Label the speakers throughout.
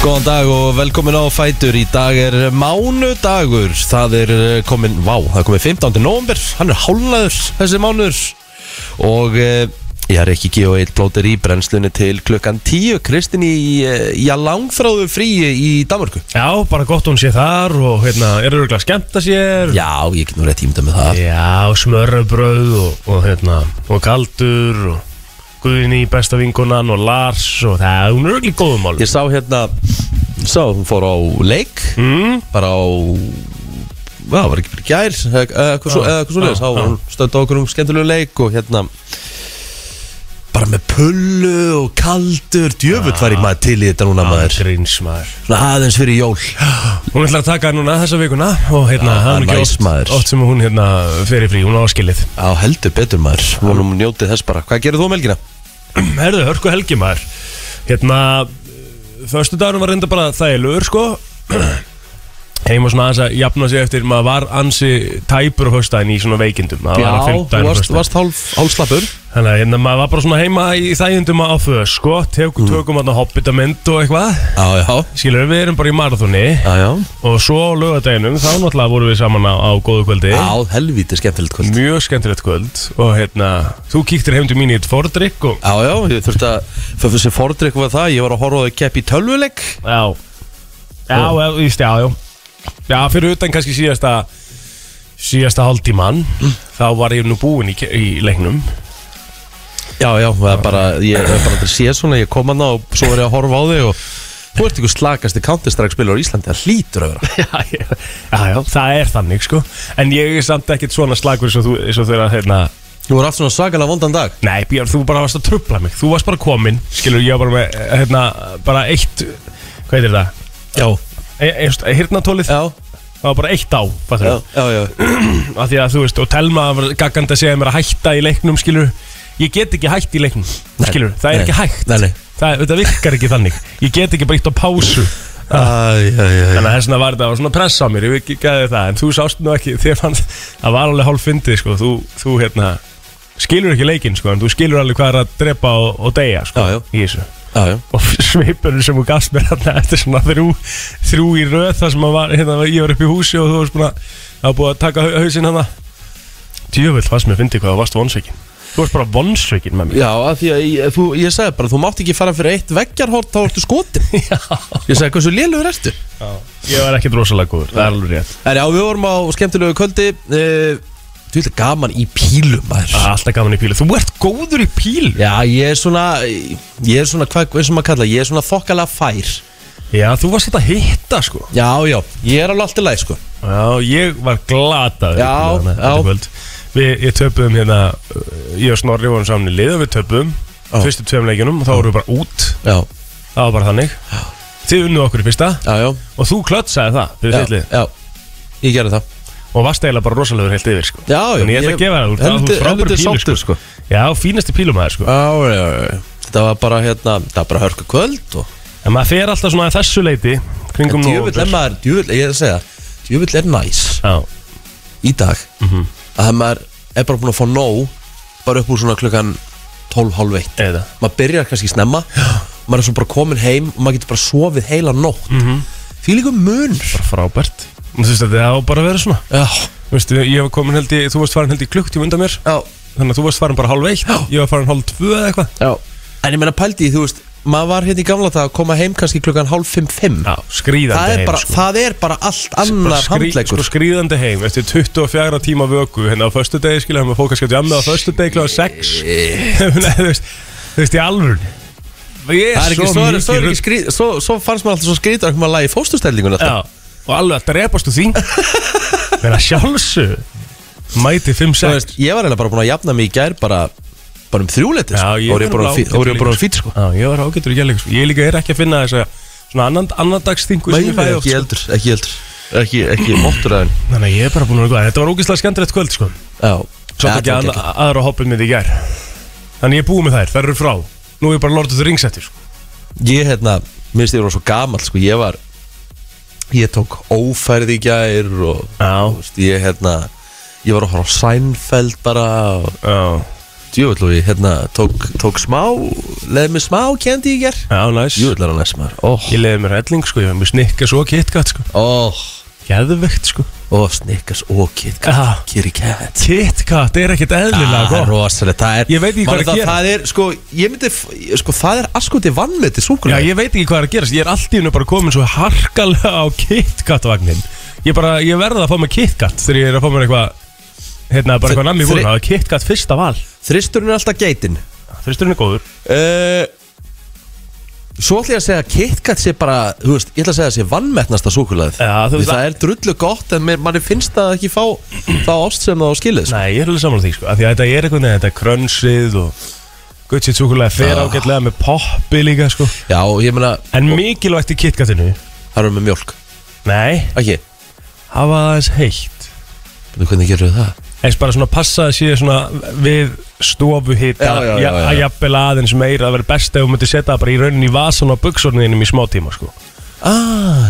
Speaker 1: Góðan dag og velkomin á Fætur Í dag er mánudagur Það er komin, vá, það er komin 15. november Hann er hálnaður þessi mánuður Og eh, ég er ekki G.O. Eil blótir í brennslunni til klukkan 10 Kristín í, eh, já, langþráðu fríi í Danmörku
Speaker 2: Já, bara gott hún sé þar og hérna, er það að skemmta sér
Speaker 1: Já, ég get nú rétt ímynda með það
Speaker 2: Já, smörbröð og, og hérna, og kaldur og Guðni, besta vingunan og Lars og það, hún er öll í góðum málum
Speaker 1: Ég sá hérna, sá, hún fór á leik
Speaker 2: mm?
Speaker 1: Bara á, já, var ekki bara í gær Eða eða eitthvað svo-
Speaker 2: Já,
Speaker 1: eða eitthvað svo leiðis
Speaker 2: já, já.
Speaker 1: Hún stöndi á okkur um skemmtilegu leik og hérna Bara með pullu og kaldur Djöfull var ég maður til í þetta núna maður
Speaker 2: Grins maður
Speaker 1: Svona aðeins fyrir jól
Speaker 2: Hún ætlar að taka núna þessa vikuna og hérna,
Speaker 1: Já,
Speaker 2: það er nú
Speaker 1: næs,
Speaker 2: ekki
Speaker 1: maður.
Speaker 2: oft, oft sem hún hérna fer í frí, hún á skilið
Speaker 1: Já, heldur betur maður Vonum hún njótið þess bara Hvað gerir þú um helgina?
Speaker 2: Herðu, hörku helgi maður Hérna, förstu dagunum var reynda bara þægilegur sko Heima svona aðeins að jafna sig eftir Maður var ansi tæpur á föstudaginn í svona veikindum maður var á
Speaker 1: þú
Speaker 2: fimmtudaginn og
Speaker 1: varst,
Speaker 2: föstudaginn.
Speaker 1: varst hálf, hálfslappur
Speaker 2: Þannig að hérna, maður var bara svona heima í þægindum á föð sko Tekum
Speaker 1: Mm.
Speaker 2: tökum hann á hobbitamynd og eitthvað
Speaker 1: Já, já
Speaker 2: Skilur, við erum bara í marathoni
Speaker 1: Já, já
Speaker 2: Og svo á lögadeginum, þá náttúrulega vorum við saman á, á góðu kvöldi
Speaker 1: Já, helvítið skemmtilegt kvöld
Speaker 2: Mjög skemmtilegt kvöld Og hérna, þú kíktir heim til mín í eitt fordrykk og
Speaker 1: Já, já, ég þurfti að Fyrir þessi fordrykk var það Ég var að horfa á þau kepp í tölvuleik
Speaker 2: Já Já, já, víst, já, já Já, fyrir utan kannski síðasta síðasta hálftíman þá var ég nú búinn í, ke- í leiknum
Speaker 1: Já, já, það er bara, ég er bara aldrei séð svona, ég kom hann og svo er ég að horfa á þig og þú ert ykkur slakasti Counter-Strike spilur á Íslandi, það hlýtur að vera.
Speaker 2: já, já, já, já, það er þannig, sko En ég er samt ekkert svona slagur eins og þú, eins og þeirra, hérna
Speaker 1: Þú voru aftur svona svakalega vondan dag.
Speaker 2: Nei, Björn, þú bara varst að trubla mig Þú varst bara kominn, skilur, ég var bara með, hérna, bara eitt Hvað heitir það?
Speaker 1: Já.
Speaker 2: E e Hirnatólið,
Speaker 1: Já,
Speaker 2: það var bara eitt á, fattur
Speaker 1: já, já, já.
Speaker 2: af því að þú veist, og Telma var gaggandi að segja mér að hætta í leiknum, skilur ég get ekki hætt í leiknum, skilur það er
Speaker 1: nei,
Speaker 2: ekki hægt,
Speaker 1: nei, nei.
Speaker 2: Það, þetta virkar ekki þannig ég get ekki breytt á pásu
Speaker 1: Æ, já, já, já.
Speaker 2: þannig að þess vegna var þetta var svona pressa á mér, ég ekki gæði það en þú sást nú ekki, þér fannst það var alveg hálf fyndið, sko, þú, þú hérna skilur ekki leikinn, sko, en þú skilur alveg hvað er að drepa og, og deyja, sko
Speaker 1: Já, já.
Speaker 2: í þessu,
Speaker 1: Já, já.
Speaker 2: og sveipunum sem þú gafst mér þarna eftir svona þrjú, þrjú í röð þar sem að var, hérna, ég var upp í húsi og þú varst búin að, það var búin að taka hausinn hana djöfull fannst mér fyndi hvað þú varst vonsveikin þú varst bara vonsveikin með mér
Speaker 1: Já, að því að ég, þú, ég sagði bara, þú mátt ekki fara fyrir eitt veggjarhort, þá ertu skotin.
Speaker 2: já,
Speaker 1: Ég sagði, hversu lélugur ertu?
Speaker 2: ég var ekkert rosalega góður, það er alveg rétt
Speaker 1: En já, við vorum á skemmtilegu kvöldi, uh, þú veit, gaman í pílum, maður.
Speaker 2: það er alltaf gaman í pílu, þú ert góður í pílu
Speaker 1: Já, ég er svona, ég er svona, hvað, hvað sem maður kalla, ég er svona þokkalega fær.
Speaker 2: já, þú varst þetta að hitta sko
Speaker 1: Já, já, ég er alveg alltaf læg, sko.
Speaker 2: já, ég var glataður
Speaker 1: Já,
Speaker 2: í pílu þarna
Speaker 1: já.
Speaker 2: þetta kvöld. Við, ég töpuðum hérna, uh, ég og Snorri vorum saman í lið og við töpuðum
Speaker 1: Já.
Speaker 2: fyrstu tveim leikjunum og þá vorum við bara út
Speaker 1: Já,
Speaker 2: Það var bara þannig Þið unnuð okkur í fyrsta
Speaker 1: já, já.
Speaker 2: Og þú klötsaði það fyrir
Speaker 1: já,
Speaker 2: þitt lið
Speaker 1: já, ég gerði það
Speaker 2: Og varst eiginlega bara rosalegur heilt yfir sko.
Speaker 1: Já, já,
Speaker 2: Þannig ég ætla að gefa það Þú ert- þú ert frábæri
Speaker 1: helviti
Speaker 2: pílu
Speaker 1: sáttur,
Speaker 2: sko. Já, fínasti pílumæður sko.
Speaker 1: Já, já, já, já Þetta var bara hérna, það var bara hörku kvöld og
Speaker 2: En maður fer alltaf svona að þessu leiti Kringum nú
Speaker 1: Djúvill er maður, djúvill, ég er að segja Djúvill er næs
Speaker 2: Já,
Speaker 1: í dag að það maður er bara búin að fá nóg bara upp úr svona klukkan 12, halv eitt
Speaker 2: eða
Speaker 1: Maður byrjar kannski snemma maður er svona bara komin heim og maður getur bara sofið heila nótt mm -hmm. Fýlíku mun
Speaker 2: Bara frábært Þú veist að það á bara að vera svona
Speaker 1: Já,
Speaker 2: Þú veist, ég hef komin held í Þú varst farin held í klukktíma undan mér
Speaker 1: já,
Speaker 2: Þannig að þú varst farin bara hálf eitt
Speaker 1: Já.
Speaker 2: Ég var farin hálf tvö eða eitthvað
Speaker 1: já En ég meina pældi, í, þú veist, maður var hérna í gamla dag að koma heim kannski klukkan hálf fimm, fimm
Speaker 2: Já, skrýðandi
Speaker 1: það er,
Speaker 2: heim
Speaker 1: bara,
Speaker 2: sko.
Speaker 1: það er bara allt annar
Speaker 2: skrí, sko,
Speaker 1: handleggur
Speaker 2: skrýðandi heim eftir 24 tíma vöku hérna á förstu degi skilja hann að fólk að skjátt jamma á förstu degi kláða 6 Nei, þú veist þú veist í alvörn ég
Speaker 1: Það er ekki, svo,
Speaker 2: svo
Speaker 1: er, svo, er
Speaker 2: mikið
Speaker 1: ekki
Speaker 2: rugl.
Speaker 1: skrít, svo, svo fannst maður alltaf svo skrítið að koma að lagi fóstustellingun
Speaker 2: Já, og alveg að drepastu því meina sjálfsög mæti 5-6
Speaker 1: Ég var eiginlega bara búin að jafna mig í gær bara, bara um þrjúleiti
Speaker 2: Já,
Speaker 1: sko.
Speaker 2: ég
Speaker 1: Þá er ég
Speaker 2: var
Speaker 1: bara
Speaker 2: alveg ágætur líka,
Speaker 1: að fýt sko.
Speaker 2: Já, ég var ágættur í gæleik sko. ég líka er ekki að finna þess að svona annan, annandagsþingu
Speaker 1: Nei,
Speaker 2: sem ég fæði oft
Speaker 1: ekki
Speaker 2: sko.
Speaker 1: eldur, ekki eldur Ekki, ekki móttur aðeins
Speaker 2: þannig að ég er bara búin að vera góð En þetta var ógæslega skemmtilegt kvöld sko.
Speaker 1: Já,
Speaker 2: Svo
Speaker 1: Já,
Speaker 2: tók ég
Speaker 1: það
Speaker 2: að,
Speaker 1: var
Speaker 2: aðra hoppum mitt í gær Þannig ég er búið með þær, þær eru frá Nú er ég bara Lord of the Rings eftir sko.
Speaker 1: geggjað. Ég hérna, minnst ég var svo gamal sko. Ég var Ég tók ófærið í gær og,
Speaker 2: Já,
Speaker 1: þú veist, Ég hérna Ég var að horfa á Seinfeld bara og,
Speaker 2: já
Speaker 1: Djúvill og ég hérna tók, tók smá Leðið mig smá kendi í ger
Speaker 2: Já, næs
Speaker 1: Djúvill er hann næst maður Ó,
Speaker 2: Ég leiði mér helling sko, ég var mér snikka svo KitKat sko
Speaker 1: ó,
Speaker 2: Geðvegt sko
Speaker 1: ó, snikkas og KitKat
Speaker 2: Já.
Speaker 1: Kitty Cat
Speaker 2: KitKat er ekkert eðlilega
Speaker 1: Það er
Speaker 2: gott
Speaker 1: rosalegt Það er
Speaker 2: Ég veit ekki hvað
Speaker 1: Maður,
Speaker 2: er að
Speaker 1: það-
Speaker 2: gera.
Speaker 1: Það er, sko, ég myndi f- Sko, það er askuti vannmeti
Speaker 2: Já,
Speaker 1: súkulega
Speaker 2: ég veit ekki hvað er að gerast Ég er allt í hennu bara komin svo harkalega á KitKat vagnin Ég bara, ég verða að fá mér KitKat Þegar ég er að fá mér eitthvað Hérna, bara
Speaker 1: Þri-
Speaker 2: eitthvað nammi
Speaker 1: þri-
Speaker 2: búin Það er KitKat fyrsta val
Speaker 1: Þristurinn er alltaf geitin
Speaker 2: Þristurinn er góður
Speaker 1: uh, Svo ætla ég að segja að KitKat sé bara Þú veist, ég ætla að segja að sé vannmetnasta súkulegð
Speaker 2: Já, þú
Speaker 1: Því
Speaker 2: veist
Speaker 1: það er drullu gott en mér, manni finnst það ekki fá þá ást sem það á skilið sko.
Speaker 2: Nei, ég er alveg saman á því sko af Því að þetta er eitthvað Þetta er krönsið og Gutsið súkulega fer
Speaker 1: Ah.
Speaker 2: ágætlega með poppi líka sko
Speaker 1: Já, og ég meina,
Speaker 2: En mikilvægt í KitKatinu
Speaker 1: það eru með mjölk
Speaker 2: Nei,
Speaker 1: Ekki,
Speaker 2: hafa það aðeins heitt
Speaker 1: okay. hvernig gerur það?
Speaker 2: eins bara svona passa að sé svona við stofuhita
Speaker 1: Já, já, já, já.
Speaker 2: að jafnvel aðeins meira það verður best ef þú myndir setja það bara í rauninni í vasan og buksorniðinum í smá tíma sko
Speaker 1: Ah,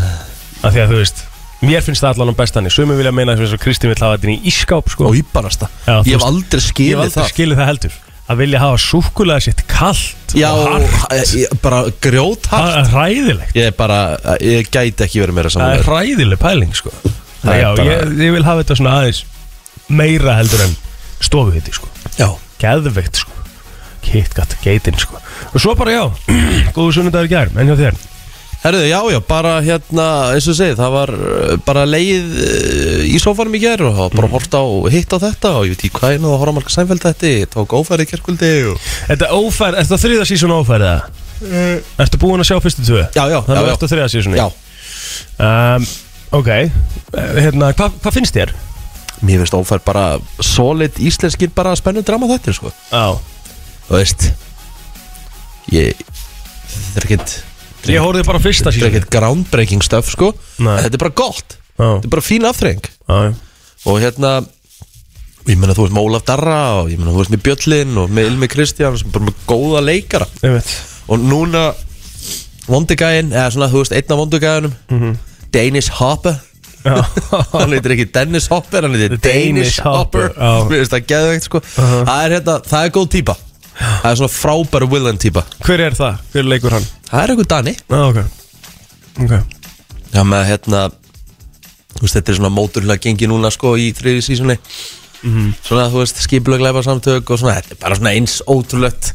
Speaker 2: af því að þú veist mér finnst það allan á bestanni sumi vilja meina þess að Kristi vill hafa þetta inn í ískáp sko
Speaker 1: og íbarasta
Speaker 2: Já, þú
Speaker 1: Ég hef
Speaker 2: veist-
Speaker 1: aldrei
Speaker 2: ég hef
Speaker 1: skilið
Speaker 2: aldrei
Speaker 1: það
Speaker 2: skilið það heldur að vilja hafa súkulega sitt kallt
Speaker 1: Já,
Speaker 2: og hart
Speaker 1: ég- ég- bara grjóthart
Speaker 2: það er hræðilegt
Speaker 1: Ég er bara, ég gæti ekki verið meira
Speaker 2: það er
Speaker 1: saman
Speaker 2: hræðileg pæling sko
Speaker 1: Það er
Speaker 2: já,
Speaker 1: bara-
Speaker 2: ég, ég vil hafa þetta svona aðeins meira heldur en stofuhiti sko
Speaker 1: Já,
Speaker 2: geðveikt sko KitKat, geitin sko og svo bara já, góðu sunnudagur í gær en hjá þér,
Speaker 1: Herðu, já, já, bara hérna, eins og segið, það var uh, bara leið uh, í sófanum í gær og það var bara mm. hort á hitt á þetta og ég veit ekki hvað ég náðu að horfa á marga sæmfæld þetta, ég tók ófærið kerkvöldi og...
Speaker 2: þetta ófær, er þetta þriða sísón ófærið það? Ertu búinn að sjá fyrstu tvö?
Speaker 1: Eh. Já, já, já,
Speaker 2: Þannig að
Speaker 1: já,
Speaker 2: þetta þriða sísón
Speaker 1: já,
Speaker 2: um, Ok, eh, hérna, hvað hva finnst þér?
Speaker 1: mér finnst ófærið bara solid íslenskir bara spennu drama þetta, sko,
Speaker 2: Já,
Speaker 1: þú veist, ég, þetta er ekkert, þetta
Speaker 2: ég
Speaker 1: er ekkert-
Speaker 2: horfði bara á fyrsta
Speaker 1: þetta er
Speaker 2: sísón
Speaker 1: ekkert groundbreaking stuff, sko,
Speaker 2: Nei.
Speaker 1: en þetta er bara gott,
Speaker 2: Já,
Speaker 1: þetta er bara fín aftreng
Speaker 2: já,
Speaker 1: og hérna ég meina þú veist með Ólaf Darra og ég meina þú veist með Bjöllin og með Ilmi Kristján sem bara með góða leikara
Speaker 2: ég veit
Speaker 1: og núna vondugæin, eða svona þú veist einn af vondugæinum Danish Hopper
Speaker 2: Mhm. Já.
Speaker 1: hann heitir ekki Dennis Hopper hann heitir
Speaker 2: The Danish
Speaker 1: Danish Hopper
Speaker 2: Hopper, já. Uh-huh.
Speaker 1: mér finnst það geðveikt sko það, er, hérna, það er góð típa það er svona frábæru villain típa
Speaker 2: Hver er það? Hver leikur hann?
Speaker 1: það er einhver Dani
Speaker 2: Já, ok Ok,
Speaker 1: Já, með hérna Þú veist, þetta er svona móturlega gengi núna sko í þriði sísunni Svona, þú veist, skipulega glæpa samtök og svona Þetta er bara svona eins ótrúlegt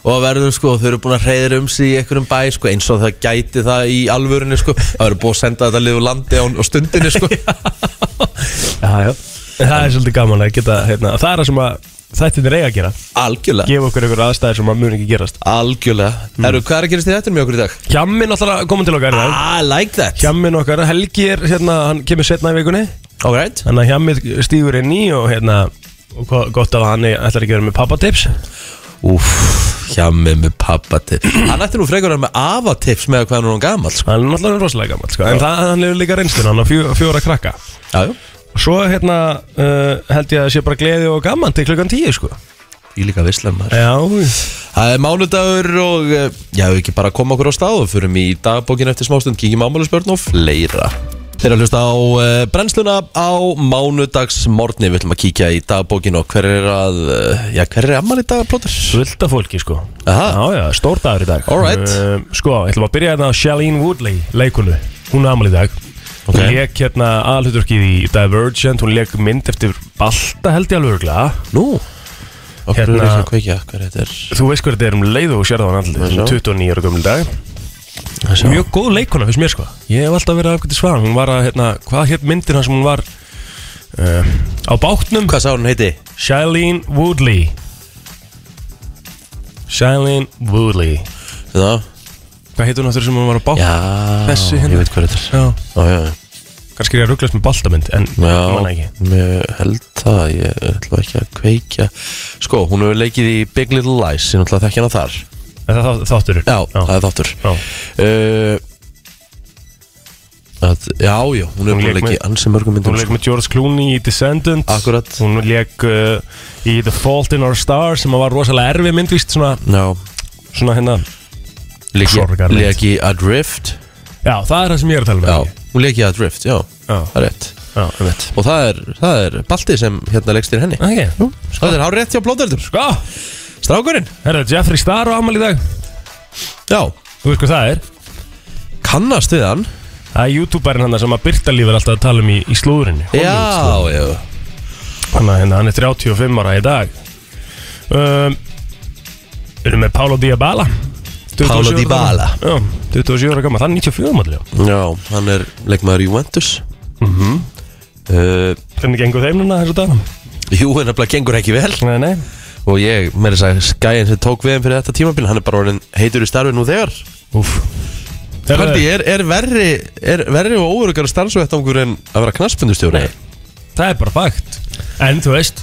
Speaker 1: Og að verður sko, þau eru búin að hreyða um sig í einhverjum bæ sko Eins og það gæti það í alvörinu sko Það eru búin að senda þetta liðu landi á, á stundinu sko
Speaker 2: já, já Það er svolítið gaman að geta, hérna, það er það sem að þættin er eiga að gera
Speaker 1: Algjörlega,
Speaker 2: Gefa okkur ykkur aðstæðir sem að mun ekki gerast
Speaker 1: algjörlega Herru, hvað er að gerast í þetta með okkur í dag? Ah,
Speaker 2: Hjammin alltaf komið til okkar í dag
Speaker 1: I like that
Speaker 2: Hjammin okkar, Helgi er hérna, hann kemur setna í vikunni
Speaker 1: Alright
Speaker 2: Þannig að Hjammin stígur inn í og hérna Og go- gott af að hann er- ætlar ekki að vera með pappatips
Speaker 1: Úf, hjá mig með pappatips Hann ætti nú frekar að vera með afatips með hvað hann er nú gamall sko
Speaker 2: Hann er náttúrulega rosalega gammal sko. En það, hann hefur líka reynslun, hann á fjó, fjóra krakka
Speaker 1: Já, já,
Speaker 2: Svo hérna uh, held ég að sé bara gleði og gaman til klukkan tíu sko
Speaker 1: ég líka um vislan maður
Speaker 2: Já,
Speaker 1: Það er mánudagur og eh, já, við ekki bara koma okkur á stað og förum í dagbókinu eftir smástund, kíkjum ámálusbjörn og fleira. Þeir að hlusta á uh, brennsluna á mánudagsmorni, við ætlum að kíkja í dagbókinu og hver er að, uh, já, hver er amman í dag, Plóter?
Speaker 2: svölda fólki sko
Speaker 1: Aha.
Speaker 2: Já, já, stór dagur í dag
Speaker 1: Alright.
Speaker 2: uh, Sko, ætlum að byrja hérna á Shailene Woodley, leikunu Hún er amal í dag
Speaker 1: Ok.
Speaker 2: Hún leik hérna aðalhuturkið í Divergent Hún leik mynd eftir Balta held ég alveg örugglega.
Speaker 1: Nú, og hver
Speaker 2: Hérna-
Speaker 1: er ekki að kveikja, hver þetta er?
Speaker 2: Þú veist hvað þetta er um leið og sér það á hann allir
Speaker 1: Já.
Speaker 2: 29 ára gömul í dag
Speaker 1: Sjá.
Speaker 2: Mjög góð leikona fyrst mér sko Ég hef alltaf verið afgætið svan Hún var að, hérna, hvað hér myndir hann sem hún var uh, Á bátnum
Speaker 1: Hvað sá hún heiti?
Speaker 2: Shailene Woodley Shailene Woodley
Speaker 1: Já,
Speaker 2: Hvað heitir hún aftur sem hún var á bátnum?
Speaker 1: já,
Speaker 2: Þessi hérna.
Speaker 1: ég veit hver þetta er.
Speaker 2: Já
Speaker 1: Já, já, já.
Speaker 2: Kannski er ég að rugglast með baltamind En
Speaker 1: Já,
Speaker 2: ég manna ekki
Speaker 1: mér held það, ég ætla ekki að kveikja. Sko, hún hefur leikið í Big Little Lies, ég náttúrulega þekki hana þar.
Speaker 2: En það þá- þáttur
Speaker 1: Já, það er þáttur.
Speaker 2: Já.
Speaker 1: uh, að, Já, já, hún er
Speaker 2: Hún
Speaker 1: búin
Speaker 2: lék
Speaker 1: að leggja í
Speaker 2: með-
Speaker 1: ansi mörgum myndum sko.
Speaker 2: Hún leik með George Clooney í Descendants
Speaker 1: Akkurat.
Speaker 2: Hún leik uh, í The Fault in Our Stars Sem var rosalega erfið myndvist Svona,
Speaker 1: Já,
Speaker 2: svona hérna Sorgarmynd.
Speaker 1: leggja í Adrift
Speaker 2: Já, það er það sem ég er að tala um
Speaker 1: Já,
Speaker 2: ekki?
Speaker 1: hún leggja í Adrift, já,
Speaker 2: Já.
Speaker 1: það er rétt
Speaker 2: Já, um veit
Speaker 1: Og það er, það er Balti sem hérna leggst þér henni
Speaker 2: Ok,
Speaker 1: Sko, Það er hár rétt hjá blóðöldur
Speaker 2: sko
Speaker 1: Strákurinn
Speaker 2: Herra, Jeffrey Star á amal í dag
Speaker 1: Já
Speaker 2: Þú veist hvað það er
Speaker 1: Kannast við hann
Speaker 2: Það er youtuberinn hann sem að Birta Líf er alltaf að tala um í, í slúðurinni
Speaker 1: Já, já
Speaker 2: Þannig að hérna, hann er 35 ára í dag um, Erum með Paulo Dybala 27
Speaker 1: Paulo
Speaker 2: ára
Speaker 1: Dybala.
Speaker 2: gamall. Já, 27 ára gammal, það er 94 ára já
Speaker 1: Já, hann er leikmaður Juventus mm -hmm.
Speaker 2: Hvernig gengur þeim núna þessu dag?
Speaker 1: Jú, en nefnilega gengur ekki vel
Speaker 2: Nei, nei
Speaker 1: Og ég, með þess að skæin sem tók við þeim fyrir þetta tímabil Hann er bara orðin heitur í starfi nú þegar
Speaker 2: Úf
Speaker 1: Hvernig er, er verri Er verri og óurugar starfsvettangur en að vera knaspundustjóri?
Speaker 2: Nei. Það er bara fakt En þú veist,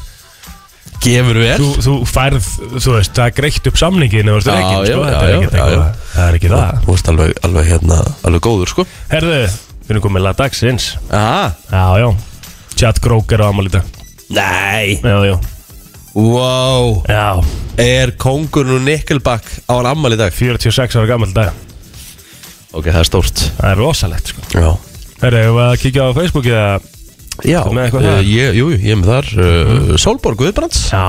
Speaker 1: Gefur vel
Speaker 2: þú, þú færð, þú veist, það er greitt upp samningin eða þú veist
Speaker 1: Já,
Speaker 2: reikin,
Speaker 1: já,
Speaker 2: sko,
Speaker 1: já,
Speaker 2: þetta er
Speaker 1: já,
Speaker 2: ekkert
Speaker 1: já, Sko.
Speaker 2: eitthvað Það er ekki það
Speaker 1: Þú veist alveg, alveg hérna, alveg góður sko
Speaker 2: Herðu, við erum komið að dagsins
Speaker 1: Aha
Speaker 2: Já, já Chad Kroger á amal í dag
Speaker 1: Nei
Speaker 2: Já, já
Speaker 1: Wow
Speaker 2: Já,
Speaker 1: Er kongurinn og Nickelback á hann ammal í dag?
Speaker 2: 46 ára gammal dag
Speaker 1: Ok, það er stórt
Speaker 2: Það er rosalegt, sko
Speaker 1: Já
Speaker 2: Herðu, hefur að kíkja á Facebooki eða
Speaker 1: Já
Speaker 2: Þú með eitthvað
Speaker 1: uh, ég,
Speaker 2: þar?
Speaker 1: Jú, jú, ég er með þar uh, Solborg Guðbrands
Speaker 2: Já,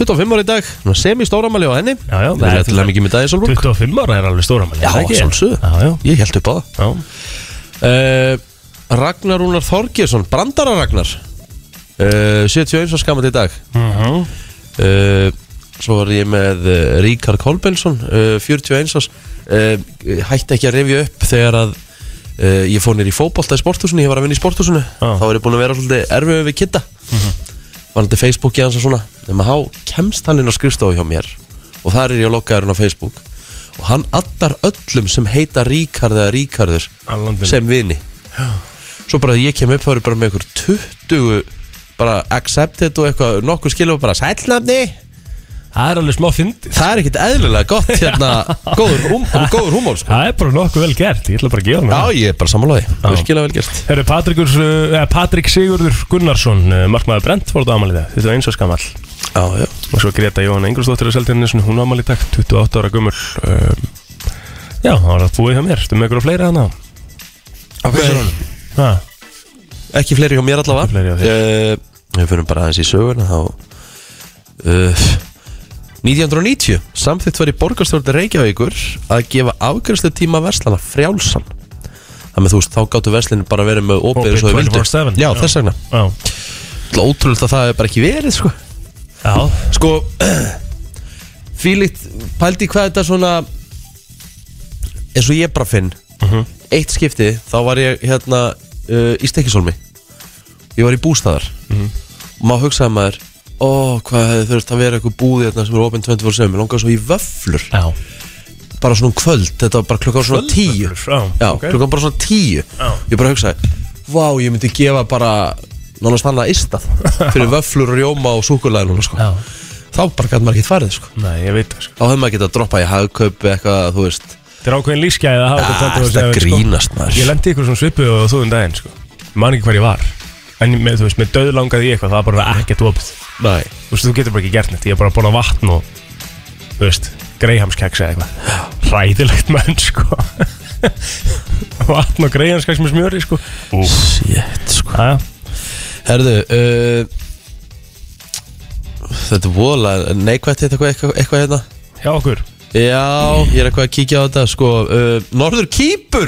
Speaker 1: 25 ára í dag Semi stóramæli á henni
Speaker 2: Já, já,
Speaker 1: Það
Speaker 2: það
Speaker 1: er
Speaker 2: er-
Speaker 1: alltaf mikið með dagi Solborg
Speaker 2: 25 ára er alveg stóra
Speaker 1: Já, sjálfsögðu.
Speaker 2: Já, já,
Speaker 1: Ég held upp á
Speaker 2: já
Speaker 1: það uh, Ragnar Rúnar Þorgjesson Brandara Ragnar uh, 71 ára skamall í dag
Speaker 2: Mhm.
Speaker 1: uh, Svo var ég með uh, Ríkar Kolbensson uh, 41 árs uh, Hætti ekki að revja upp þegar að uh, Ég fór nýr í fótbolta í sporthúsinu Ég var að vinna í sporthúsinu
Speaker 2: Já.
Speaker 1: Þá var ég búin að vera svolítið erfið við kitta Var alltaf Facebooki hans og svona Nefna há kemst hann inn á skrifstofu hjá mér Og þar er ég að lokka hann á Facebook Og hann addar öllum sem heita Ríkar eða Ríkarður
Speaker 2: Allan vini.
Speaker 1: Sem vini Svo bara ég kem upp Það eru bara með einhver 20 Bara accepted og eitthvað Nokkur skilum bara sælnafni
Speaker 2: Það er alveg smá fyndið
Speaker 1: það er ekkert eðlilega gott hérna, góður, hum, góður humor sko.
Speaker 2: Það er bara nokkuð vel gert, ég ætla bara að gefa hann
Speaker 1: Já, ég er bara sammálaði, virkilega vel gert
Speaker 2: Herru, Patrikur, eh, Patrik Sigurður Gunnarsson, eh, markmaður Brent, fór þetta ámali það, 21 og skamall.
Speaker 1: Já, já,
Speaker 2: Og svo Greta Jóhann Engelsdóttir á Seldjarnisson, hún ámali í dag, 28 ára gummur. Um, já, það var að búið hjá mér, stu með ykkur og fleiri hana. Ha,
Speaker 1: Ekki fleiri hjá mér allavega
Speaker 2: Ekki fleiri hjá
Speaker 1: Eh, Við fyrir bara aðeins í söguna þá uh, 1990 samþýtt var í borgarstjórn Reykjavíkur að gefa afgjörstu tíma verslana frjálsan Það með þú veist, þá gáttu verslinu bara verið með opið
Speaker 2: Opið
Speaker 1: eins og þau vildu
Speaker 2: 24/7,
Speaker 1: Já,
Speaker 2: já.
Speaker 1: þess vegna
Speaker 2: já,
Speaker 1: Ótrúlega að það er bara ekki verið sko.
Speaker 2: já,
Speaker 1: Sko Fílitt pældi hvað þetta svona eins og ég bara finn
Speaker 2: Mhm.
Speaker 1: Eitt skipti þá var ég hérna uh, í Stekisólmi Ég var í bústæðar
Speaker 2: Mhm.
Speaker 1: og maður hugsaði um maður Ó, hvað hefði þurft að vera eitthvað búði hérna sem er opinn 24-7 Mér langaði svo í vöflur
Speaker 2: já.
Speaker 1: Bara svona um kvöld, þetta var bara klukkan svona 10
Speaker 2: Já,
Speaker 1: Já,
Speaker 2: ok.
Speaker 1: klukkan bara svona 10
Speaker 2: Já.
Speaker 1: Ég bara hugsaði Vá, ég myndi gefa bara Nánast annað istað Fyrir vöflur, rjóma og súkulæði núna sko
Speaker 2: Já,
Speaker 1: þá bara gæti maður ekkert farið sko.
Speaker 2: nei, ég veit það, sko.
Speaker 1: þá hefði maður getað að droppa í hagkaup eitthvað, þú veist
Speaker 2: Þetta er ákveðin lífsgæði að hafa þetta
Speaker 1: Ah,
Speaker 2: 24
Speaker 1: þetta
Speaker 2: seven, sko.
Speaker 1: grínast maður
Speaker 2: Ég lendi ykkur svona svipu og þú um daginn, sko. Ég Man ekki hvar ég var. En með, þú veist, með döð langaði ég eitthvað, það var bara ekkert opið.
Speaker 1: Nei.
Speaker 2: þú veist, þú getur bara ekki gert neitt, ég er bara að borða vatn og, þú veist, greihamskeks eða eitthvað, ræðilegt menn, sko vatn og greihamskeks með smjöri, sko Úf,
Speaker 1: Shit, sko.
Speaker 2: aðja,
Speaker 1: herðu uh, þetta er voðalega neikvætt þetta eitthvað, eitthvað, eitthvað hérna
Speaker 2: hjá okkur
Speaker 1: já, ég er eitthvað að kíkja á þetta sko. uh, Norður Kýpur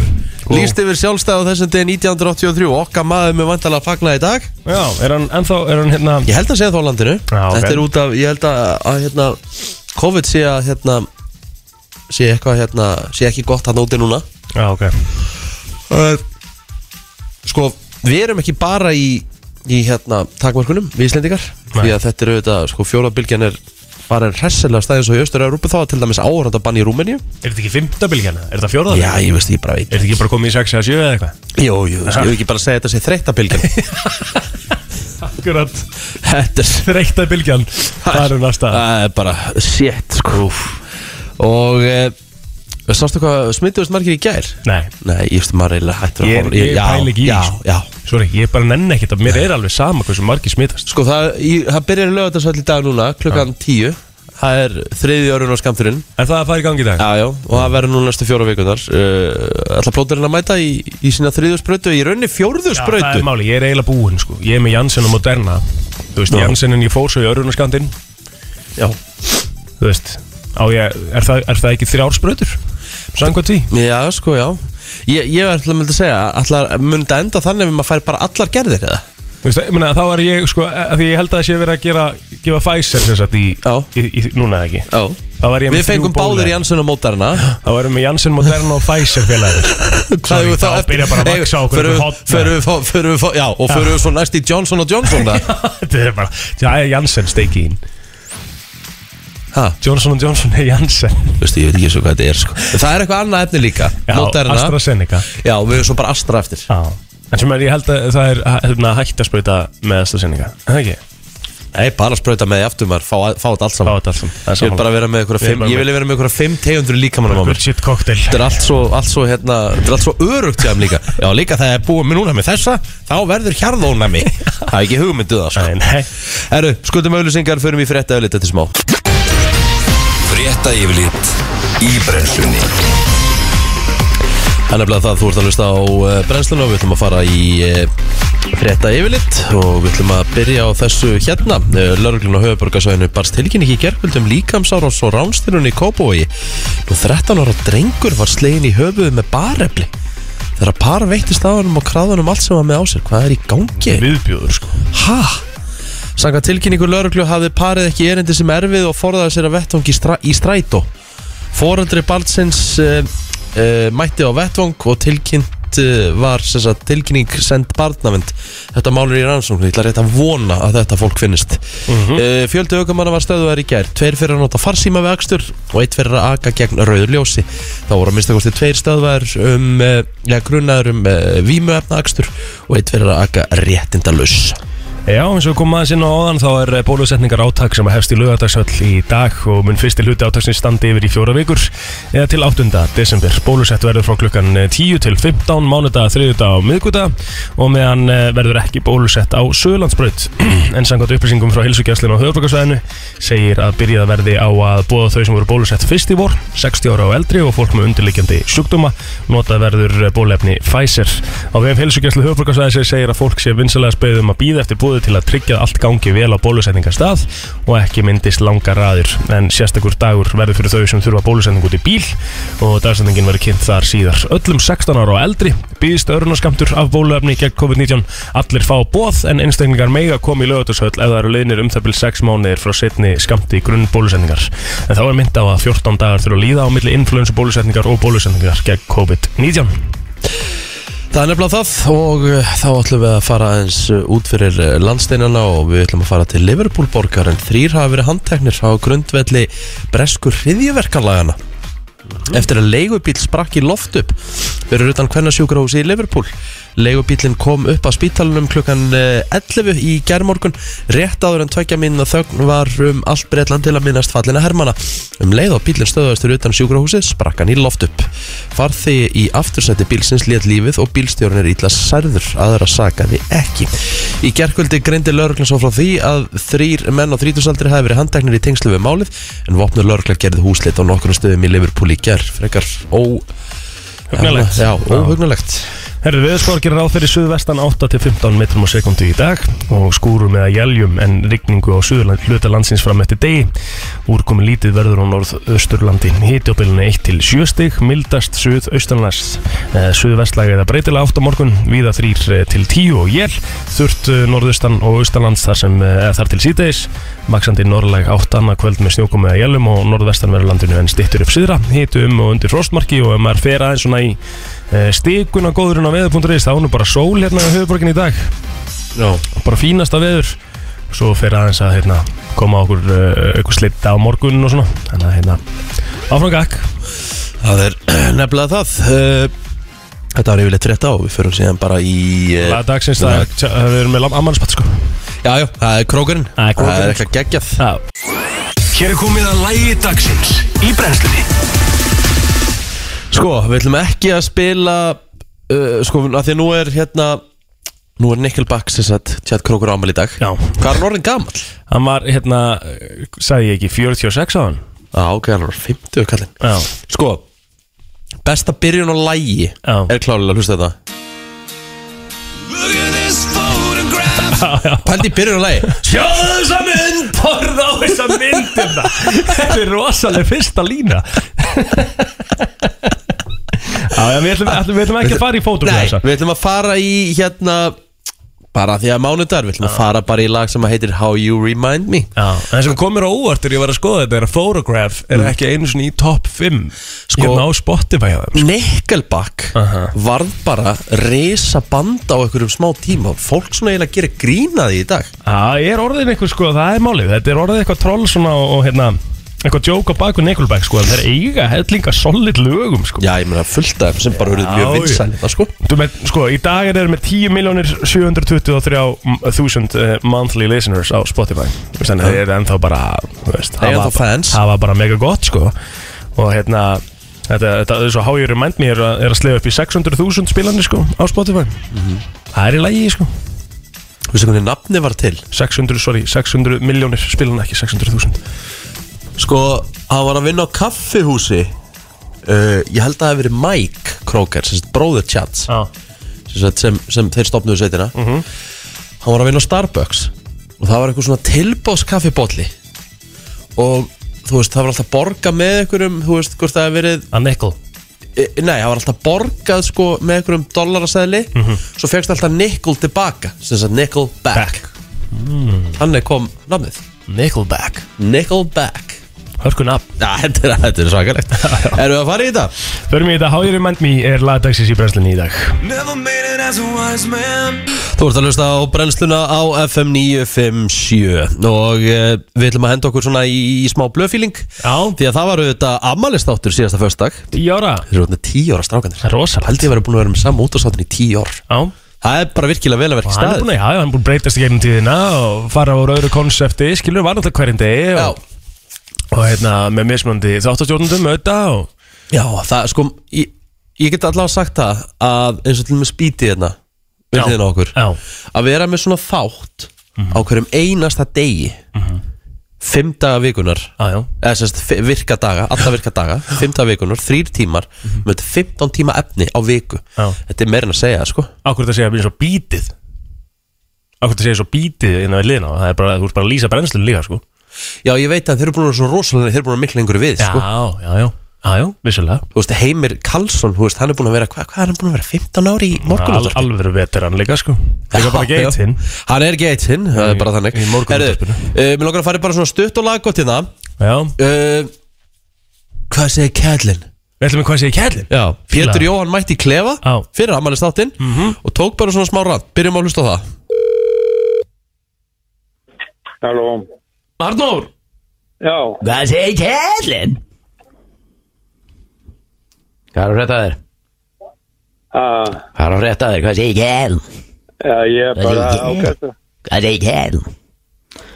Speaker 1: líst yfir sjálfstæð á þessum degi 1983 okkar maður með vandalega fagna í dag
Speaker 2: já, er hann ennþá, er hann hérna
Speaker 1: ég held að segja þá landinu
Speaker 2: Já, ok.
Speaker 1: þetta er út af, ég held að, að hérna, COVID sé að hérna, sé eitthvað hérna, sé ekki gott hann úti núna
Speaker 2: já, ok,
Speaker 1: uh, Sko, við erum ekki bara í, í hérna, takmarkunum, við Íslendingar
Speaker 2: Nei.
Speaker 1: Því að þetta er auðvitað, sko, fjórabilgjan er bara en hressilega stæðin svo í Östur-Európu þá er til dæmis áhrandabann í Rúmeníu
Speaker 2: er þetta ekki fymta bylgjana, er þetta fjórða
Speaker 1: Já, ég veist, ég bara veit
Speaker 2: er þetta ekki bara komið í 6 eða 7 eða eitthvað
Speaker 1: Jú, jú, ég vil ekki bara segja þetta sé þreyttabilgjan
Speaker 2: akkurat,
Speaker 1: Þetta er
Speaker 2: þreytta bylgjan það er um næsta,
Speaker 1: Það er bara shit, sko Og e, Sástu hvað smituðust margir í gær?
Speaker 2: nei
Speaker 1: Nei, ég veist, maður eiginlega hættur að
Speaker 2: Ég er-
Speaker 1: horfa-
Speaker 2: ég
Speaker 1: já,
Speaker 2: pæli ekki í sko.
Speaker 1: Já,
Speaker 2: þessu.
Speaker 1: já
Speaker 2: sorry, ég bara nenni ekkert að mér er alveg sama hversu margir smitast,
Speaker 1: Sko, það, í, það byrjar lögatarsall í dag núna, klukkan 10 Það er þriði örun á skamturinn
Speaker 2: Er það að fara í gangi í dag?
Speaker 1: Já, já, og það verður nú næstu fjóra vikundar uh, Alla plóturinn að mæta í, í sína þriðju sprautu Í rauninni fjórðu
Speaker 2: Já, það er
Speaker 1: sprautu
Speaker 2: máli, ég er eiginlega búinn sko Ég er með Janssen og Moderna Þú veist,
Speaker 1: Já.
Speaker 2: Janssen ég fór svo í örunaskandinn
Speaker 1: Já,
Speaker 2: Þú veist, á ég, er það, er það ekki þrjár spröður? Samkvæmt því?
Speaker 1: já sko, já Ég, ég ætla að mynda að segja, ætla að mynda enda þannig ef maður fær bara allar gerðir eða
Speaker 2: Þú veist, ég meina, þá er ég sko, að því ég held að það sé verið að gera, gefa Pfizer sem sagt í,
Speaker 1: Já.
Speaker 2: í, í núna eða ekki
Speaker 1: Já
Speaker 2: Þá var ég með
Speaker 1: Við fengum báðir
Speaker 2: Janssen
Speaker 1: Jansson og mótarna
Speaker 2: Þá erum við Janssen, Moderna og Pfizer félagir Sorry, þá byrja bara að vaksa okkur
Speaker 1: Förum við,
Speaker 2: einhver horn.
Speaker 1: förum við, fá- förum við, fá- já, og förum við svo næst í Johnson og Johnson það
Speaker 2: Þetta er bara, það er Janssen steikið inn
Speaker 1: Ha,
Speaker 2: Johnson Johnson er Janssen
Speaker 1: veistu, ég veit ekki svo hvað þetta er sko. Það er eitthvað annað efni líka
Speaker 2: Já,
Speaker 1: Moderna.
Speaker 2: AstraZeneca
Speaker 1: Já, við erum svo bara Astra eftir
Speaker 2: Já En sem er, ég held að það er hérna, hægt að sprauta með AstraZeneca Er Það ekki?
Speaker 1: Nei, bara sprauta með því aftur maður, fá, fá þetta allt
Speaker 2: Fá
Speaker 1: saman
Speaker 2: þetta allt saman. Það er
Speaker 1: Ég vil bara
Speaker 2: sammála.
Speaker 1: vera með einhverja
Speaker 2: Ég er
Speaker 1: fimm,
Speaker 2: bara
Speaker 1: ég
Speaker 2: með-
Speaker 1: vil vera með einhverja fimm tegundur líkamanum á mér
Speaker 2: Good shit cocktail
Speaker 1: Þetta er allt svo, allt svo, hérna, þetta er allt svo örugt hjá þeim líka Já, líka það er búið með núna með þessa, þá verður hjarðónami Það er ekki hugmynduð það,
Speaker 2: Nei, nei
Speaker 1: sko Herru, skuldum auðlýsingar, förum í frétta auðlýta til smá
Speaker 3: Frétta yfirlit í brennslunni
Speaker 1: Það er nefnilega það, þú ert að hlusta á eh, brennsluna og við ætlum að fara í eh, frétta yfirlitt og við ætlum að byrja á þessu hérna. Lörglun á höfuborgarsvæðinu barst tilkynning í gerkvöldum líkamsárás og ránstyrunni í Kópói. Nú 13 ára drengur var slegin í höfuðu með barefli. Þegar par veittist á honum og kráðanum allt sem var með á sér, hvað er í gangi?
Speaker 2: Viðbjóður sko
Speaker 1: Hæ? Sanga tilkynningu lauruglu hafði parið ekki erindi sem erfið og forðaði sér að vettvangi stra í strætó. Forandri Baltsins uh, uh, mætti á vettvang og tilkynnt uh, var sem sagt, tilkynning send barnavind. Þetta málur í rannsóknu, ég ætla rétt að vona að þetta fólk finnist. Mm fjöldi aukumanna var stöðuðar í gær, tveir fyrir að nota farsíma við akstur og eitt fyrir að aga gegn rauður ljósi. Þá voru að mista kosti tveir stöðuðar um, uh, ja, grunnaður um uh, vímuefna akstur og eitt fyrir að aga réttindalaus.
Speaker 2: Já, eins og kom aðeins inn á áðan þá er eh, bólusetningar átak sem hefst í laugardagshöll í dag og mun fyrsti hluti átaksins standi yfir í fjóra vikur eða til 8. desember. Bólusett verður frá klukkan 10 til 15, mánudag, þriðudag og miðgudag og meðan eh, verður ekki bólusett á Söðlandsbraut. en samkvæmt upplýsingum frá hilsugjastlinn á höfbrukarsvæðinu segir að byrjað verði á að bóða þau sem voru bólusett fyrst í vor, 60 ára og eldri og fólk með undirliggjandi sjúkdóma notað verður bólefni Pfizer. Á vefum helsugjastlu höfbrukarsvæðis segir að fólk sé vinsalega beðum að býða eftir búðu til að tryggja að allt gangi vel á bólusetningarstað og ekki myndist langar raðir en sérstakur dagur verður fyrir þau sem þurfa bólusetning út í bíl og dagsendingin verður kynnt þar síðar öllum 16 ára og eldri býðist örunarskamtur af bóluefni gegn COVID-19 allir fá bóð en einstaklingar mega koma í lögatushöll ef það eru liðnir um það byrjum 6 mánuðir frá setni skamti grunn bólusetningar en þá er mynd á að 14 dagar þurfa að líða á milli influensu bólusetningar og bólusetningar gegn COVID-19
Speaker 1: Það er nefnilega það og uh, þá ætlum við að fara eins út fyrir uh, landsteinana og við ætlum að fara til Liverpool borgar en þrýr hafa verið handteknir á grundvelli breskur hriðjöverkanlagana eftir að leigubíl sprakk í loft upp fyrir utan kvennasjúkrahúsi í Liverpool leigubílinn kom upp á spítalunum klukkan eh, 11 í gærmorgun rétt áður en tvekja minna þögn var um allt breytland til að minnast fallina hermana um leið og bílinn stöðast fyrir utan sjúkrahúsi sprakk hann í loft upp farði í aftursæti bílsins lét lífið og bílstjórn er illa særður aðra sakaði ekki í gerkvöldi greindi lauruglan svo frá því að þrýr menn á 30 aldri hafi verið handteknir í tengslu við málið en vopnur lauruglan gerði húsleitt á nokkrum stöðum í Liverpool í ger frekar ó...
Speaker 2: Hugnalegt.
Speaker 1: Já, óhugnulegt
Speaker 2: Herðu veðurspár gerir ráð fyrir suðvestan 8 til 15 metrum á sekundu í dag og skúrum eða jæljum en rigningu á suðurland hluta landsins fram eftir degi. Úrkomi lítið verður á norðausturlandi. Hiti á bylunni 1 til 7 stig, mildast suðaustanlast. Eh, Suðvestlæg eða breytilega 8 á morgun, víða 3 til 10 og jél, þurft eh, norðaustan og austanlands þar sem eh, eða þar til síðdeis. Maksandi norðlæg 8 annað kvöld með snjókomi eða jælum og norðvestan verður landinu en stittur upp síðra. Hiti um og undir frostmarki og ef maður fer aðeins svona í stíkuna Eh, góðurinn á veður.is þá er nú bara sól hérna í höfuborgin í dag
Speaker 1: Já,
Speaker 2: bara fínasta veður svo fer aðeins að hérna, koma okkur uh, eitthvað slitta á morgun og svona þannig að hérna, áfram gakk
Speaker 1: það er nefnilega það Eh, Þetta var yfirleitt frétta og við förum síðan bara í eh,
Speaker 2: laga dagsins það er- tja- við erum með ammannspatt sko
Speaker 1: Já, já, það er krókurinn
Speaker 2: Það er krókurinn.
Speaker 1: Það er eitthvað geggjað
Speaker 2: Já.
Speaker 3: Hér er komið að lægi dagsins í brennslunni
Speaker 1: Sko, við ætlum ekki að spila uh, Sko, að því að nú er hérna Nú er Nickelback sem sagt Tjátt Krókur ámæli í dag
Speaker 2: Já.
Speaker 1: Hvað er hann orðin gamall?
Speaker 2: Hann var, hérna, eh, sagði ég ekki, 46 á hann
Speaker 1: Já, ok, hann var 50 kallinn
Speaker 2: Já,
Speaker 1: Sko, besta byrjun á lægi
Speaker 2: Já.
Speaker 1: Er klálega, hlusta þetta
Speaker 3: Look at this photograph
Speaker 1: Pældi í byrjun á lægi
Speaker 2: Sjáðu þessa mynd Horða á þessa myndina Þetta er rosaleg fyrsta lína Já, já, við ætlum, ætlum, við ætlum ekki að fara í
Speaker 1: Nei,
Speaker 2: fótografsa
Speaker 1: við ætlum að fara í hérna Bara því að mánudar Við ætlum að fara bara í lag sem að heitir How You Remind Me
Speaker 2: Já, það sem komir á óvart er ég var að skoða þetta er að Photograph er ekki einu svona í top 5 Mm. sko, hérna á Spotify á þeim
Speaker 1: Nickelback
Speaker 2: Aha.
Speaker 1: varð bara resa banda á einhverjum smá tíma Fólk svona eiginlega gerir grína því í dag
Speaker 2: Já, ég er orðin eitthvað sko, það er málið Þetta er orðið eitthvað troll svona og, og hérna eitthvað djók á baku Nickelback sko en þeir eiga hellinga solid lögum sko
Speaker 1: Já, ég meina fullt af þeim sem bara verður mjög
Speaker 2: Já,
Speaker 1: vinsæl Það sko
Speaker 2: Þú með, sko, í dag er þeir með 10.723.000 eh, monthly listeners á Spotify Þannig að þeir eru ennþá bara, þú veist
Speaker 1: Þeir eru ennþá fans.
Speaker 2: Það var bara mega gott, sko Og hérna, þetta, þetta er svo hájur remind me er, að- er að slefa upp í 600.000 spilanir, sko, á Spotify
Speaker 1: Mhm.
Speaker 2: Það er í lagi, sko
Speaker 1: Þú veist hvernig nafni var til
Speaker 2: 600, sorry, 600 miljónir spilanir, ekki 600.000
Speaker 1: Sko, hann var að vinna á kaffihúsi uh, Ég held að það hef verið Mike Kroger, sem sagt bróður Chats
Speaker 2: Já
Speaker 1: sem, sagt sem, sem þeir stopnuðu sveitina Hann var að vinna á Starbucks Og það var eitthvað svona tilbóðs kaffibólli Og þú veist, það var alltaf borga með einhverjum Þú veist, hvort það hef verið
Speaker 2: Að nickel
Speaker 1: e, Nei, það var alltaf borgað sko með einhverjum dollarasæðli
Speaker 2: Mhm.
Speaker 1: Svo fegst alltaf nickel tilbaka Sem sagt nickel back,
Speaker 2: Back. Mm.
Speaker 1: Þannig kom nafnið
Speaker 2: Nickelback
Speaker 1: Nickel back
Speaker 2: Hörkun app
Speaker 1: Já, þetta er, þetta er svakalegt Erum við að fara í þetta?
Speaker 2: Förum í þetta, hájur remind me er lagdagsins í brenslinni í dag
Speaker 3: Never made it as a wise man
Speaker 1: Þú ert að hlusta á brennsluna á FM 957 Og uh, við ætlum að henda okkur svona í, í smá blöfíling
Speaker 2: Já.
Speaker 1: Því að það var auðvitað ammælistáttur síðasta föstudag
Speaker 2: Tíu ára
Speaker 1: Þeir eru orðnir tíu ára strákanir
Speaker 2: Það er rosalegt.
Speaker 1: Haldið að vera búin að vera með saman útastáttin í tíu ár
Speaker 2: Já
Speaker 1: Það er bara virkilega vel að verka í
Speaker 2: hann er
Speaker 1: staðið
Speaker 2: búin að, já, hann er búin að breytast í gegnum tíðina og fara úr öðru konsepti, skilur, var náttúrulega hverjum degi
Speaker 1: Já,
Speaker 2: og, og hérna, með mismandi þáttastjórnundum, auðvitað og
Speaker 1: já, það sko Ég, ég get allavega sagt það að eins og til með spítið hérna
Speaker 2: Já.
Speaker 1: Við þeirna okkur
Speaker 2: Já, Mhm.
Speaker 1: Að vera með svona þátt á hverjum einasta degi Fimm daga vikunar
Speaker 2: já, já,
Speaker 1: eða sérst virka daga, alla virka daga 15 vikunar, þrýr tímar með 15 tíma efni á viku
Speaker 2: Mhm. Já.
Speaker 1: þetta er meira en að segja sko
Speaker 2: akkur þetta segja eins og bítið akkur þetta segja svo bítið innan við liðna, það er bara, þú ert bara að lýsa brennslun líka, sko
Speaker 1: já ég veit að þeir eru búin að vera svo rosalega þeir eru búin að mikla einhverju við
Speaker 2: Já,
Speaker 1: sko
Speaker 2: já, já, já, já, vissulega
Speaker 1: þú veist Heimir Karlsson, þú veist hann er búin að vera hvað hva er hann búin að vera 15 ári í morgun
Speaker 2: Al, Alveg veteran líka, sko Líka bara geit hinn
Speaker 1: hann er geitinn, það er bara þannig
Speaker 2: í morgunútvarpinu.
Speaker 1: uh, mér langar að fara í bara svona stutt og laggótt hérna
Speaker 2: Já,
Speaker 1: uh, hvað segir Kjellin?
Speaker 2: við ætlum við hvað segja kjærlin
Speaker 1: Já, Pétur
Speaker 2: Fílaði.
Speaker 1: Jóhann mætti í klefa
Speaker 2: Já.
Speaker 1: fyrir ammælistáttinn
Speaker 2: Mhm.
Speaker 1: og tók bara svona smá rann, byrjum að hlusta á það
Speaker 4: Halló,
Speaker 2: Arnór,
Speaker 4: já,
Speaker 5: Hvað segir kællin? Hvað er að frétta af þér?
Speaker 4: a,
Speaker 5: Hvað er að frétta af þér? Hvað segir kællin?
Speaker 4: a, ég er bara ágætt
Speaker 5: Hvað segir kællin?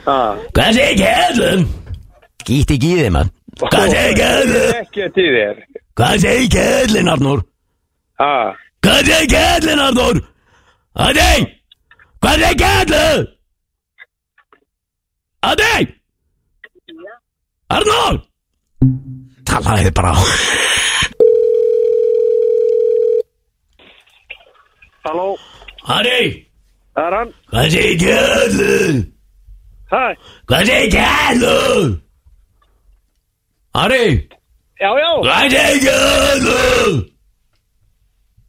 Speaker 4: að
Speaker 5: Hvað segir kællin? Gýtt ekki í þig mann Hvað segir kællin?
Speaker 4: ekki til þér
Speaker 5: Hvað segir kællin Arnór?
Speaker 4: a,
Speaker 5: Hvað segir kællin Arnór? Adi! Hvað segir kællin? Adi! Arnór! Talaði þið bara á
Speaker 4: halló,
Speaker 5: Adi!
Speaker 4: það er hann
Speaker 5: Hvað segir kællin?
Speaker 4: hæ,
Speaker 5: Hvað segir kællur? Ari,
Speaker 4: já, já,
Speaker 5: hvað segir kællur?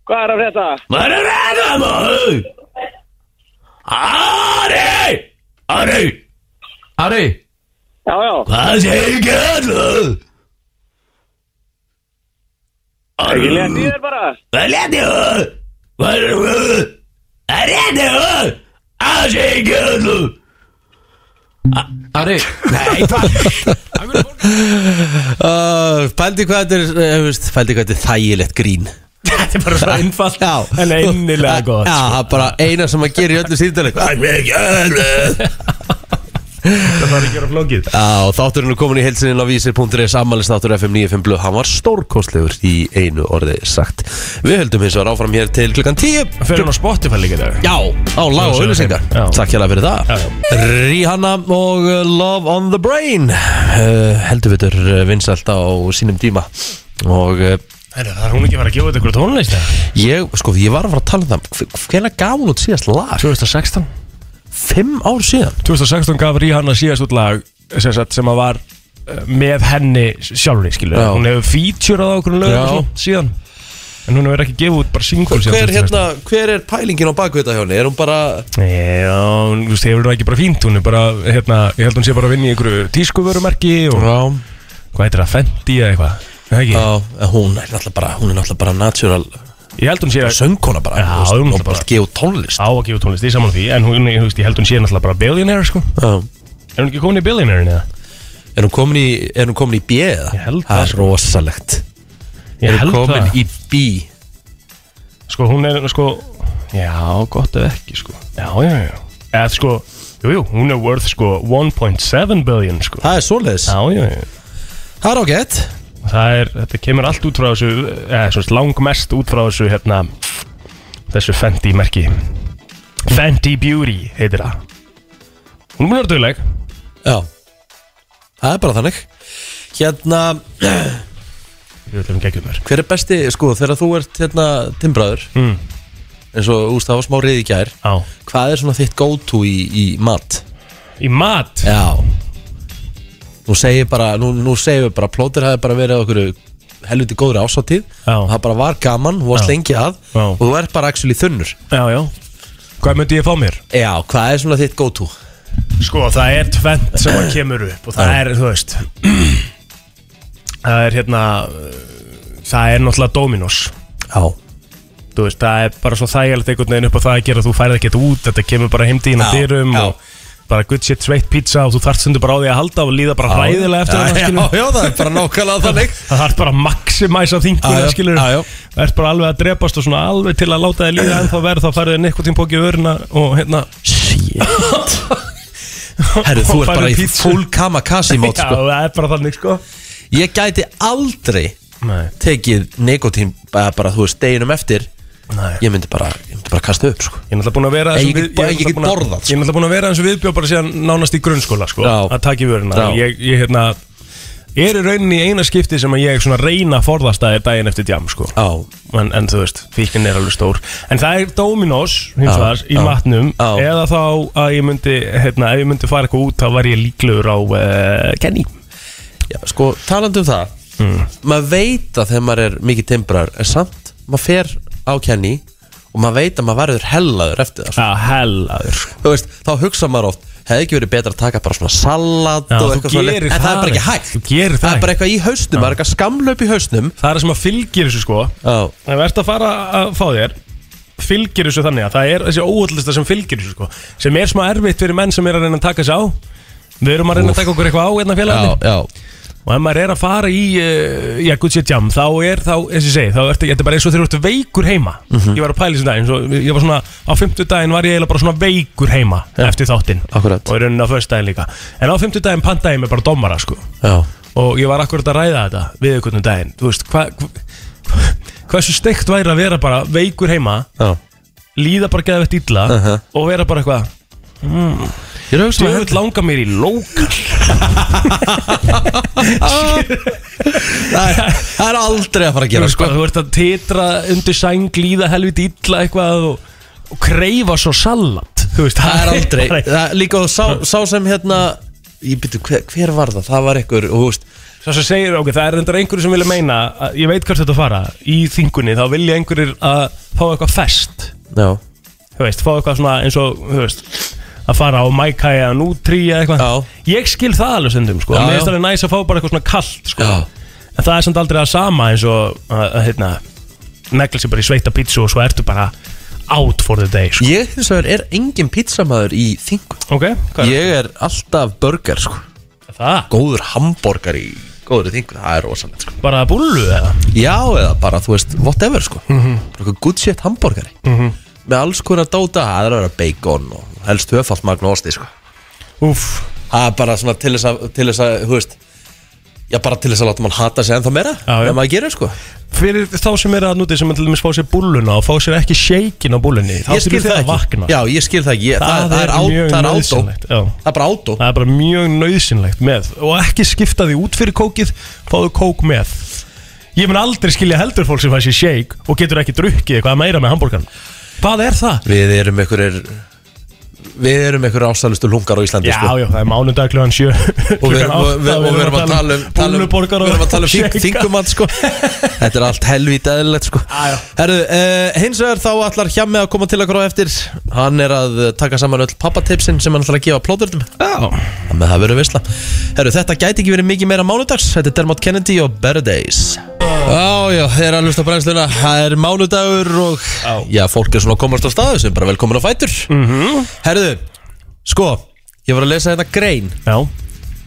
Speaker 4: hvað er að frétta
Speaker 5: Hvað er að ræða maður? Ari, Ari, Ari,
Speaker 4: já, já,
Speaker 5: hvað segir kællur? Ari,
Speaker 4: ég leti þér bara
Speaker 5: hvað leti maður? Hvað er maður? Hvað leti maður? Hvað segir kællur? Ari, nei, hvað?
Speaker 1: Uh, pældi hvað þetta er, uh, veist, pældi hvað þetta er þægilegt grín
Speaker 2: þetta er bara svo einfalt En einnilega gott sko.
Speaker 1: Já, það er bara eina sem að gera í öllu síðdæli
Speaker 5: Hvað segir kællur?
Speaker 2: Það þarf ekki að vera flókið
Speaker 1: Já, þátturinn er komin í heilsininn á vísir.is Ammælisnáttur FM 95 blöð Hann var stórkostlegur í einu orði sagt Við höldum hins vegar áfram hér til klukkan 10
Speaker 2: Fyrir hann á Spotify líka í dag
Speaker 1: Já, á lag og auðlýsingar
Speaker 2: Já.
Speaker 1: Takk hérlega fyrir
Speaker 2: Já,
Speaker 1: það Rihanna og uh, Love on the Brain uh, Heldur betur uh, vinsælt á sínum tíma Og uh,
Speaker 2: Heyrðu, Það er hún ekki að vera að gefa þetta ykkur tónlist eða?
Speaker 1: ég, sko, ég var að fara að tala um það Hvernig gaf hún út síðast lag?
Speaker 2: 2016
Speaker 1: Fimm ár síðan
Speaker 2: 2016 gaf Rihanna síðast út lag sem, sagt, sem að var eh, með henni sjálfri skilur
Speaker 1: Já.
Speaker 2: Hún hefur featurað á okkur lögum
Speaker 1: Já.
Speaker 2: og svona síðan En hún hefur ekki gefið út bara single síðan
Speaker 1: Hver,
Speaker 2: 2016.
Speaker 1: hérna, hver er pælingin á bakvita hjá henni? Er hún bara
Speaker 2: Já, hún, þú veist, hefur það ekki bara fínt Hún er bara, hérna, ég held hún sé bara að vinna í einhverju tískuvörumerki og
Speaker 1: Já,
Speaker 2: hvað heitir það, Fendi eða eitthvað Er það ekki?
Speaker 1: en hún er náttúrulega bara, hún er náttúrulega bara natural
Speaker 2: Ég held hún sé að
Speaker 1: söngkona bara
Speaker 2: Já,
Speaker 1: þú veist,
Speaker 2: hún
Speaker 1: hún
Speaker 2: náttúrulega
Speaker 1: bara
Speaker 2: bara-
Speaker 1: að gefa út tónlist
Speaker 2: á að gefa út tónlist í saman því en hún, ég, þú veist, ég held hún sé náttúrulega bara billionaire sko
Speaker 1: Já.
Speaker 2: Er hún ekki komin í billionairein eða?
Speaker 1: Er hún komin í, er hún komin í B eða?
Speaker 2: Ég held
Speaker 1: það
Speaker 2: það,
Speaker 1: er
Speaker 2: sko.
Speaker 1: rosalegt
Speaker 2: Ég
Speaker 1: Er hún
Speaker 2: held
Speaker 1: komin
Speaker 2: það
Speaker 1: í B
Speaker 2: Sko hún er sko Já, gott ef ekki sko Já, já, já Eða sko, jú, jú, hún er worth sko 1.7 billion sko
Speaker 1: Það er svoleiðis
Speaker 2: Já, já, já
Speaker 1: Það er ágætt
Speaker 2: Það er, þetta kemur allt út frá þessu eða svona langmest út frá þessu hérna þessu Fenty merki Fenty Beauty heitir það Hún er búin að vera dugleg
Speaker 1: Já Það er bara þannig Hérna,
Speaker 2: Við ætlum ekki um þér
Speaker 1: hver er besti, sko, þegar þú ert hérna timbraður
Speaker 2: Mm.
Speaker 1: eins og, úst, það var smá reyði í gær
Speaker 2: Á
Speaker 1: Hvað er svona þitt go-to í, í mat?
Speaker 2: Í mat
Speaker 1: Já Nú segir bara, nú, nú segir við bara Plóter hafi bara verið okkur helviti góðri ásáttíð
Speaker 2: Já.
Speaker 1: og það bara var gaman, þú varst
Speaker 2: Já.
Speaker 1: lengi að
Speaker 2: Já.
Speaker 1: og þú ert bara actually þunnur
Speaker 2: Já, já Hvað myndi ég fá mér?
Speaker 1: Já, hvað er svona þitt go-to?
Speaker 2: Sko, það er tvent sem að kemur upp og það er, þú veist Það er hérna uh, Það er náttúrulega Dominos
Speaker 1: Já,
Speaker 2: Þú veist, það er bara svo þægilegt einhvern veginn upp á það að gera þú færið ekkert út, þetta kemur bara heimdíðin að
Speaker 1: Já,
Speaker 2: dyrum
Speaker 1: já.
Speaker 2: og bara good shit sveitt pizza og þú þarft sundur bara á því að halda og líða bara hræðilega eftir
Speaker 1: já,
Speaker 2: það,
Speaker 1: já,
Speaker 2: skilur
Speaker 1: já, það er bara nákvæmlega þannig
Speaker 2: Það þarf bara að maximæsa
Speaker 1: Já, já,
Speaker 2: þinguna, skilur
Speaker 1: já, já.
Speaker 2: Það er bara alveg að drepast og svona alveg til að láta þið líða ennþá verð, þá færið þið nekkutín pókið vöruna og hérna
Speaker 1: Shit Herru, þú
Speaker 2: Og
Speaker 1: ert
Speaker 2: færðu
Speaker 1: bara í
Speaker 2: pizzu.
Speaker 1: full kamakazi mót
Speaker 2: Já,
Speaker 1: sko.
Speaker 2: það er bara þannig, sko
Speaker 1: Ég gæti aldrei
Speaker 2: Nei,
Speaker 1: tekið nikotín bara, bara þú veist, deginum eftir
Speaker 2: nei
Speaker 1: ég myndi bara, ég myndi bara kasta upp sko.
Speaker 2: Ég er náttúrulega búin að vera
Speaker 1: Ég
Speaker 2: þessum
Speaker 1: get-
Speaker 2: við-
Speaker 1: ég get
Speaker 2: náttúrulega búinn að-
Speaker 1: borðað, sko.
Speaker 2: Ég er náttúrulega búin að vera þessum viðbjóð bara síðan nánast í grunnskóla sko,
Speaker 1: Já.
Speaker 2: að taka í
Speaker 1: Já.
Speaker 2: vöruna ég, ég hérna er í rauninni í eina skipti sem að ég svona reyna að forðast að er daginn eftir djam sko.
Speaker 1: Já,
Speaker 2: en, en þú veist, fíkin er alveg stór en það er Dominos,
Speaker 1: Já.
Speaker 2: hins vegar, í
Speaker 1: Já.
Speaker 2: matnum
Speaker 1: Já.
Speaker 2: eða þá að ég myndi hérna, ef ég myndi fara eitthvað út þá var ég líklegur á uh, Kenny
Speaker 1: já sko, talandi um það
Speaker 2: Mm.
Speaker 1: maður veit að þegar maður er mikið timbrar en samt, maður fer á Kenny og maður veit að maður verður hellaður eftir það sko.
Speaker 2: að hellaður sko.
Speaker 1: þú veist, þá hugsa maður oft hefði ekki verið betra að taka bara svona salat og
Speaker 2: Já, þú
Speaker 1: eitthvað svona en
Speaker 2: gerir
Speaker 1: það er
Speaker 2: það
Speaker 1: bara ekki
Speaker 2: ekki.
Speaker 1: hægt
Speaker 2: Þú gerir það
Speaker 1: það er bara
Speaker 2: ekki.
Speaker 1: eitthvað í hausnum, það er eitthvað skamlöp í hausnum
Speaker 2: það er það sem að fylgir þessu sko
Speaker 1: já,
Speaker 2: Það verðt að fara að fá þér fylgir þessu þannig að það er þessi óhullista sem fylgir þessu sko sem er smá erfitt fyrir menn sem er að reyna að taka þessu á við erum að reyna að taka okkur eitthvað á hérna
Speaker 1: já,
Speaker 2: félagni
Speaker 1: já,
Speaker 2: og ef maður er að fara í uh, já, Gucci Jam þá er þá, eins og ég segi þá ertu, þetta er bara eins og þegar þú ert veikur heima
Speaker 1: Mhm.
Speaker 2: ég var að pæla þessu daginn, svo, ég var svona á fimmtudaginn var ég eiginlega bara svona veikur heima eftir þáttinn
Speaker 1: Akkurat.
Speaker 2: og í rauninni á föstudaginn líka en á fimmtudaginn pantaði ég mig bara domara sko
Speaker 1: já
Speaker 2: og ég var akkurat að ræða þetta við einhvern daginn þú veist, hva, hva, hversu steikt væri að vera bara veikur heima
Speaker 1: já
Speaker 2: líða bara geða vett illa
Speaker 1: Uh-huh.
Speaker 2: og vera bara eitthvað
Speaker 1: Ég er að hugsa
Speaker 2: djöfull langar mér í lókar
Speaker 1: það er- það er aldrei að fara að
Speaker 2: þú,
Speaker 1: gera
Speaker 2: veist,
Speaker 1: sko.
Speaker 2: hvað, þú ert að titra undir sæng líða helviti illa eitthvað og, og kreifa svo salat þú veist,
Speaker 1: Það er aldrei það, Líka og sá, sá sem hérna Ég byrju, hver, hver var það? Það var einhver, og þú veist
Speaker 2: Svo sem segir, ok, það er endur einhverju sem vilja meina að, ég veit hvert þetta fara, í þingunni þá vilja einhverjir að fá eitthvað fest
Speaker 1: Já,
Speaker 2: þú veist, fá eitthvað svona eins og, þú veist, að fara á Maikai eða Nutri eða eitthvað.
Speaker 1: Já.
Speaker 2: Ég skil það alveg stundum, sko.
Speaker 1: Já,
Speaker 2: Mér finnst
Speaker 1: já.
Speaker 2: alveg næs að fá bara eitthvað svona kallt, sko.
Speaker 1: Já.
Speaker 2: En það er samt aldrei það sama eins og, að, að, hérna, negla sér bara í sveita pítsu og svo ertu bara out for the day, sko.
Speaker 1: ég hins vegar er engin pizzamaður í þingu
Speaker 2: Ok, hvað
Speaker 1: Ég er alltaf burger, sko
Speaker 2: er það?
Speaker 1: Góður hamborgar í góður þingu, það er rosalegt, sko
Speaker 2: Bara búllu eða?
Speaker 1: Já, eða bara, þú veist, whatever, sko mm -hmm. Good shit hamborgari Með alls konar dóta, það er að vera bacon og helst höfaldmagn og osti, sko
Speaker 2: Úff.
Speaker 1: Það er bara svona til þess að, til þess að, þú veist Já, bara til þess að láta mann hata sig ennþá meira
Speaker 2: Já, já.
Speaker 1: En maður gerir, sko
Speaker 2: Fyrir þá sem eru að núti sem er til dæmis fá sér búlluna og fá sér ekki sheikin á búllunni Þá
Speaker 1: Ég skil
Speaker 2: þurfum
Speaker 1: það
Speaker 2: það að
Speaker 1: ekki
Speaker 2: vakna
Speaker 1: Já, ég skil það ekki Ég-
Speaker 2: Það
Speaker 1: Það, það, er,
Speaker 2: er
Speaker 1: á,
Speaker 2: mjög
Speaker 1: það er átó
Speaker 2: nauðsynlegt, já.
Speaker 1: Það er bara átó
Speaker 2: Það er bara mjög nöðsynlegt með Og ekki skipta því út fyrir kókið Fáðu kók með Ég mun aldrei skilja heldur fólk sem fær sér shake Og getur ekki drukkið eitthvað meira með hambúrgan Hvað er það?
Speaker 1: Við erum einhverjir Við erum einhverjir ástæðlustu lungar á Íslandi
Speaker 2: Já,
Speaker 1: sko.
Speaker 2: já, það er mánudag klugan sjö
Speaker 1: Og við, og, við, og við erum að tala um tala um- Við
Speaker 2: Búlluborgar
Speaker 1: erum að tala um þing- þingumann sko. Þetta er allt helvít eðlilegt sko.
Speaker 2: Já, já.
Speaker 1: Herðu, uh, hins vegar þá ætlar Hjammi að koma til okkur á eftir Hann er að eh, taka saman öll pappatipsin sem hann ætlar að gefa plóðurðum Þannig að það verður visla Herru, þetta gæti ekki verið mikið meira mánudags Þetta er Dermot Kennedy og Better Days Já, já, þeir eru að hlusta á brennsluna Það er mánudagur og Já, fólk er svona að komast á staðu sem bara velkomin á fætur -hmm. Herru, sko Ég var að lesa þetta grein
Speaker 2: Já,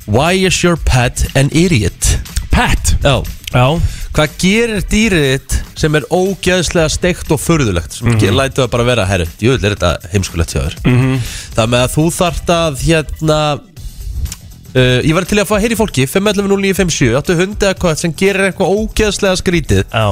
Speaker 1: Why is your pet an idiot?
Speaker 2: Pat
Speaker 1: Já,
Speaker 2: Já,
Speaker 1: hvað gerir dýrið þitt sem er ógeðslega steikt og förðulegt sem mm -hmm. lætur það bara vera, herru, jöfull er þetta heimskulegt hjá þér -hmm. það með að þú þart að hérna uh, ég var til að fá að heyri fólki 511957, áttu hundi eða hvað sem gerir eitthvað ógeðslega skrítið
Speaker 2: já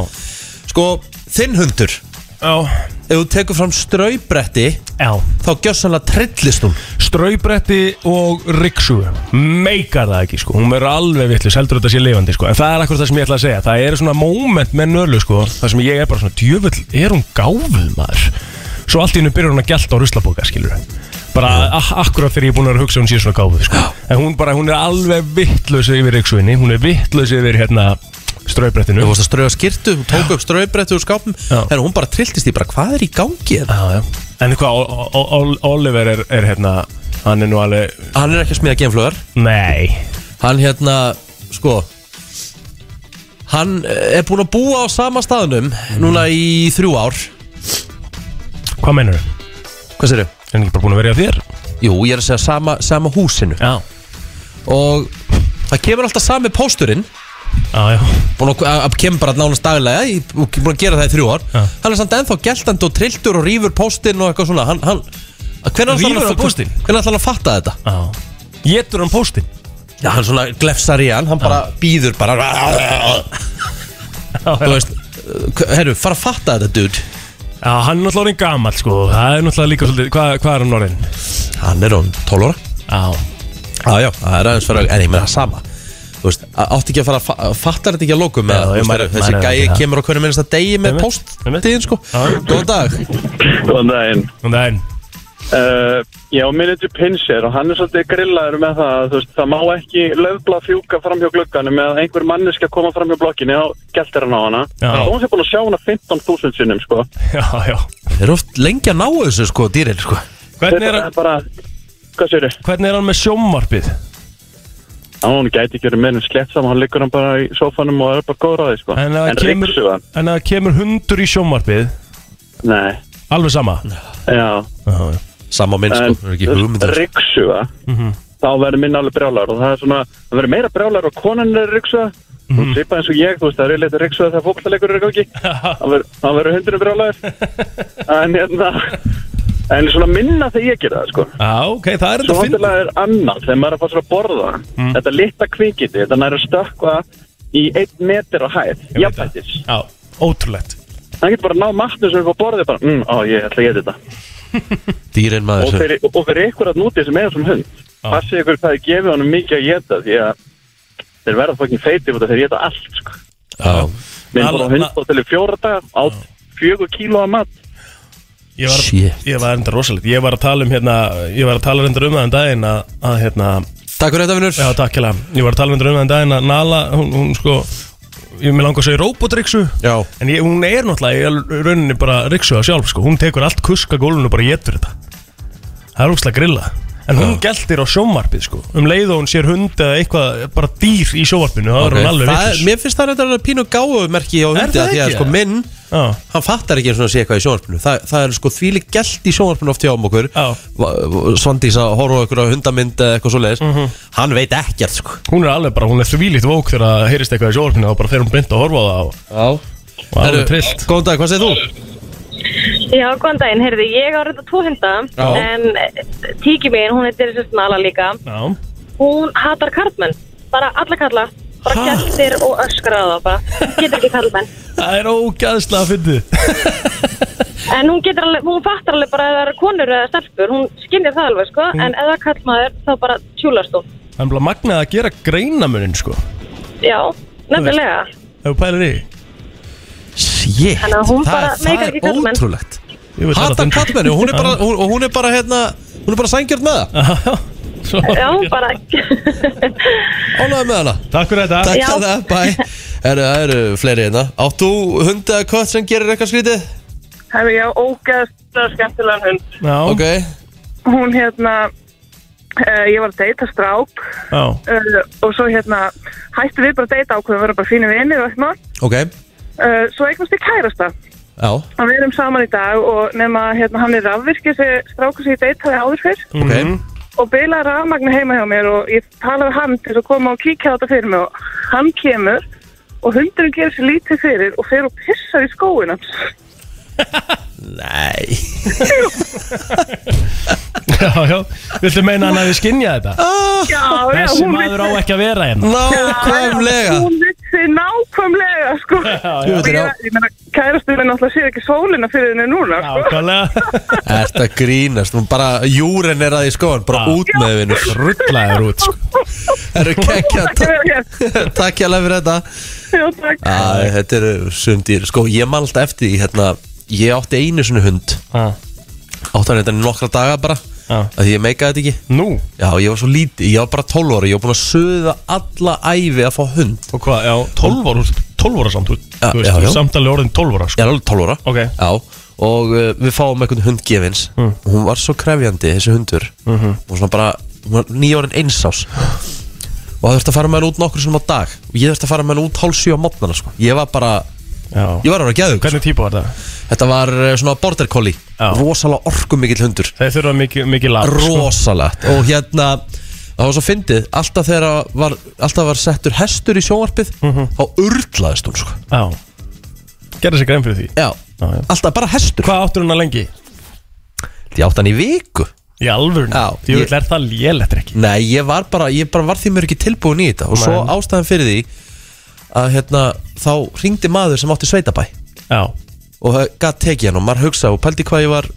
Speaker 1: sko, þinn hundur ef
Speaker 2: Já,
Speaker 1: þú tekur fram straubretti
Speaker 2: já
Speaker 1: þá gjössanlega trillist hún
Speaker 2: Straubretti og riksugu Meikar það ekki sko Hún verður alveg vitlis Heldur þetta sé lifandi sko En það er akkur það sem ég ætla að segja Það eru svona moment með nölu sko Það sem ég er bara svona Djöfull er hún gáfuð maður Svo allt í hennu byrjar hún að gælta á ruslabóka skilur Bara ak- akkurat þegar ég er búin að hugsa að Hún sé svona gáfuð sko En hún bara Hún er alveg vitlis yfir riksuginni Hún er vitlis yfir hérna
Speaker 1: þú
Speaker 2: Straubrettinu
Speaker 1: varst að strauða skirtu, þú tók upp straubretti úr skápum,
Speaker 2: Já.
Speaker 1: herru, hún bara trilltist í bara hvað er í gangi hérna? þetta?
Speaker 2: Já já En hvað O- O- O- Oliver er, er hérna Hann er nú alveg
Speaker 1: hann er ekki að smíða genflögar
Speaker 2: Nei
Speaker 1: Hann hérna, sko Hann eh, er búinn að búa á sama staðnum Núna í þrjú ár
Speaker 2: Hvað mennur þau?
Speaker 1: Hvað sérðu?
Speaker 2: Er hann ekki bara búin að vera hjá þér?
Speaker 1: Jú, ég er að segja sama, sama húsinu
Speaker 2: Já
Speaker 1: Og það kemur alltaf sami pósturinn
Speaker 2: Já, já,
Speaker 1: Búin að, að- að kemur bara nánast daglega Ég er búinn að gera það í þrjú ár
Speaker 2: Já.
Speaker 1: Hann er samt ennþá geltandi og trilltur og rýfur póstinn og eitthvað svona Hann, hann Hvernig ætlar
Speaker 2: Rífur
Speaker 1: hann,
Speaker 2: á póstinn?
Speaker 1: hvenær ætlar hann að fatta þetta?
Speaker 2: já Getur hann póstinn?
Speaker 1: Já, hann svona glefsar í hann, hann bara býður bara Þú veist, eh, herru, fara að fatta þetta, dude
Speaker 2: Já, hann er náttúrulega orðin gamall sko Það er náttúrulega líka svolítið Hvað, hvað er hann orðin?
Speaker 1: Hann er hún 12 ára
Speaker 2: Já
Speaker 1: Já, já, það er aðeins fyrir En ég meina það sama Þú veist, á- átti ekki að fara að fa- Fattar þetta ekki að lokum með
Speaker 2: Já,
Speaker 1: að, þú
Speaker 2: ég
Speaker 1: veist,
Speaker 2: maður-
Speaker 1: eru- Þessi
Speaker 2: maður er
Speaker 1: gæi
Speaker 2: ekki það.
Speaker 1: kemur á hverju minnst að degi með
Speaker 2: Einmitt,
Speaker 1: postdiðin sko
Speaker 2: Já.
Speaker 1: Góðan dag
Speaker 4: Góðan daginn.
Speaker 2: Þannig að
Speaker 4: Uh, já, minn er til Pinsir og hann er svolítið grillaður með það að þú veist, það má ekki löfbla fjúka fram hjá glugganum eða einhver manneska koma fram hjá blokkinni og gæltir hann á hana.
Speaker 2: Já.
Speaker 4: Og hún sé búin að sjá hana 15.000 sinnum, sko.
Speaker 2: Já, já
Speaker 1: Þeir eru oft lengi að ná þessu sko, dýrin sko
Speaker 2: Hvernig er,
Speaker 4: Þetta
Speaker 2: hann-
Speaker 4: er bara, hvað sér þið?
Speaker 2: hvernig er hann með sjómvarpið?
Speaker 4: Hún gæti ekki verið meirinn slett saman, hann liggur hann bara í sofanum og er bara góður á því, sko.
Speaker 2: En að kemur,
Speaker 4: ryksuga hann?
Speaker 2: en að kemur hundur í sjómvarpið
Speaker 4: Nei,
Speaker 2: Alveg sama
Speaker 4: já.
Speaker 2: Já, já
Speaker 1: Sama minn sko, það er ekki hugmyndur
Speaker 4: riksuga
Speaker 2: Mhm.
Speaker 4: þá verður minn alveg brjálar og það er svona, það verður meira brjálar og konan er riksuga mm
Speaker 2: Mhm.
Speaker 4: -hmm. svipa eins og ég, þú veist, það er leitt riksuga þegar fólkleikur er í gangi Það verður- þá verður hundurinn brjálar en hérna en svona minna þegar ég gera það sko
Speaker 2: Já, ok, það er
Speaker 4: svo
Speaker 2: þetta finn
Speaker 4: vantilega er annað þegar maður er að fá sér að borða
Speaker 2: Mhm.
Speaker 4: þetta litla kvikiti, þetta nær að stökkva í einn meter á hæð
Speaker 2: Ég veit það.
Speaker 4: jafnvættis,
Speaker 2: Já, ótrúlegt
Speaker 4: hann getur bara að ná matnum sem er upp á borðið bara, mm, á ég ætla að geta þetta
Speaker 1: Dýrin
Speaker 4: og
Speaker 1: maður sem
Speaker 4: fyrir, og fyrir ykkur að núti sem er sem hund
Speaker 2: Já.
Speaker 4: passið ykkur hvað þið gefið honum mikið að geta því að þeir verða fokkin feiti út af þeir geta allt sko.
Speaker 1: Já,
Speaker 4: minn
Speaker 2: Alla-
Speaker 4: bara hundbóð til í fjóra dag átt fjögur kíló að mat
Speaker 2: Ég var,
Speaker 1: Shit.
Speaker 2: ég var enda rosalegt Ég var að tala um hérna Ég var að tala enda um það en daginn að, að hérna
Speaker 1: takk fyrir þetta vinnur
Speaker 2: Já, takk hérna. Ég var að tala um þetta um þann daginn að Nala, hún, hún sko, ég með langa að segja robotriksu.
Speaker 1: Já.
Speaker 2: En ég, hún er náttúrulega í rauninni bara riksuða sjálf, sko. Hún tekur allt kuska gólfinu og bara getur þetta. Það er ógslag grilla. En hún geltir á sjómarpið, sko. Um leið og hún sér hund eða eitthvað, bara dýr í sjómarpinu, þá er hún alveg
Speaker 1: Það er-
Speaker 2: vitlaus.
Speaker 1: Mér finnst það þetta að pínu gáfumerki á hundi
Speaker 2: það
Speaker 1: af Því að
Speaker 2: ekki?
Speaker 1: sko minn,
Speaker 2: Já,
Speaker 1: hann fattar ekki eins og sé eitthvað í sjónvarpinu Þa, Það er sko þvílík gælt í sjónvarpinu oft hjá um okkur
Speaker 2: Já.
Speaker 1: Va- Svandís að horfa á okkur á hundamynd eða eitthvað svoleiðis Hann veit ekkert sko
Speaker 2: hún er alveg bara, hún er þvílíkt vók þegar það heyrist eitthvað í sjómarpinu, þá bara fer hún beint að horfa á það og,
Speaker 1: Já
Speaker 2: og alveg trillt.
Speaker 1: Góðan dag, hvað segir þú?
Speaker 6: Já, góðan daginn, heyrðu, ég á reynda tvo hunda
Speaker 1: Já.
Speaker 6: en eh, tíki mín, hún heitir þessi snala líka
Speaker 2: Já,
Speaker 6: hún hatar karlmenn. Bara alla karla. Bara gættir og öskraða það bara. Getur ekki karlmenn.
Speaker 2: Það er ógæðslega að fyndið
Speaker 6: En hún getur alveg, hún fattar alveg bara að það eru konur eða stelpur. Hún skinnir það alveg, sko. En ef það er karlmaður, þá bara tjúlast hún.
Speaker 2: Það er bara magnað að gera greinamunin sko Ef
Speaker 6: Já, nefnilega.
Speaker 2: þú pælir í því.
Speaker 1: Shit,
Speaker 6: Þannig að hún
Speaker 1: það
Speaker 6: bara
Speaker 1: er, það
Speaker 6: meikar
Speaker 1: er
Speaker 6: ekki karlmenn.
Speaker 1: ótrúlegt
Speaker 2: Ég veit
Speaker 1: Hatar
Speaker 2: það.
Speaker 1: kallmenni og hún er bara, hún, og hún er bara, hérna, hún er bara sængjörn með það
Speaker 2: Svo-
Speaker 6: Já, bara...
Speaker 1: Ánægði með hana
Speaker 2: Takk fyrir þetta
Speaker 1: Takk
Speaker 6: Já.
Speaker 1: fyrir það, bæ Herru, það eru fleiri hérna Átt þú hund eða kött sem gerir eitthvað skrítið?
Speaker 7: Hefur ég ógeðslega skemmtilegan hund.
Speaker 2: Já,
Speaker 1: Ok,
Speaker 7: Hún hérna, uh, ég var að deyta strák
Speaker 2: já,
Speaker 7: uh, og svo hérna hættu við bara að deyta ákveðum, við verðum bara fínir vinir og eitthvað.
Speaker 1: ok,
Speaker 7: Uh, svo eignast ég kærasta
Speaker 1: já,
Speaker 7: og við erum saman í dag og nema hérna hann er rafvirkið sem strákur sem ég deytaði áður fyrr
Speaker 1: ok
Speaker 7: og bilaði rafmagnu heima hjá mér og ég talaði við hann til þess að koma og kíkja á þetta fyrir mig og hann kemur og hundurinn gerir sér lítið fyrir og fer og pissar í skóin hans.
Speaker 1: Nei
Speaker 2: já, já Viltu meina hann að við skinnja þetta?
Speaker 7: Já, já,
Speaker 2: Þessi
Speaker 7: hún
Speaker 2: maður á
Speaker 7: vissi-
Speaker 2: ekki að vera hérna
Speaker 1: Nákvæmlega
Speaker 7: Hún vissi nákvæmlega, sko.
Speaker 2: já.
Speaker 7: Og ég, ég meina, kærastur er náttúrulega sér ekki sólina fyrir henni núna, sko.
Speaker 2: Ákvæmlega
Speaker 1: Ert að grínast, hún bara júren er að í skóan Bara út með vinur
Speaker 2: Rugglaður út sko
Speaker 1: Herru, kekkja,
Speaker 7: Takk fyrir hér.
Speaker 1: takk hjá fyrir þetta
Speaker 7: hérna, Já, takk.
Speaker 1: Æ, Þetta eru sumdýr, sko, ég man alltaf eftir því, hérna Ég átti einu svona hund
Speaker 2: Já.
Speaker 1: Átti hann þetta nokkra daga bara
Speaker 2: Já.
Speaker 1: af Því ég meikaði þetta ekki
Speaker 2: Nú,
Speaker 1: Já, ég var svo lítið, ég var bara 12 ára, ég var búin að söða alla ævi að fá hund
Speaker 2: og hvað, já, 12 ára, 12 ára samt, þú
Speaker 1: Já,
Speaker 2: þú
Speaker 1: já,
Speaker 2: veist, já,
Speaker 1: já.
Speaker 2: já. samtalið orðin 12 ára,
Speaker 1: Ég
Speaker 2: sko.
Speaker 1: er alveg 12 ára
Speaker 2: Ok. Mm.
Speaker 1: Já, og uh, við fáum einhvern hund gefins og Hún var svo krefjandi, þessi hundur mm
Speaker 2: Mhm.
Speaker 1: -hmm. Og svona bara, hún var nýjórin einsás Og það þurfti að fara með hann út nokkur sem á dag Og ég þurfti að fara með hann út hálf sjö á mótnana, sko Ég var bara,
Speaker 2: Já.
Speaker 1: ég var að vera gæðu
Speaker 2: Hvernig típa var það?
Speaker 1: Þetta var uh, svona border collie
Speaker 2: Já.
Speaker 1: Rosalega orkumikill hundur
Speaker 2: Þeir þurfa mikið, mikið lag, sko.
Speaker 1: rosalegt og hérna það var svo fyndið, alltaf þegar að var, alltaf var settur hestur í sjónvarpið
Speaker 2: Mhm.
Speaker 1: þá urlaðist hún sko
Speaker 2: Já. Gerðu sér grein fyrir því.
Speaker 1: já,
Speaker 2: Já, já.
Speaker 1: alltaf bara hestur
Speaker 2: Hvað áttur hún að lengi?
Speaker 1: ég átt hann í viku
Speaker 2: Í alvörn.
Speaker 1: Já,
Speaker 2: Því
Speaker 1: ég-
Speaker 2: ég... er það lélegt ekki.
Speaker 1: nei, ég var bara, ég bara var því mér ekki tilbúin í þetta og svo
Speaker 2: Nei.
Speaker 1: ástæðan fyrir því að hérna, þá ringdi maður sem átti sveitabæ
Speaker 2: Já.
Speaker 1: og það gætt tekið hann og maður hugsaði og pældi hvað ég var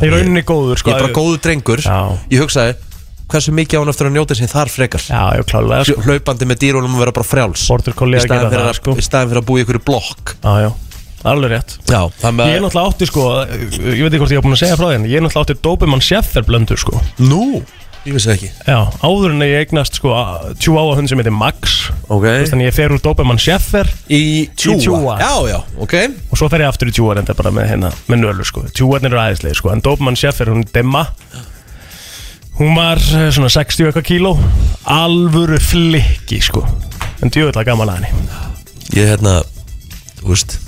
Speaker 2: Í rauninni
Speaker 1: ég
Speaker 2: góður, sko.
Speaker 1: er bara góðu drengur
Speaker 2: Já.
Speaker 1: ég hugsaði hversu mikið á hann eftir að njóta sín þar frekar
Speaker 2: Já, já, klálega, sko.
Speaker 1: hlaupandi með dýrunum að vera bara frjáls
Speaker 2: Border
Speaker 1: í
Speaker 2: collie að
Speaker 1: staðin
Speaker 2: gera
Speaker 1: fyrir,
Speaker 2: það,
Speaker 1: að-
Speaker 2: sko.
Speaker 1: í staðinn fyrir að búa í ykkur blokk
Speaker 2: Já, já. Alveg rétt.
Speaker 1: Já, þannig
Speaker 2: Ég er náttúrulega átti, sko, ég veit ekki hvort ég hef búin að segja frá því, en ég er náttúrulega átti Doberman Sheffer blöndur, sko.
Speaker 1: Nú, ég vissi það ekki
Speaker 2: Já, áður en ég eignast, sko, tjúáa hund sem heitir Max.
Speaker 1: Ok
Speaker 2: Þú veist, Þannig ég fer úr Doberman Sheffer
Speaker 1: Í
Speaker 2: Í
Speaker 1: tjúa
Speaker 2: tjúga.
Speaker 1: Já, já, ok
Speaker 2: og svo fer ég aftur í tjúar enda bara með hérna með nölur sko, tjúarnir eru aðeinslega sko en Doberman Sheffer, hún er demma hún var eh, svona 60 eitthvað kíló alvöru flikki sko en djöðla gaman að henni
Speaker 1: Ég hérna, þú veist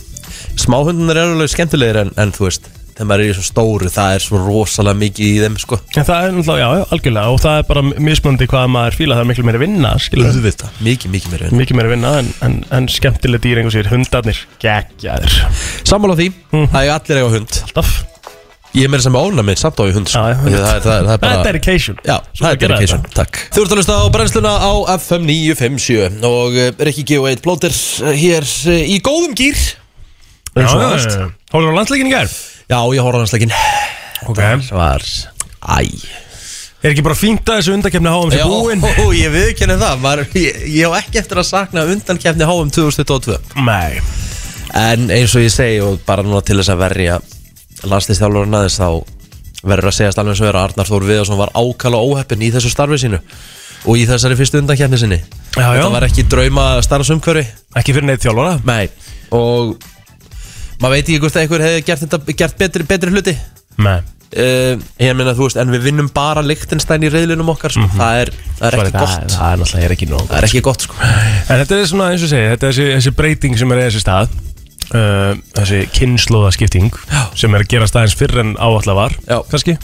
Speaker 1: Smáhundunar eru alveg skemmtilegir en, en þú veist Þegar maður er í svo stóru, það er svo rosalega mikið í þeim, sko
Speaker 2: en það er náttúrulega, já, já, algjörlega og það er bara mismöndi hvað maður fíla það er miklu meira vinna, skilur við
Speaker 1: Auðvitað Mikið, mikið meira en
Speaker 2: mikið meira vinna en, en, en skemmtileg dýr einhver sér hundarnir geggjaður
Speaker 1: Sammála því, Mhm. það er allir eiga hund
Speaker 2: alltaf
Speaker 1: Ég er meira sem óna minn, samt á ég hund sko.
Speaker 2: Já, já,
Speaker 1: Því að það, er- það, er- það er bara
Speaker 2: það er dedication
Speaker 1: Já,
Speaker 2: Svo
Speaker 1: það er
Speaker 2: að gera
Speaker 1: dedication, takk Þú ert að hlusta á brennsluna á FM 957 og uh, Rikki G1 Blóter eh, hér uh, í góðum gýr
Speaker 2: þetta.
Speaker 1: Eins og
Speaker 2: já,
Speaker 1: aðast.
Speaker 2: já, já. Hólar á landsleikin í gær
Speaker 1: Já, ég horfði á hansleikin
Speaker 2: okay.
Speaker 1: Svar Æ
Speaker 2: er ekki bara fínt að þessu undakefni háum sér
Speaker 1: Já,
Speaker 2: búin
Speaker 1: ó, ég viðkennir það maður, ég, ég á ekki eftir að sakna undankefni HM 2022
Speaker 2: nei
Speaker 1: En eins og ég segi og bara núna til þess að verja landslistjálfurinn aðeins þá verður að segjast alveg eins og vera Arnar Þór Viðarsson var ákala óheppin í þessu starfi sínu og í þessari fyrstu undankefni sinni
Speaker 2: Já, já.
Speaker 1: Þetta var ekki drauma starfsumhverfi
Speaker 2: ekki fyrir neitt þjálfara
Speaker 1: Nei, og maður veit ekki hvort að einhver hefði gert, þetta, gert betri, betri hluti
Speaker 2: Nei,
Speaker 1: uh, Ég meina þú veist, en við vinnum bara Lichtenstein í reyðlinum okkar sko. það, er, það er ekki gott
Speaker 2: Það Mhm. er náttúrulega er ekki nóg
Speaker 1: Það er ekki gott sko
Speaker 2: En þetta er svona eins og segja, þetta er þessi, þessi breyting sem er eða þessi stað uh, Þessi kynnslóðaskipting sem er að gera staðins fyrr en áallega var
Speaker 1: Já.
Speaker 2: kannski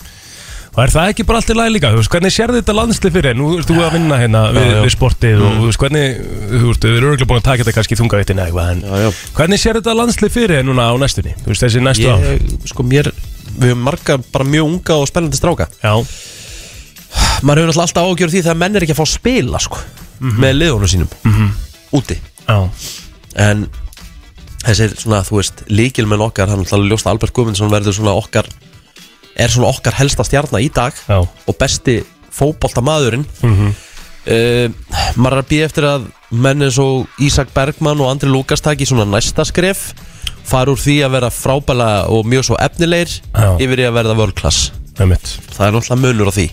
Speaker 2: Og er það ekki bara allt í lagi líka, þú veist, hvernig sérðu þetta landslið fyrir Nú ert þú að vinna hérna við,
Speaker 1: já. Mm.
Speaker 2: við sportið og þú veist, hvernig, þú veist, við erum örgulega búin að taka þetta kannski þungavittin eða eitthvað en
Speaker 1: já.
Speaker 2: Hvernig sérðu þetta landslið fyrir þér núna á næstunni, þú veist, þessi næstu ár
Speaker 1: ég, sko mér, við höfum marga bara mjög unga og spennandi stráka
Speaker 2: Já,
Speaker 1: maður hefur náttúrulega alltaf ágjörð því þegar menn er ekki að fá að spila sko, með liðunum sínum úti
Speaker 2: Já,
Speaker 1: en þessir svona, þú veist, líkil með okkar hann ætlaði að ljósta Albert Guðmundsson verður svona okkar er svona okkar helsta stjarnar í dag
Speaker 2: Já.
Speaker 1: og besti fótbolta maðurinn mm maður er að býja eftir að menn eins og Ísak Bergmann og Andri Lukas taki svona næsta skref fara úr því að vera frábæla og mjög svo efnilegir
Speaker 2: Já.
Speaker 1: yfir í að verða world class
Speaker 2: með mitt
Speaker 1: það er náttúrulega munur á því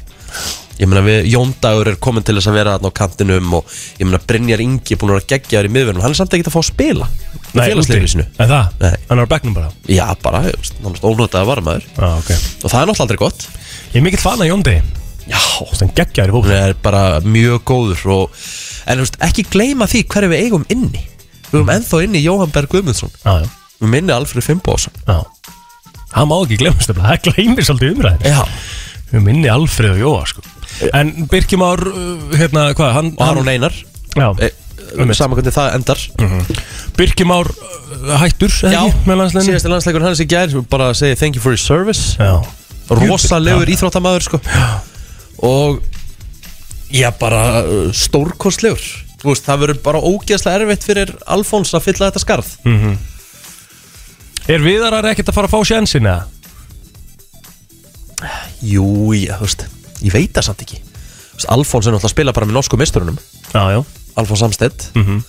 Speaker 1: ég meina við, Jóndagur er komin til þess að vera þarna á kantinum og ég meina Brynjar Ingi er búin að vera geggjaður í miðverðinum, hann er samt ekki að fá að spila í félagsleginu sínu.
Speaker 2: En það,
Speaker 1: Nei.
Speaker 2: hann er á bekknum bara
Speaker 1: já bara, ég veist, nánast ónótaði varmaður
Speaker 2: Já, ok
Speaker 1: og það er náttúrulega aldrei gott
Speaker 2: Ég er mikill fan af Jóndi
Speaker 1: já,
Speaker 2: Þannig geggjaður í
Speaker 1: hún
Speaker 2: fólk
Speaker 1: er bara mjög góður og, en þú veist, ekki gleyma því hverju við eigum inni við eigum ennþá inni Jóhann Berg Guðmundsson
Speaker 2: Já, já,
Speaker 1: við minni Alfred Fimboðsson
Speaker 2: já Það má ekki glemast þetta, það gleymir svolítið umræðin
Speaker 1: já,
Speaker 2: Við minni Alfreð og Jóa, sko En Birkjum ár, hérna, hvað, hann
Speaker 1: og Aron Einar
Speaker 2: Já,
Speaker 1: e,
Speaker 2: Einmitt.
Speaker 1: saman hvernig það endar
Speaker 2: Birkjum ár uh, hættur, eða
Speaker 1: Já,
Speaker 2: ekki, með landsleinu
Speaker 1: síðasti landsleikur hans í gær bara að segja thank you for your service
Speaker 2: Já,
Speaker 1: rosalegur íþróttamaður sko. og já bara uh, stórkostlegur Þú veist, það verður bara ógeðslega erfitt fyrir Alfons að fylla þetta skarð
Speaker 2: Er viðarar ekkert að fara að fá sjensin, eða?
Speaker 1: Jú, já, þú veist, ég veit það samt ekki Þú veist, Alfons er náttúrulega að spila bara með norsku meisturunum
Speaker 2: Já, já
Speaker 1: Alfons Samstedt mm
Speaker 2: Mhm.
Speaker 1: -hmm.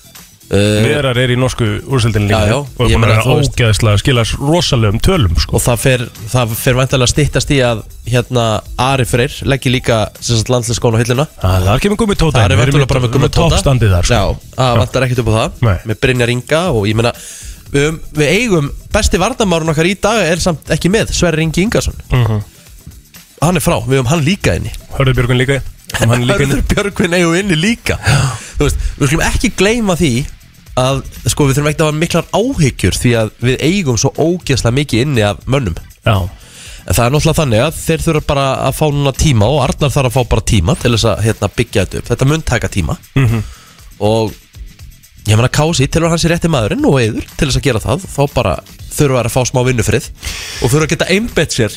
Speaker 2: Eh. Viðarar er í norsku úrsöldin líka
Speaker 1: Já, já.
Speaker 2: Og er
Speaker 1: Ég
Speaker 2: búin að
Speaker 1: meina,
Speaker 2: vera
Speaker 1: þú veist-
Speaker 2: ógeðslega skilast rosalegum tölum, sko
Speaker 1: og það fer, það fer væntanlega að styttast í að hérna Ari Freyr leggir líka landsleiskóna á hilluna
Speaker 2: Já, Það er ekki með gummi tóta
Speaker 1: Það er verður bara með gummi tóta
Speaker 2: Toppstandið þar sko.
Speaker 1: Já, það vantar ekkert upp á það
Speaker 2: Nei.
Speaker 1: Með Brynjar Inga og ég meina Við, höfum- við eigum besti varnamárun okkar í dag er samt ekki með Sverri Ingi Ingarsson
Speaker 2: Mhm.
Speaker 1: Hann er frá, við höfum hann líka inni
Speaker 2: Hörður Björgun líka um hann er líka inni.
Speaker 1: Hörður Björgvin eigum við inni líka Þú veist, við skulum ekki gleyma því að sko, við þurfum ekki að hafa miklar áhyggjur því að við eigum svo ógeðslega mikið inni af mönnum
Speaker 2: Já,
Speaker 1: En það er náttúrulega þannig að þeir þurfa bara að fá núna tíma og Arnar þarf að fá bara tíma til þess að hérna, byggja þetta upp. Þetta mun taka tíma og ég meina Kási til að hans er rétti maðurinn og eður til þess að gera það þá bara þurfa þær að fá smá vinnufrið og þurfa að geta einbett sér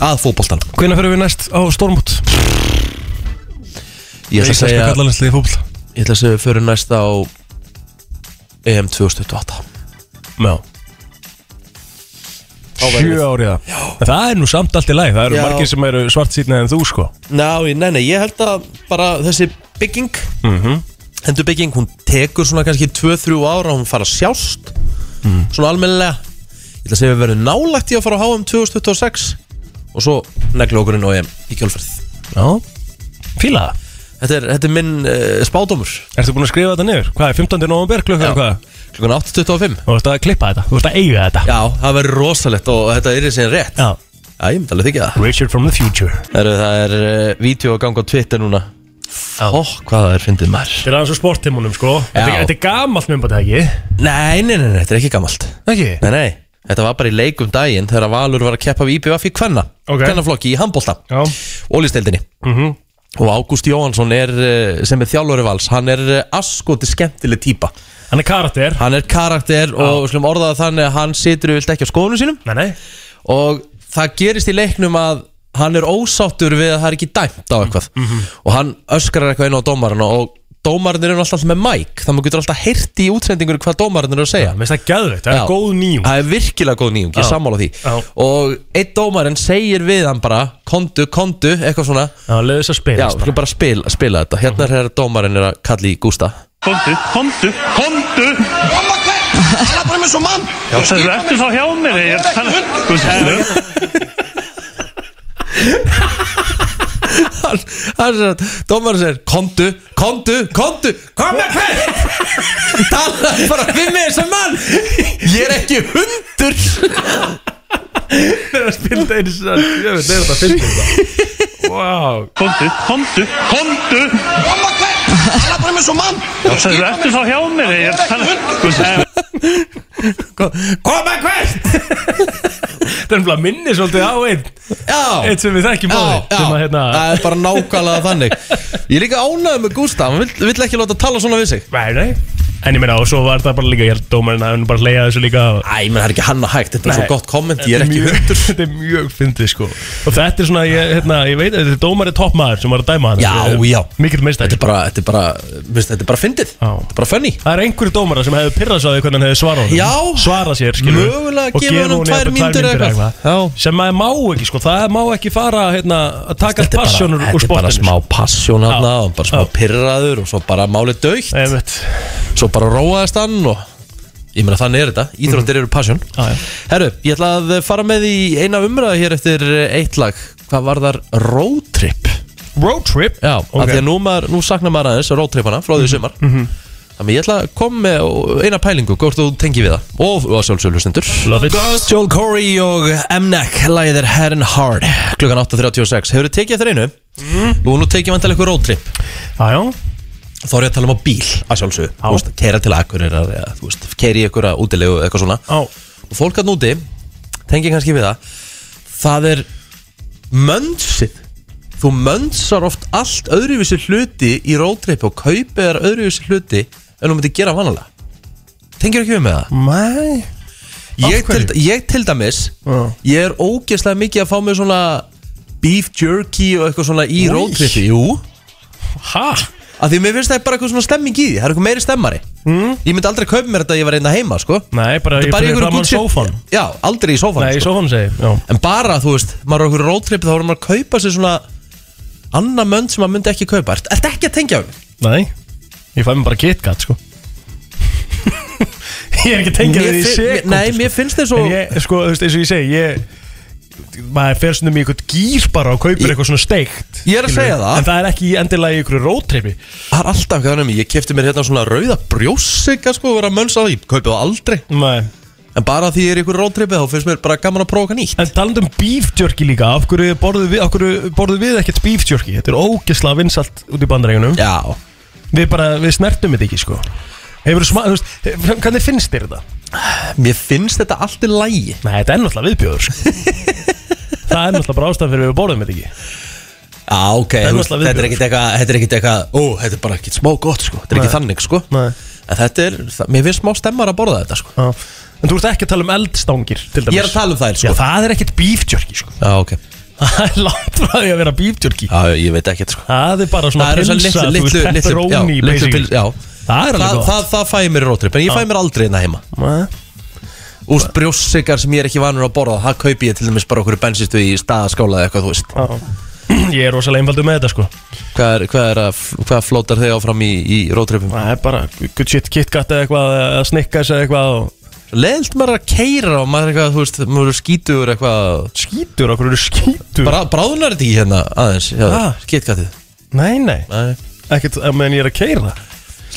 Speaker 1: að fótboltan.
Speaker 2: hvenær fyrir við næst á Stormút?
Speaker 1: Ég ætla að segja,
Speaker 2: kallalanslið fútbol
Speaker 1: ég ætla að segja við förum næst á E EM 2028.
Speaker 2: Já Sjö árið það En Það er nú samt allt í læg Það eru
Speaker 1: Já.
Speaker 2: margir sem eru svart en þú sko
Speaker 1: Ná, ég- nei, nei, ég held að bara þessi bygging mm bygging, hún tekur svona kannski 2-3 ára og hún fara að sjást svona almennilega ég ætla að segja við verðum nálægt í að fara á HM 2026 og svo negla okkurinn og EM E í kjölferð
Speaker 2: Já Fíla það
Speaker 1: Þetta er, þetta er minn uh, spádómur
Speaker 2: Ertu búin að skrifa þetta niður? Hvað er 15. november klukkan hvað?
Speaker 1: klukkan 8.25
Speaker 2: Þú ert að klippa þetta Þú ert að eiga þetta
Speaker 1: Já, það verður rosalegt og þetta er í sinni rétt
Speaker 2: Já
Speaker 1: Já, ég myndi alveg þykja það
Speaker 2: Richard from the future
Speaker 1: Heru, Það er uh, vídeo að ganga á Twitter núna Ó, hvað það er fyndið maður
Speaker 2: Þetta er aðeins á sporttimunum sko Þetta
Speaker 1: Já.
Speaker 2: þetta er gamalt myndbætt ekki
Speaker 1: Nei, nei, nei, nei, þetta er ekki gamalt
Speaker 2: Ekki?
Speaker 1: Nei, nei, þetta var bara í leikum daginn þegar Valur var að keppa við IBF í Kvenna
Speaker 2: Ok.
Speaker 1: Kvennaflokki í handbólta
Speaker 2: Já.
Speaker 1: Ólísteildinni mm -hmm. Og Ágúst Jóhansson er, eh, sem er þjálfari vals Hann er eh, askoti skemmtileg típa
Speaker 2: Hann er karakter
Speaker 1: Hann er karakter og við slum orðaða þannig að hann situr vilt ekki á skoðunum sínum
Speaker 2: Nei, nei
Speaker 1: Og það gerist í leiknum að hann er ósáttur við að það er ekki dæmt á eitthvað Og hann öskrar eitthvað inn á dómarinn og dómarinn eru alltaf með mæk Þannig að maður getur alltaf heyrti í útsendingur hvað dómarinn eru að segja
Speaker 2: Mér finnst það gæðveikt, það
Speaker 1: Já.
Speaker 2: er góð nýjum
Speaker 1: Það er virkilega góð nýjung, ég
Speaker 2: Já.
Speaker 1: sammála því
Speaker 2: Já.
Speaker 1: Og einn dómarinn segir við hann bara Kondu, kondu, eitthvað svona
Speaker 2: Það var leiðis að
Speaker 1: Já,
Speaker 2: spila sko.
Speaker 1: við skulum bara spila, spila þetta Hérna
Speaker 2: Mhm.
Speaker 1: er þegar dómarinn er að kalla í Gústa
Speaker 8: Komdu, komdu, komdu
Speaker 9: Mamma hver? Það er bara með svo mann
Speaker 8: Það eru eftir þá hjá mér ég er að tala- Þú veist,
Speaker 1: Hann hann segir að dómarinn segir Kondu, kondu, kondu Kom með hver Tala bara við með þessan mann Ég er ekki hundur
Speaker 2: að spila það eins og ég veit, það er sko. þetta fyrst þetta Wow
Speaker 8: Komdu, komdu, komdu
Speaker 9: Mamma hver? Það er bara með svo mann
Speaker 8: Það eru eftir þá hjá mér ég er að tala- Þú veist, það er-
Speaker 1: Kom með hver
Speaker 2: Það er bara minni svolítið á einn
Speaker 1: Já
Speaker 2: Eitt sem við þekkjum
Speaker 1: Já,
Speaker 2: báðir
Speaker 1: já,
Speaker 2: Sem að hérna
Speaker 1: það er bara nákvæmlega þannig Ég er líka ánægð með Gústa Hann vill, vill ekki láta tala svona við sig
Speaker 2: Nei, nei En ég meina, og svo var það bara líka, ég held dómarinn að hann bara leiða þessu líka og...
Speaker 1: Æ, menn það er ekki hann að hægt, þetta er
Speaker 2: Nei.
Speaker 1: svo gott komment, ég er ekki
Speaker 2: Mjög-
Speaker 1: hundur
Speaker 2: Þetta er mjög fyndið sko Og þetta er svona, ég, hérna, ég veit að þetta er dómari toppmaður sem var að dæma hann
Speaker 1: Já, já.
Speaker 2: Mikill meistari
Speaker 1: Þetta er bara, þetta er bara, minnst, þetta er bara fyndið
Speaker 2: Já.
Speaker 1: Þetta er bara funny
Speaker 2: Það er einhverju dómara sem hefði pirrað svo að því hvernig hann hefði svarað honum.
Speaker 1: Já.
Speaker 2: Svarað sér, skilur við.
Speaker 1: Mögulega
Speaker 2: Og
Speaker 1: gefa honum
Speaker 2: honum
Speaker 1: tvær
Speaker 2: jafnvel
Speaker 1: mínútur eða eitthvað. Já.
Speaker 2: Sem maður má ekki, sko Það má ekki fara, hérna, að taka
Speaker 1: Þetta er
Speaker 2: passjónur
Speaker 1: bara,
Speaker 2: úr
Speaker 1: þetta er bara
Speaker 2: sportinu sko.
Speaker 1: smá passjón hann
Speaker 2: Já.
Speaker 1: og bara smá pirraður og svo bara málið dögt
Speaker 2: Ég veit
Speaker 1: Svo bara róaðist hann og Ég meina þannig er þetta, íþróttir eru passjón
Speaker 2: Mhm. Já, já.
Speaker 1: Herru, ég ætla að fara með í eina umræða hér eftir eitt lag Hvað var þar road trip?
Speaker 2: Road trip
Speaker 1: Já, okay.
Speaker 2: Ok. Mhm,
Speaker 1: að því að nú, maður, nú saknar maður aðeins road tripana frá því í sumar Þannig ég ætla að koma með eina pælingu, hvort þú tengi við það Og, og sjálfsöglustendur
Speaker 2: Love it
Speaker 1: Joel Corey og Mnek lagið er Head and Hard klukkan 8.36 hefur þið tekið eftir einu
Speaker 2: Mhm.
Speaker 1: og nú tekið vantilega eitthvað roadtrip
Speaker 2: Já, já
Speaker 1: þá er ég að tala um á bíl að sjálfsög
Speaker 2: Já.
Speaker 1: þú veist, kera til Akureyrar eða þú veist, keri ykkur að útilegu eða eitthvað svona
Speaker 2: Á
Speaker 1: og fólk að núti tengið kannski við það það er mönnsið þú mönnsar oft allt öðruvísi hluti í roadtrip og kaupið er öðruvísi hluti en þú myndir gera vanalega tengir ekki við með það
Speaker 2: Mæ
Speaker 1: ég
Speaker 2: Af hverju?
Speaker 1: til, ég til dæmis
Speaker 2: Já.
Speaker 1: Ég er ógeðslega mikið að fá mig svona Beef jerky og eitthvað svona í
Speaker 2: Új.
Speaker 1: roadtripi Jú
Speaker 2: Ha?
Speaker 1: Af því mér finnst það bara eitthvað svona stemming í því Það er eitthvað meiri stemmari mm. Ég myndi aldrei kaupa mér þetta að ég var einna heima sko
Speaker 2: Nei, bara
Speaker 1: Þetta
Speaker 2: Hmm?
Speaker 1: er bara í
Speaker 2: ég fyrir
Speaker 1: einhverju
Speaker 2: fram á
Speaker 1: Gucci-
Speaker 2: sófan
Speaker 1: Já, aldrei í sófan
Speaker 2: Nei, í
Speaker 1: sko.
Speaker 2: sófan segi ég, Já
Speaker 1: En bara þú veist, maður er okkur roadtripi Þá voru maður að kaupa sér svona Anna mönd sem maður myndi ekki kaupa Ert ert ekki að tengja um
Speaker 2: Nei, ég fæ mér bara KitKat sko Ég er ekki að tengja við því sekund
Speaker 1: Nei, mér finnst þið svo
Speaker 2: sko. En ég, sko, þú veist, eins og ég segi ég, Maður fer svona mjög eitthvað gýr bara og kaupir eitthvað svona steikt
Speaker 1: Ég er að
Speaker 2: skilurðu.
Speaker 1: segja það.
Speaker 2: En það er ekki endilega í ykkur róttripi
Speaker 1: Það er alltaf eitthvað þannig Ég kefti mér hérna svona rauða brjósika sko Og vera að mönsa á því, kaupið það aldrei
Speaker 2: Nei
Speaker 1: En bara því ég er í ykkur roadtripið þá finnst mér bara gaman að prófa eitthvað nýtt
Speaker 2: En talandi um beef jerky líka Af hverju borðu við, af hverju borðum við ekkert beef jerky Þetta er ógeðslega vinsalt út í bandarægjunum
Speaker 1: Já
Speaker 2: Við bara, við snertum þetta ekki sko Hefur sma, þú veist, hvernig finnst þér þetta?
Speaker 1: Mér finnst þetta allt í lægi
Speaker 2: Nei, þetta er náttúrulega viðbjóður sko. Það er náttúrulega bara ástæðan fyrir við borðum þetta ekki
Speaker 1: Já, ok
Speaker 2: er
Speaker 1: þú veist,
Speaker 2: náttúrulega
Speaker 1: Þetta er
Speaker 2: viðbjóður.
Speaker 1: ekkit eitthvað Þetta er ekkit eitthvað Ó, þetta er bara ekkit smá gott sko Þetta er ekki
Speaker 2: Nei.
Speaker 1: þannig sko
Speaker 2: Nei.
Speaker 1: En þetta er það, Mér finnst smá stemmar að borða þetta sko
Speaker 2: Já. En þú ert ekki að tala um eldstangir til dæmis
Speaker 1: Ég er að tala um þær
Speaker 2: Já,
Speaker 1: sko
Speaker 2: það er ekkert bíftjörki sko
Speaker 1: Já, ok
Speaker 2: Það er langt frá því að vera bíftjörki
Speaker 1: Já, ég veit ekkit sko
Speaker 2: Það er bara svona
Speaker 1: Það er
Speaker 2: pilsa,
Speaker 1: þessar litlu,
Speaker 2: þú
Speaker 1: litlu, litlu,
Speaker 2: veist,
Speaker 1: já,
Speaker 2: pepperoni
Speaker 1: litlu
Speaker 2: basically.
Speaker 1: pils, já.
Speaker 2: Það er alveg
Speaker 1: það, það, það fæ ég mér í rótrip En ég fæ mér aldrei hérna heima
Speaker 2: gott
Speaker 1: Úst brjóssikar sem ég er ekki vanur að borða Það kaupi ég til dæmis bara okkur bensistu í staðaskála eða eitthvað, þú veist
Speaker 2: Já. Ég er rosalega einfaldur með þetta sko
Speaker 1: Hvað, er, hvað, er að, hvað flótar þau áfram í, í rótripum?
Speaker 2: Það er bara good shit KitKat eða eitthvað eða Snickers eða eitthvað og
Speaker 1: Leðilt maður að keira og maður er eitthvað, þú veist, maður er skítur eitthvað
Speaker 2: Skítur, okkur eru skítur
Speaker 1: Bra, Bráðnar þetta ekki hérna aðeins hjá þér,
Speaker 2: Ah.
Speaker 1: Kitkattið
Speaker 2: Nei, nei,
Speaker 1: Nei.
Speaker 2: ekkert að meðan ég er að keira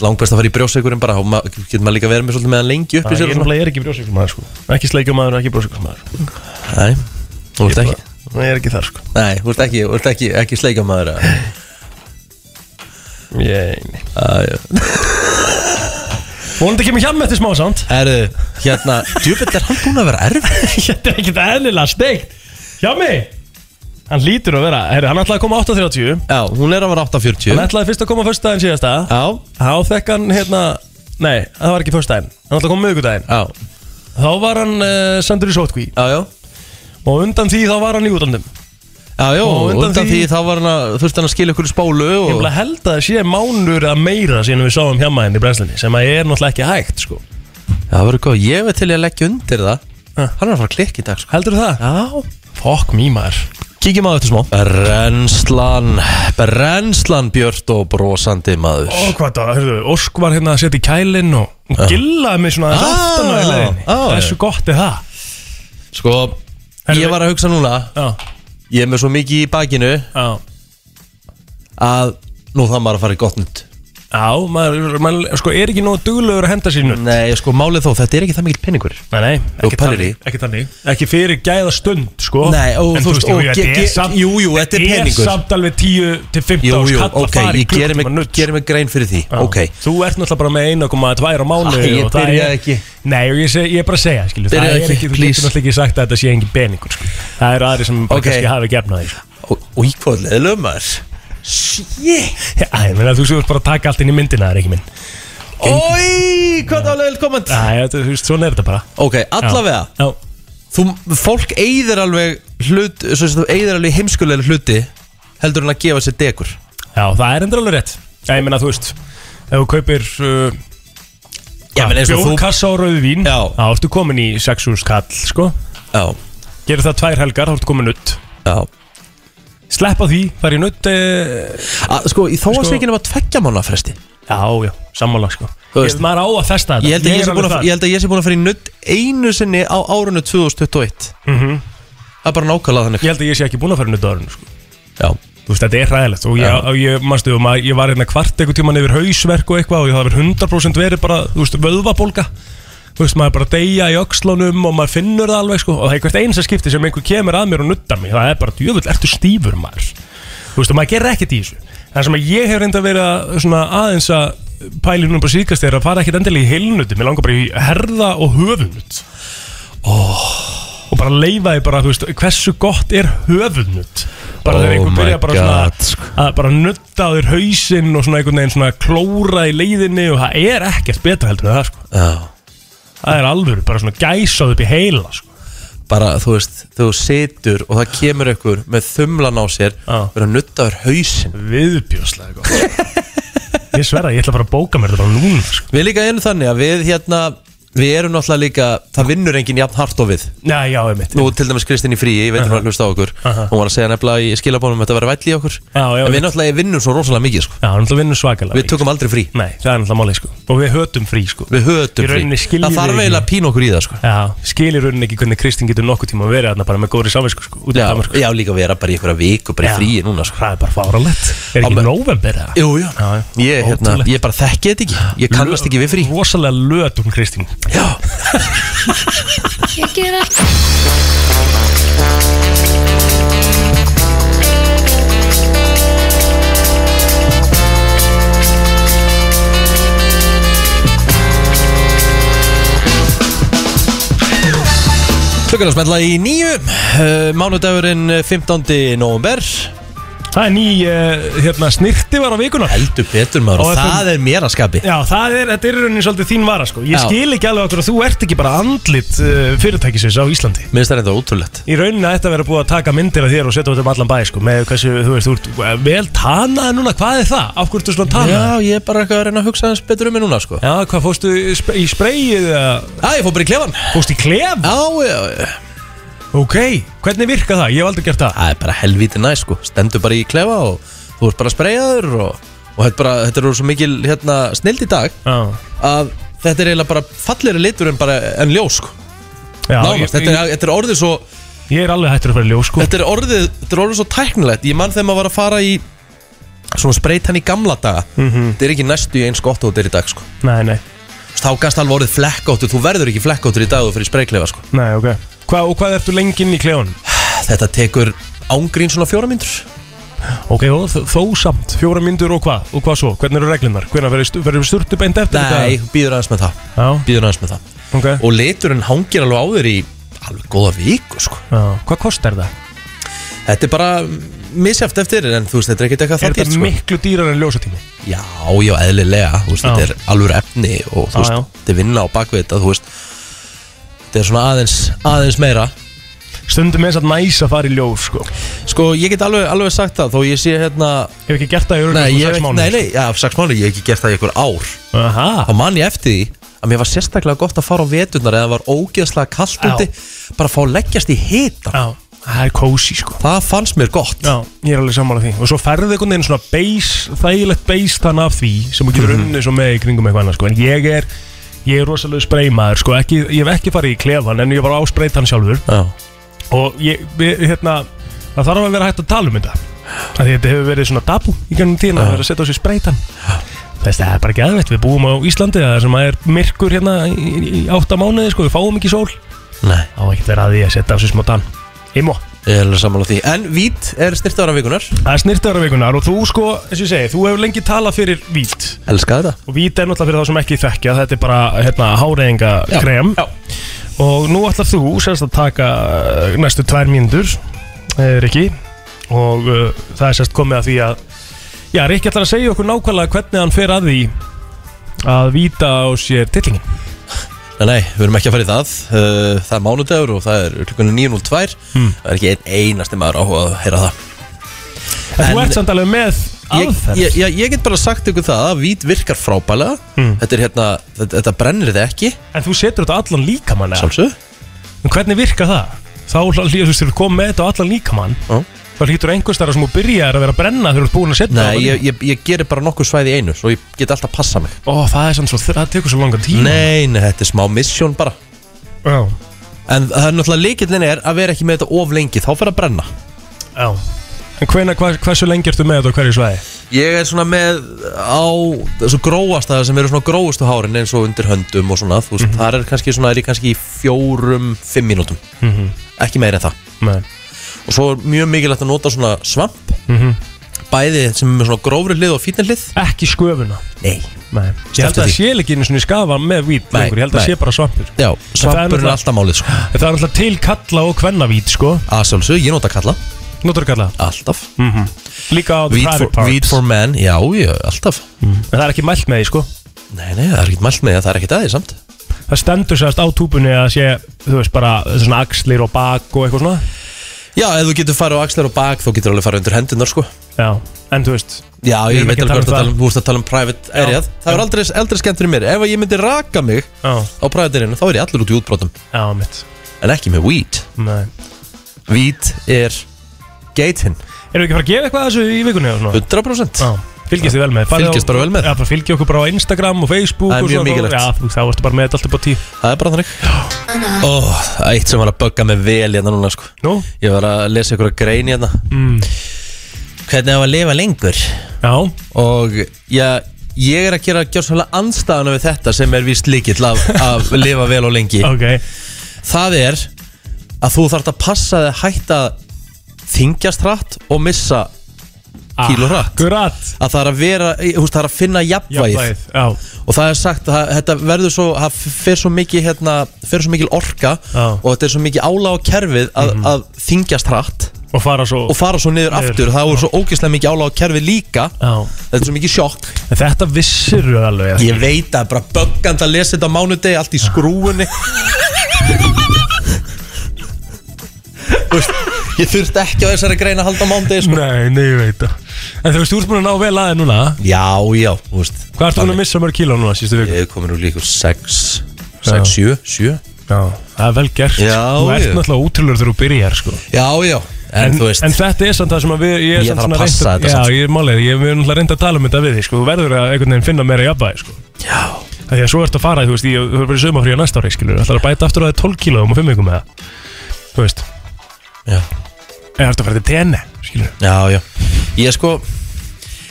Speaker 1: Langbest að fara í brjósegurinn bara og ma- getur maður líka verið með svolítið meðan lengi upp í
Speaker 2: Ég
Speaker 1: sér
Speaker 2: er
Speaker 1: og svona
Speaker 2: náttúrulega- ég er ekki brjósikumaður sko Ekki sleikjumaður, ekki brjósikumaður
Speaker 1: Nei, þú ert ekki
Speaker 2: Ég er ekki þar sko
Speaker 1: Nei, þú ert ekki, þú ert ekki, ekki sleikamæður
Speaker 2: Ég, nei Vonandi kemur hjá með þetta smá samt
Speaker 1: Herðu, hérna, djúbill er hann búin að vera erfið
Speaker 2: Þetta er ekkert eðlilega steikt Hjá mig Hann lítur að vera Herri, hann ætlaði að koma 8.30
Speaker 1: Já, hún er að vera
Speaker 2: Hann
Speaker 1: 8.40
Speaker 2: ætlaði fyrst að koma föstudaginn síðasta
Speaker 1: Já,
Speaker 2: Þá fekk hann hérna Nei, það var ekki föstudaginn Hann ætlaði að koma miðgudaginn
Speaker 1: já,
Speaker 2: Þá var hann uh, sendur í sótkví
Speaker 1: já, já
Speaker 2: Og undan því þá var hann í útlandum
Speaker 1: Já, já,
Speaker 2: Og
Speaker 1: undan,
Speaker 2: undan
Speaker 1: undan því,
Speaker 2: því-
Speaker 1: þá var hann að, þú veist hann að skilja ykkur í spólu
Speaker 2: Ég vil
Speaker 1: og
Speaker 2: að held að það sé mánur að meira Síðan við sáum hjá maður í brenslinni Sem að er náttúrulega ekki hægt sko
Speaker 1: Já, það verður góð, ég veit til ég að leggja undir það
Speaker 2: Ha.
Speaker 1: Hann er að fara að klikka í dag, sko
Speaker 2: Heldur það?
Speaker 1: Já,
Speaker 2: Fokk mýmar
Speaker 1: Kíkjum á þetta smá Brennslan Brennslan Björt og brosandi maður
Speaker 2: Ó, hvað það, hörðu, Ósk var hérna að setja í kælinn og hún gillaði mig svona aðeins
Speaker 1: Ah,
Speaker 2: aftan á í leiðinni.
Speaker 1: ah,
Speaker 2: Þessu gott er það.
Speaker 1: Sko, ég var að hugsa núna
Speaker 2: Já,
Speaker 1: Ég er með svo mikið í bakinu
Speaker 2: já.
Speaker 1: Að nú það maður að fara í gott nutt
Speaker 2: Já, maður, maður sko, er ekki nógu duglegur að henda sér nutt.
Speaker 1: Nei, sko, málið þó, þetta er ekki það mikill penningur
Speaker 2: Nei, nei,
Speaker 1: Þú
Speaker 2: ekki
Speaker 1: pælir í.
Speaker 2: þannig. Ekki þannig. Ekki fyrir gæða stund, sko.
Speaker 1: Nei, og
Speaker 2: En
Speaker 1: þú veist, og
Speaker 2: jú,
Speaker 1: ge-
Speaker 2: þetta
Speaker 1: ge-
Speaker 2: er samt-
Speaker 1: jú, jú, þetta er peningur.
Speaker 2: Þetta er samt alveg 10 til 15
Speaker 1: Jú, jú,
Speaker 2: árs kall
Speaker 1: ok,
Speaker 2: að fara í
Speaker 1: ég gerir mig,
Speaker 2: klukkutíma nudd,
Speaker 1: gerir mig grein fyrir því
Speaker 2: Já.
Speaker 1: Ok,
Speaker 2: Þú ert náttúrulega bara með einu koma tvær á mánu
Speaker 1: Æ, ég byrjaði ekki.
Speaker 2: Nei, og ég, seg, ég er bara að segja, skilju Það
Speaker 1: Byrjaði
Speaker 2: er
Speaker 1: ekki,
Speaker 2: ekki, þú
Speaker 1: please.
Speaker 2: getur náttúrulega ekki sagt að þetta sé engin peningur skilju. Það eru aðri sem bara
Speaker 1: Ok.
Speaker 2: kannski hafi gefnað því
Speaker 1: og, og í hvað leðlum maður Shit
Speaker 2: Æ, menn að þú séu bara að taka allt inn í myndina, það er ekki minn
Speaker 1: Ói, hvað það var velkomand
Speaker 2: Æ, þetta, þú veist, svona er þetta bara
Speaker 1: Ok, allavega
Speaker 2: Já,
Speaker 1: þú, Fólk eyðir alveg hlut Svo sem þú eyðir alveg heimskulega hluti Heldur hann að gefa sér degur
Speaker 2: já það er endur alveg rétt Já, ég meina, þú veist Ef þú kaupir uh,
Speaker 1: Já, menn eins og þú
Speaker 2: bjórkassa og rauðu vín
Speaker 1: Já.
Speaker 2: Þá ertu komin í 600 skall, sko
Speaker 1: Já,
Speaker 2: Gerir það tvær helgar, þá ertu komin nutt
Speaker 1: já
Speaker 2: Sleppa því, fara í nutt uh,
Speaker 1: A, Sko, í
Speaker 2: Sko-
Speaker 1: þóasveikinu var tveggja mánu fresti
Speaker 2: Já, já, sammála, sko
Speaker 1: Þú veist-
Speaker 2: Ég veist, maður á að festa þetta
Speaker 1: Ég held að ég
Speaker 2: er
Speaker 1: sé
Speaker 2: alveg
Speaker 1: búin að,
Speaker 2: þar.
Speaker 1: ég held að, ég sé búin að fara í nudd einu sinni á árunni 2021 Það er bara nákvæmlega þannig
Speaker 2: Mhm. Ég held að ég sé ekki búin að fara nutt árun sko.
Speaker 1: Já,
Speaker 2: Þú veist, þetta er ræðilegt og ég, og ég, manstu, og maður, ég var hérna kvart einhvern tíman yfir hausverk og eitthvað og ég það verið 100% verið bara, þú veist, vöðvabólga Þú veist, maður er bara að deyja í öxlunum og maður finnur það alveg, sko og það er hvert eins að skipti sem einhver kemur að mér og nuttar mig það er bara, djöfull, ertu stífur maður Þú veist, og maður gerir ekkert í þessu Það sem að ég hef reynda verið að, svona, aðeins að pæli núna bara síðkast er að fara ekkert endilega í heilnuti mér langar bara í herða og höfunutt
Speaker 1: Oh.
Speaker 2: og bara leifa því bara, þú veist, hversu gott er höfuðnutt bara þegar
Speaker 1: Oh
Speaker 2: einhver
Speaker 1: my
Speaker 2: byrja bara
Speaker 1: God, sko.
Speaker 2: svona að bara nutta á þér hausinn og svona einhvern veginn svona klóra í leiðinni og það er ekkert betra heldur en það sko
Speaker 1: já
Speaker 2: það er alvöru, bara svona gæsað upp í heila sko.
Speaker 1: Bara, þú veist, þú situr og það kemur ykkur með þumlan á sér
Speaker 2: Já.
Speaker 1: Verður að nuttaður hausinn
Speaker 2: viðbjóðslega gott ég sverða, ég ætla bara að bóka mér þetta bara núna sko.
Speaker 1: Við líka erum þannig að við hérna Við erum náttúrulega líka, það vinnur enginn jafn hart og við
Speaker 2: já, já, ég mitt
Speaker 1: Nú til dæmis Kristinn í fríi, ég veit að hún var að hlusta á okkur
Speaker 2: Aha.
Speaker 1: Hún var að segja nefnilega í skilabónum að þetta var væll í okkur
Speaker 2: Já, já,
Speaker 1: En við
Speaker 2: ég-
Speaker 1: náttúrulega vinnum svo rosalega mikið sko.
Speaker 2: já, hann ætla að vinna svakalega
Speaker 1: Við tökum aldrei frí,
Speaker 2: nei, það er náttúrulega málið sko og við hötum frí sko
Speaker 1: við hötum
Speaker 2: Í rauninni
Speaker 1: frí
Speaker 2: skiljum
Speaker 1: Það
Speaker 2: við
Speaker 1: þarf
Speaker 2: ekki.
Speaker 1: eiginlega að pína okkur í það sko.
Speaker 2: já, skilir raunin ekki hvernig Kristinn getur nokkuð tíma að vera þarna bara með góðri samvisku sko, út í
Speaker 1: já,
Speaker 2: Danmark
Speaker 1: já, líka vera bara í einhverja vik og bara í
Speaker 2: Já.
Speaker 1: fríi núna sko.
Speaker 2: Það er bara fáralett
Speaker 1: Á,
Speaker 2: Er ekki
Speaker 1: men-
Speaker 2: november eða?
Speaker 1: Jú, jú,
Speaker 2: Já, já.
Speaker 1: ég, hérna,
Speaker 2: Ótrúlegt.
Speaker 1: ég bara þekki þetta ekki Ég kannast ekki við frí
Speaker 2: Rosalega löt um Kristín
Speaker 1: Já, klukkan að smetla í nýju uh, Mánudagurinn eh, 15. november
Speaker 2: Það er ný uh, hérna, snirti var á vikuna
Speaker 1: Heldur betur maður
Speaker 2: Og
Speaker 1: og
Speaker 2: FM.
Speaker 1: það er mér að skapi
Speaker 2: Já, það er, þetta er í rauninni svolítið þín vara sko Ég
Speaker 1: Já.
Speaker 2: skil ekki alveg okkur að þú ert ekki bara andlit uh, fyrirtækisins á Íslandi
Speaker 1: Minnst það er þetta ótrúlegt
Speaker 2: Í rauninni ætti að vera búið að taka myndir af þér og setja út um allan bæ sko Með hversu, þú veist, þú ert eh, vel tanaði núna, hvað er það? Af hverju ertu svona tanaði?
Speaker 1: Já, ég er bara eitthvað að reyna að hugsa aðeins betur um mig núna sko.
Speaker 2: Já, hvað fórstu í sp- í spreyið? eða
Speaker 1: Æ, ég fór bara í klefan
Speaker 2: Fórstu í klef?
Speaker 1: Já, já, já.
Speaker 2: Ok, hvernig virka það? Ég hef aldrei gert það
Speaker 1: það er bara helvítið næ sko. Stendur bara í klefa og þú ert bara spreyjaður og, og þetta, er bara, þetta eru svo mikil hérna, snild í dag
Speaker 2: Já,
Speaker 1: að þetta er eiginlega bara fallegri litur en, bara, en ljós sko.
Speaker 2: Já
Speaker 1: Nánast,
Speaker 2: ég,
Speaker 1: þetta, er, þetta er orðið svo
Speaker 2: ég er alveg hættur að fara í ljós sko
Speaker 1: Þetta er orðið, þetta er orðið svo tæknilegt Ég mann þegar maður var að fara í Svona spreyt hann í gamla daga
Speaker 2: Mhm.
Speaker 1: Þetta er ekki næstu í eins gott og þetta er í dag sko.
Speaker 2: Nei, nei,
Speaker 1: Þá gasta alveg orðið flekkóttur Þú verður ekki flekkóttur í dag og fyrir spreyklefa sko.
Speaker 2: nei, ok Hva, Og hvað ertu lengi inn í klefunum?
Speaker 1: Þetta tekur ángrín svona fjóra myndur
Speaker 2: Ok, og þó, þó samt, fjóra myndur og hvað? Og hvað svo? Hvernig eru reglunar? Hvernig verður stu- verður sturtu beint eftir
Speaker 1: Nei, býður aðeins með það
Speaker 2: Já,
Speaker 1: Býður aðeins með það
Speaker 2: ok
Speaker 1: Og liturinn hangir alveg á þér í Alveg góða viku sko.
Speaker 2: Já. Hvað kostar það?
Speaker 1: Þetta er bara mm, misjafnt eftir En þú veist, þetta er ekkert eitthvað
Speaker 2: Er
Speaker 1: það
Speaker 2: þetta
Speaker 1: dýrt sko.
Speaker 2: miklu dýrar en ljósatími?
Speaker 1: Já, já, eðlilega þú veist,
Speaker 2: Já.
Speaker 1: Þetta er alveg efni og þú
Speaker 2: Já,
Speaker 1: veist,
Speaker 2: já.
Speaker 1: þetta er vinna á bakvið þetta þú veist, Þetta er svona aðeins, aðeins meira
Speaker 2: Stundum eins að næs að fara í ljós, sko Ef
Speaker 1: Sko, ég get alveg, alveg sagt það Þó ég sé hérna
Speaker 2: ekki gert það í
Speaker 1: Nei,
Speaker 2: örgum
Speaker 1: ég, hef- nei,
Speaker 2: sko.
Speaker 1: nei, já, sex mánuði, ég hef ekki gert það í einhver ár
Speaker 2: Aha,
Speaker 1: Þá man ég eftir því að mér var sérstaklega gott að fara á veturnar eða var ógeðslega kalt
Speaker 2: Já.
Speaker 1: úti Bara að fá að leggjast í hita
Speaker 2: já, það er kósi, sko
Speaker 1: Það fannst mér gott
Speaker 2: Já, ég er alveg sammála því Og svo ferði einhvern veginn svona beis, þægilegt beis þann af því sem þú getur unnið svo með í kringum eitthvað annað sko. En ég er, ég er rosalega spreymaður sko. ekki, Ég hef ekki farið í klefan en ég var á spreytan sjálfur
Speaker 1: Já,
Speaker 2: Og ég, við, hérna, það þarf að vera hægt að tala um þetta Af Því þetta hefur verið svona tabu í gennum tíðina að vera að setja á sig spreytan Þess, það er bara geðveitt, við búum á Íslandi það sem að er myrkur hérna í, í, í átta mánuði sko, við fáum ekki sól
Speaker 1: nei,
Speaker 2: Á ekkert vera að því að setja á sig smá tann Imo
Speaker 1: ég er alveg sammála því En vít er styrtavara vikunar
Speaker 2: Það er snirtavaraveikunar og þú sko, eins og ég segi, þú hefur lengi talað fyrir vít
Speaker 1: Elska þetta
Speaker 2: og vít er náttúrulega fyrir þá sem ekki þekkja, þetta er bara hérna, háreðinga krem já. og nú ætlar þú sérst að taka eh, næstu tvær mínútur, eh, Rikki og uh, það er sérst komið að því að já, Rikki ætlar að segja okkur nákvæmlega hvernig hann fer að því að víta á sér tillingin
Speaker 1: Nei, Nei, við erum ekki að fara í það Uh, Það er mánudagur og það er klukkunni 9.02 Það er ekki einn einasti maður áhuga að heyra það
Speaker 2: En þú
Speaker 1: En-
Speaker 2: ert samt alveg með
Speaker 1: ég,
Speaker 2: aðferð
Speaker 1: ég, ég, ég get bara sagt ykkur það að vít virkar frábælega þetta, er hérna, þetta, þetta brennir þið ekki
Speaker 2: En þú setur þetta á allan líkamann eða?
Speaker 1: Sjálfsög
Speaker 2: En hvernig virka það? Þá hlýtur þú veist, þegar þú kom með þetta á allan líkamann
Speaker 1: Já.
Speaker 2: Þá hlýtur einhvers þar sem þú byrjar að vera að brenna þegar þú ert búin að setja
Speaker 1: Nei,
Speaker 2: það á
Speaker 1: ég, ég, ég gerir bara nokkur svæði í einu Svo ég get alltaf að passa mig
Speaker 2: Ó, það er samt svo, það tekur svo langan
Speaker 1: Hmm.
Speaker 2: tíma
Speaker 1: Nei, nei, þetta er smá misjón bara
Speaker 2: Já,
Speaker 1: En það er náttúrulega líkillin er að vera ekki með þetta of lengi Þá fer að brenna
Speaker 2: já En hvena, hva, hversu lengi ertu með þetta og hverju svæði?
Speaker 1: Ég er svona með á þessu gróasta sem eru svona gróustu hárin eins og undir höndum og svona þú veist,
Speaker 2: Mhm.
Speaker 1: þar er kannski svona, er ég kannski í fjórum, fimm mínútum
Speaker 2: Mhm.
Speaker 1: ekki meira en það
Speaker 2: Nei
Speaker 1: og svo er mjög mikilvægt að nota svona svamp
Speaker 2: Mhm.
Speaker 1: bæði sem er með svona grófri hlið og fínir hlið
Speaker 2: Ekki sköfuna
Speaker 1: Nei
Speaker 2: Nei Ég held
Speaker 1: Slepptu því.
Speaker 2: að það sé ekki einu svona skafa með vít
Speaker 1: Nei,
Speaker 2: lengur Ég held að það
Speaker 1: nei.
Speaker 2: sé bara svampur
Speaker 1: Já,
Speaker 2: það er
Speaker 1: svampur er
Speaker 2: náttúrulega-
Speaker 1: alltaf málið sko
Speaker 2: En Það er alltaf til kalla og kvenna vít sko
Speaker 1: Aðsjálfsög, ég nota kalla
Speaker 2: Notur kalla
Speaker 1: Alltaf
Speaker 2: Mm. Líka á the
Speaker 1: Weed for,
Speaker 2: private parts
Speaker 1: weed for man, já, já, alltaf
Speaker 2: En það er ekki mælt með því sko
Speaker 1: Nei, nei, það er ekkert mælt með það, það er ekkert aðeins samt
Speaker 2: Það stendur sérst á túpunni að sé, þú veist, bara svona axlir og bak og eitthvað svona.
Speaker 1: Já, ef þú getur farið á axlar og bak, þú getur alveg farið undir hendunar sko
Speaker 2: Já, en þú veist,
Speaker 1: Já,
Speaker 2: Við
Speaker 1: ég
Speaker 2: erum
Speaker 1: veit
Speaker 2: ekki að
Speaker 1: alveg hvort
Speaker 2: tala um
Speaker 1: að tala
Speaker 2: það.
Speaker 1: um, þú veist að tala um private areað Það
Speaker 2: já.
Speaker 1: er aldrei, aldrei skemmt fyrir mér Ef að ég myndi raka mig
Speaker 2: já,
Speaker 1: á private areaðinu, þá er ég allur út í útbrotum
Speaker 2: já, mitt.
Speaker 1: En ekki með weed
Speaker 2: Nei.
Speaker 1: Weed er geitin
Speaker 2: Erum við ekki að fara að gefa eitthvað að þessu í vikunni og svona?
Speaker 1: 100%
Speaker 2: Já, fylgjast þið vel með. Farið
Speaker 1: Fylgjast
Speaker 2: á-
Speaker 1: bara vel með.
Speaker 2: Já, bara fylgja okkur bara á Instagram og Facebook
Speaker 1: Það er
Speaker 2: og
Speaker 1: mjög
Speaker 2: svona.
Speaker 1: mikilvægt.
Speaker 2: Já, þú veist, þá varstu bara með þetta allt upp á tíu.
Speaker 1: Það er bara þannig Ó, það er eitt sem var að bögga mig vel hérna núna sko
Speaker 2: Nú?
Speaker 1: Ég var að lesa ykkur að grein hérna
Speaker 2: Mm.
Speaker 1: Hvernig á að lifa lengur
Speaker 2: Já,
Speaker 1: Og já, ég er að gera gjörsvæmlega andstæðuna við þetta sem er víst líkill af, af lifa vel og lengi
Speaker 2: ok.
Speaker 1: Það er að þú þarft að passa þig að hætta að þingjast hratt og missa kíló hratt
Speaker 2: Akkurat.
Speaker 1: að það er að vera, þú veist, það er að finna jafnvægið
Speaker 2: Jafnvægið, já.
Speaker 1: og það er sagt að þetta verður svo það fer svo mikið hérna, fer svo mikil orka
Speaker 2: Já.
Speaker 1: og þetta er svo mikið álag á kerfið að, að þingjast hratt
Speaker 2: Og fara svo.
Speaker 1: og fara svo niður
Speaker 2: Niður,
Speaker 1: aftur það er svo ógeðslega mikið álag á kerfið líka
Speaker 2: Já.
Speaker 1: þetta er svo mikið sjokk
Speaker 2: En Þetta vissir alveg.
Speaker 1: ég veit að bara böggand að lesa þetta á mánudegi allt í skrúunni Þú veist, ég þurfti ekki á þessari grein að halda á mánudegi sko.
Speaker 2: Nei, nei, ég veit það. En þú veist, þú ert búin að ná vel aðeins núna.
Speaker 1: já, já, þú veist
Speaker 2: Hvað ertu búin að missa mörg kíló núna síðustu viku?
Speaker 1: ég er komin úr líkur 6 6, 7, 7
Speaker 2: Já, það er vel gert
Speaker 1: Já,
Speaker 2: Þú ert
Speaker 1: ég.
Speaker 2: náttúrulega útrúlega þegar þú byrjar sko.
Speaker 1: já, já, en, þú veist
Speaker 2: en þetta er samt það sem að við Ég,
Speaker 1: Ég
Speaker 2: samt
Speaker 1: þarf að
Speaker 2: svona reynt
Speaker 1: passa þetta
Speaker 2: Já,
Speaker 1: samt.
Speaker 2: ég er málið Ég við erum náttúrulega reynd að tala um þetta við þig sko. Þú verður að einhvern veginn finna meira jafnvægi sko.
Speaker 1: já
Speaker 2: Það því að svo ertu að fara Þú veist, ég þú verður bara í sömafríu næsta ári skilur. Það er að bæta aftur á það 12 kílóum og 5 um vikum með það Þú veist
Speaker 1: Já.
Speaker 2: Eða ertu að fara til TN skilur.
Speaker 1: Já, já Ég sko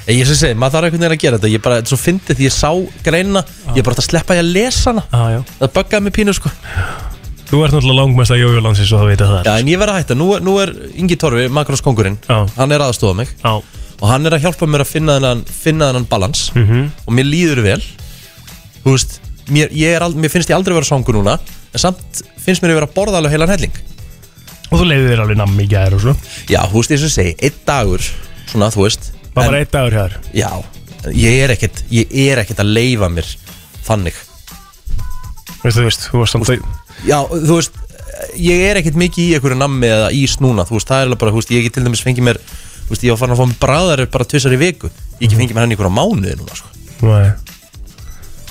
Speaker 1: Ég sem segi, maður þarf einhvern veginn að gera þetta Ég bara, þetta er svo fyndið því ég sá greina Ég bara þetta sleppa ég að lesa hana
Speaker 2: ah, já.
Speaker 1: Það buggaði mig pínu sko
Speaker 2: Þú ert náttúrulega langmesta jójólandsins og það veit að það
Speaker 1: Já, en ég verð að hætta, nú, er- nú er Ingi Torfi, Magnús Kongurinn
Speaker 2: Já.
Speaker 1: Hann er aðstofa mig
Speaker 2: Já,
Speaker 1: Og hann er að hjálpa mér að finna þennan, finna þennan balans -hmm. Og mér líður vel Þú veist, mér, ég er ald, mér finnst ég aldrei vera svangur núna En samt finnst mér ég vera að borða alveg heilan helling
Speaker 2: og þú leiðir þér alveg nammi í gæðir og svo
Speaker 1: Já, þú veist, ég sem segi, einn dagur Svona, þú veist
Speaker 2: Bara
Speaker 1: en-
Speaker 2: bara eitt dagur hjá þér
Speaker 1: Já, ég er ekkert, ég er ekkert að leifa mér þannig
Speaker 2: Veistu, þú veist, þú varst samt að-
Speaker 1: Já, þú veist, ég er ekkert mikið í einhverju nammi eða ís núna Þú veist, það er alveg bara, þú veist, ég get til dæmis fengið mér Þú veist, ég var farin að fá mér bræðar bara tvisar í viku Ég get fengið mér hann í einhverja mánuði núna, sko
Speaker 2: Nei.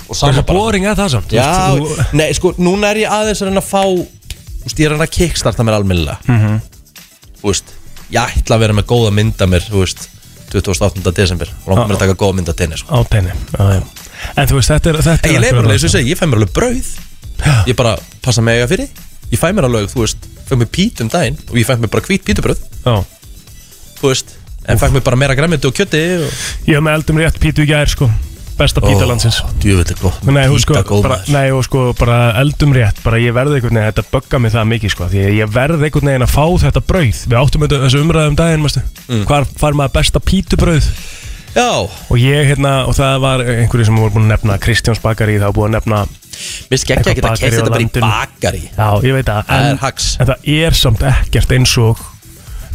Speaker 1: Og
Speaker 2: Það er
Speaker 1: sama
Speaker 2: svo boring að það samt þú
Speaker 1: Já,
Speaker 2: veist, þú-
Speaker 1: nei, sko, núna er ég aðeins að reyna að fá Þú veist, ég er að reyna að kickstarta mér almennilega
Speaker 2: Mhm.
Speaker 1: Þú veist, ég ætla að vera með góða mynda mér, þú veist 28. desember,
Speaker 2: Ah,
Speaker 1: langar mér að taka góða mynda tenni, sko
Speaker 2: á tenni já, já. en þú veist þetta er þetta
Speaker 1: En
Speaker 2: er
Speaker 1: ég leif bara
Speaker 2: akkurat
Speaker 1: alveg, þess að segja, ég fæ mér alveg brauð Ég bara passa mig að eiga fyrir Ég fæ mér alveg, þú veist, fæ mér pít um daginn Og ég fæ mér bara hvít pítubröð,
Speaker 2: Já.
Speaker 1: þú veist En fæ mér bara meira græmiti og kjöti og...
Speaker 2: ég hef með eldum rétt pítu í gær sko besta píta landsins
Speaker 1: Djöfull er gott
Speaker 2: Nei, hún sko,
Speaker 1: Píta góð
Speaker 2: bara,
Speaker 1: maður.
Speaker 2: nei, og sko, bara eldum rétt, bara ég verði einhvern veginn, þetta bögga mig það mikið, sko, því að ég verði einhvern veginn að fá þetta brauð, við áttum þetta, þessu umræðum daginn, mástu,
Speaker 1: Mm.
Speaker 2: hvar far maður besta pítubrauð,
Speaker 1: Já,
Speaker 2: og ég, hérna, og það var einhverju sem voru búin að nefna, Kristjáns Bakari, það var búin að nefna,
Speaker 1: mér skekja
Speaker 2: Eitthvað
Speaker 1: ekki að
Speaker 2: bakarí
Speaker 1: kæta
Speaker 2: á
Speaker 1: þetta bara í
Speaker 2: landinu.
Speaker 1: bakari
Speaker 2: já, ég veit að,
Speaker 1: Það
Speaker 2: en,
Speaker 1: er hax.
Speaker 2: en það er samt ekkert eins og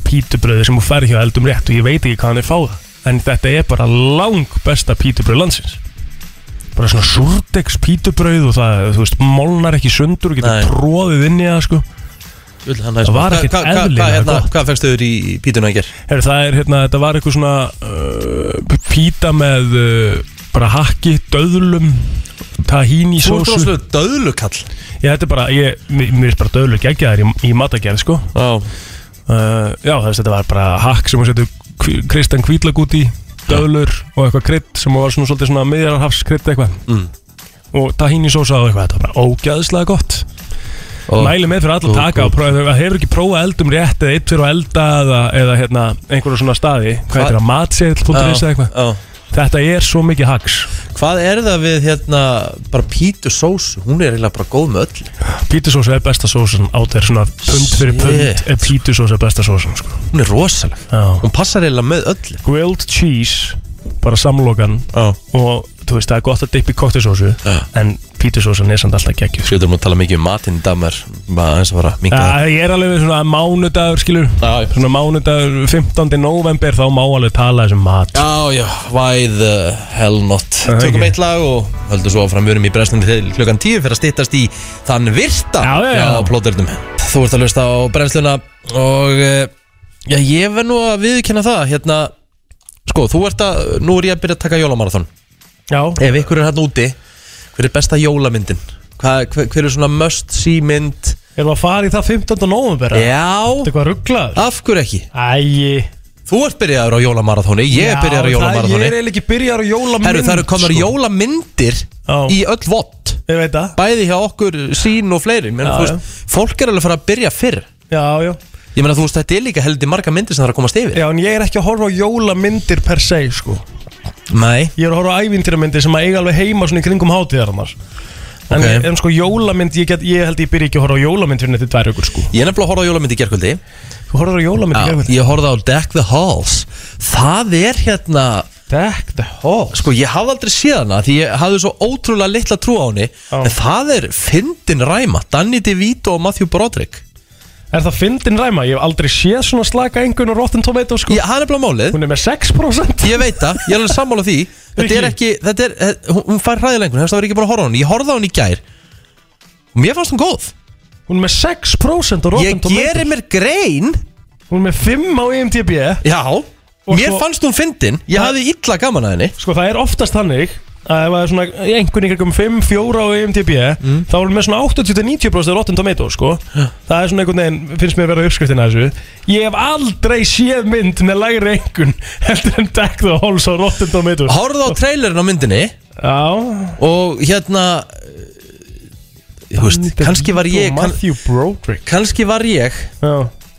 Speaker 2: pítubröði sem þú færð hjá eldum rétt og ég veit ekki hvað hann er fáð en þetta er bara lang besta pítubröð landsins bara svona súrdegs pítubrauð og það, þú veist, molnar ekki sundur og
Speaker 1: Nei.
Speaker 2: getur tróðið inn í það, sko
Speaker 1: Ull, hann næst
Speaker 2: Það var
Speaker 1: Hva-
Speaker 2: ekkert
Speaker 1: hva- hva-
Speaker 2: eðlilega
Speaker 1: Hvað hérna,
Speaker 2: gott.
Speaker 1: hva fegstu þurr í pítuna að gera?
Speaker 2: Herru, það er, hérna, þetta var eitthvað svona uh, píta með uh, bara hakki, döðlum tahini
Speaker 1: Þú ert
Speaker 2: sósu
Speaker 1: roslu döðlukall
Speaker 2: Já, þetta er bara, ég, mér mér finnst bara döðlur geggjaðar í, í matagerð, sko
Speaker 1: Já,
Speaker 2: uh, Já, þess, þetta var bara hakk sem hún setur kví- Kristján Kvítlag út í döðlur og eitthvað krydd sem var svona svolítið svona miðjararhafskrydd eitthvað
Speaker 1: Mm.
Speaker 2: og tahini sósa og eitthvað, þetta var bara ógæðslega gott
Speaker 1: og
Speaker 2: Mæli með fyrir alla að
Speaker 1: og-
Speaker 2: taka
Speaker 1: og-
Speaker 2: og prófa það hefur ekki prófað eldum rétt eða eitt fyrir að elda eða, eða hérna, einhverja svona staði hvað
Speaker 1: Hvað-
Speaker 2: heitir það, matseðl.is eða eitthvað
Speaker 1: Já.
Speaker 2: Þetta er svo mikið hacks
Speaker 1: Hvað er það við hérna bara pítu sósu? Hún er eiginlega bara góð með öll
Speaker 2: Pítusósa er besta sósan á þér svona pund fyrir pund
Speaker 1: Shit.
Speaker 2: er pítusósa besta sósan sko.
Speaker 1: Hún er rosaleg
Speaker 2: Já.
Speaker 1: Hún passar eiginlega með öll
Speaker 2: grilled cheese bara samlokan
Speaker 1: Já
Speaker 2: og þú veist það er gott að dippa í koktisósu en pítusósan er samt alltaf geggjuð sko.
Speaker 1: Skjóðum að tala mikið um matinn í damer Bara eins og bara minga
Speaker 2: Já, ég er alveg svona mánudagur skilur
Speaker 1: Já, já.
Speaker 2: svona mánudagur 15. november þá má alveg tala þessum mat
Speaker 1: Já, já, why the hell not
Speaker 2: er
Speaker 1: Tökum
Speaker 2: ekki.
Speaker 1: eitt lag og höldum svo áfram Við erum í brennslunni til klukkan 10 fyrir að styttast í þann virta
Speaker 2: Já, já, já.
Speaker 1: hjá plóternum. Þú ert að hlusta á brennsluna og eh, já, ég verð nú að viðkynna það hérna, sko, þú ert að nú er ég að byrja að taka jólamarathon
Speaker 2: Já,
Speaker 1: Ef ykkur er hérna úti, hver er besta jólamyndin? Hva, hver, hver er svona must see mynd?
Speaker 2: erum við að fara í það 15. november eða? Ertu
Speaker 1: Já,
Speaker 2: eitthvað rugglaður?
Speaker 1: af hverju ekki?
Speaker 2: Æi
Speaker 1: Þú ert byrjaður á jólamarathoni, ég er byrjaður á
Speaker 2: Ég
Speaker 1: jólamarathoni
Speaker 2: er eiginlega ekki byrjar á jólamynd
Speaker 1: Herru, það eru komnar
Speaker 2: sko.
Speaker 1: jólamyndir
Speaker 2: Já.
Speaker 1: í öll vott
Speaker 2: Ég veit það
Speaker 1: Bæði hjá okkur, sín og fleiri Menn,
Speaker 2: Já,
Speaker 1: þú veist, Fólk er alveg að fara að byrja fyrr
Speaker 2: Já, já
Speaker 1: Ég meina, þú veist, þetta er líka heldur marga myndir sem það er að komast yfir
Speaker 2: Já, en ég er ekki að horfa á jólamyndir per se sko
Speaker 1: Nei,
Speaker 2: Ég er að horfa á ævintýramyndir sem að eiga alveg heima svona í kringum hátíðar annars En,
Speaker 1: Ok.
Speaker 2: en sko jólamynd, ég, get, ég held ég byrja ekki að horfa á jólamynd fyrir netti tvær ykkur sko
Speaker 1: ég er nefnilega að horfa á jólamynd í gerkvöldi
Speaker 2: Þú horfður á jólamynd í gerðvöld
Speaker 1: Ég horfði á Deck the Halls Það er hérna,
Speaker 2: Deck the hall
Speaker 1: sko, ég hafði aldrei séð hana Því ég hafði svo ótrúlega litla trú á henni En það er fyndin ræma Danny DeVito og Matthew Broderick
Speaker 2: Sko. Er það fyndin ræma? Ég hef aldrei séð svona slaka engun og Rotten Tomatoes sko
Speaker 1: Ég, hann er bara málið
Speaker 2: Hún er með 6%
Speaker 1: Ég veit það, ég er alveg sammála því Þetta er ekki, þetta er, eh, hún- hún fær hræðilengur Þess að vera ekki bara að horfa á hún, ég horfði á hún í gær Og mér fannst hún góð
Speaker 2: Hún er með 6% á Rotten
Speaker 1: Ég geri
Speaker 2: Tomatoes
Speaker 1: mér grein
Speaker 2: Hún er með 5 á E IMDb
Speaker 1: Já, mér
Speaker 2: svo-
Speaker 1: fannst hún fyndin Ég hafði illa gaman að henni
Speaker 2: Sko það er oftast þannig að ef það er svona einhvern ykkur um 5, 4 á IMDb
Speaker 1: Mm.
Speaker 2: þá erum við svona 80-90% Rotten Tomatoes sko það er svona einhvern veginn finnst mér að vera uppskriftin að þessu ég hef aldrei séð mynd með lægri einhvern heldur en Deck the Halls á Rotten Tomatoes
Speaker 1: Horfði á trailerin á myndinni
Speaker 2: Já
Speaker 1: Og hérna eh, Þú veist, kannski var ég kann,
Speaker 2: Matthew Broderick
Speaker 1: Kannski var ég
Speaker 2: Já,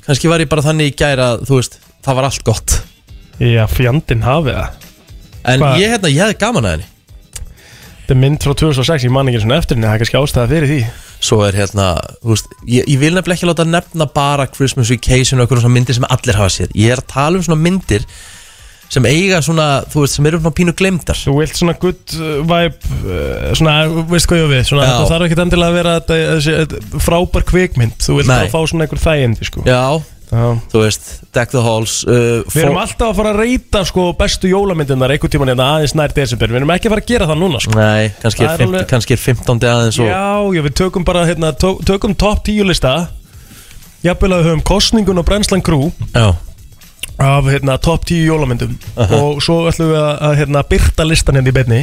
Speaker 1: Kannski var ég bara þannig í gær að, þú veist Það var allt gott
Speaker 2: já fjandinn hafi það
Speaker 1: En
Speaker 2: Hvað?
Speaker 1: ég, hérna, ég hefði gaman að henni
Speaker 2: Þetta er mynd frá 2006 ég man ekki svona eftir henni það er kannski ástæða fyrir því
Speaker 1: Svo er hérna, þú veist, ég, ég vil nefnilega ekki láta nefna bara Christmas Vacation og einhverjum svona myndir sem allir hafa séð. Ég er að tala um svona myndir sem eiga svona, þú veist, sem eru svona pínu glemdar.
Speaker 2: Þú vilt svona good uh, vibe uh, Svona, veist hvað ég á við svona,
Speaker 1: Já.
Speaker 2: Það þarf ekkert endilega að vera þetta, eh, þessi, þetta frábær kvikmynd Þú vilt
Speaker 1: Nei.
Speaker 2: bara fá svona einhver þægindi sko.
Speaker 1: Já,
Speaker 2: Já.
Speaker 1: þú veist, Deck the Halls. Uh,
Speaker 2: Við erum alltaf að fara að reyta sko, bestu jólamyndirnar einhvern tímann hérna aðeins nær desember Við erum ekki að fara að gera það núna sko.
Speaker 1: Nei, kannski
Speaker 2: Það
Speaker 1: er,
Speaker 2: er
Speaker 1: fimt,
Speaker 2: alveg-
Speaker 1: kannski er 15. aðeins og...
Speaker 2: Já, já, við tökum bara hérna, tó, tökum top 10 lista Jafnvel að við höfum kostningun og brennslan crew
Speaker 1: Já.
Speaker 2: af hérna, top 10 jólamyndum og svo ætlum við að, að hérna, byrta listan hérna í beinni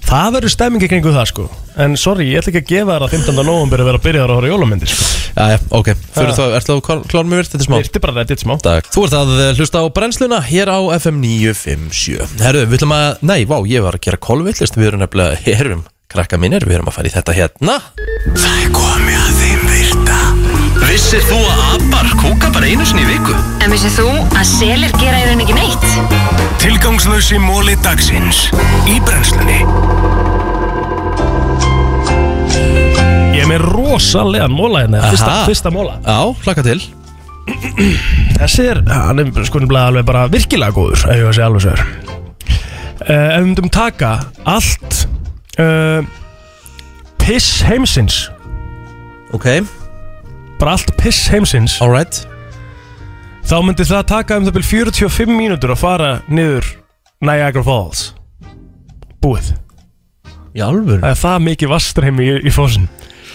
Speaker 2: Það verður stemmingi kringu það sko En sorry, ég ætla ekki að gefa þér að 15. november að vera að byrja að horfa á jólamyndir sko.
Speaker 1: Já, já, ok. Fyrir
Speaker 2: Já.
Speaker 1: þá, ertu þá klár- klár með virt þetta smá?
Speaker 2: Virti bara reddit smá
Speaker 1: Takk. Þú ert að eh, hlusta á brennsluna hér á FM 957 Herru, við ætlum að, nei, vá, ég var að gera kolvillist Við erum nefnilega, herrum, krakka mínir Við erum að fara í þetta hérna
Speaker 3: Það er komið að þeim virta Vissir þú að abar kúka bara einu sinni í viku?
Speaker 10: En vissið þú að selir gera í raun ekki neitt?
Speaker 3: Tilgangslösi móli dagsins Í brennslunni
Speaker 2: Ég er með rosalega móla hérna fyrsta,
Speaker 1: Aha.
Speaker 2: fyrsta móla
Speaker 1: Já, hlaka til
Speaker 2: Þessi er, hann er sko nefnilega alveg bara virkilega góður Ef ég var að segja alveg sér uh, Ef við myndum taka allt uh, Piss heimsins
Speaker 1: Ok,
Speaker 2: Bara allt piss heimsins
Speaker 1: alright
Speaker 2: Þá myndi það taka um það byrjum 45 mínútur að fara niður Niagara Falls Búið Í alvöru? Það er það mikið vastræmi í, í fósin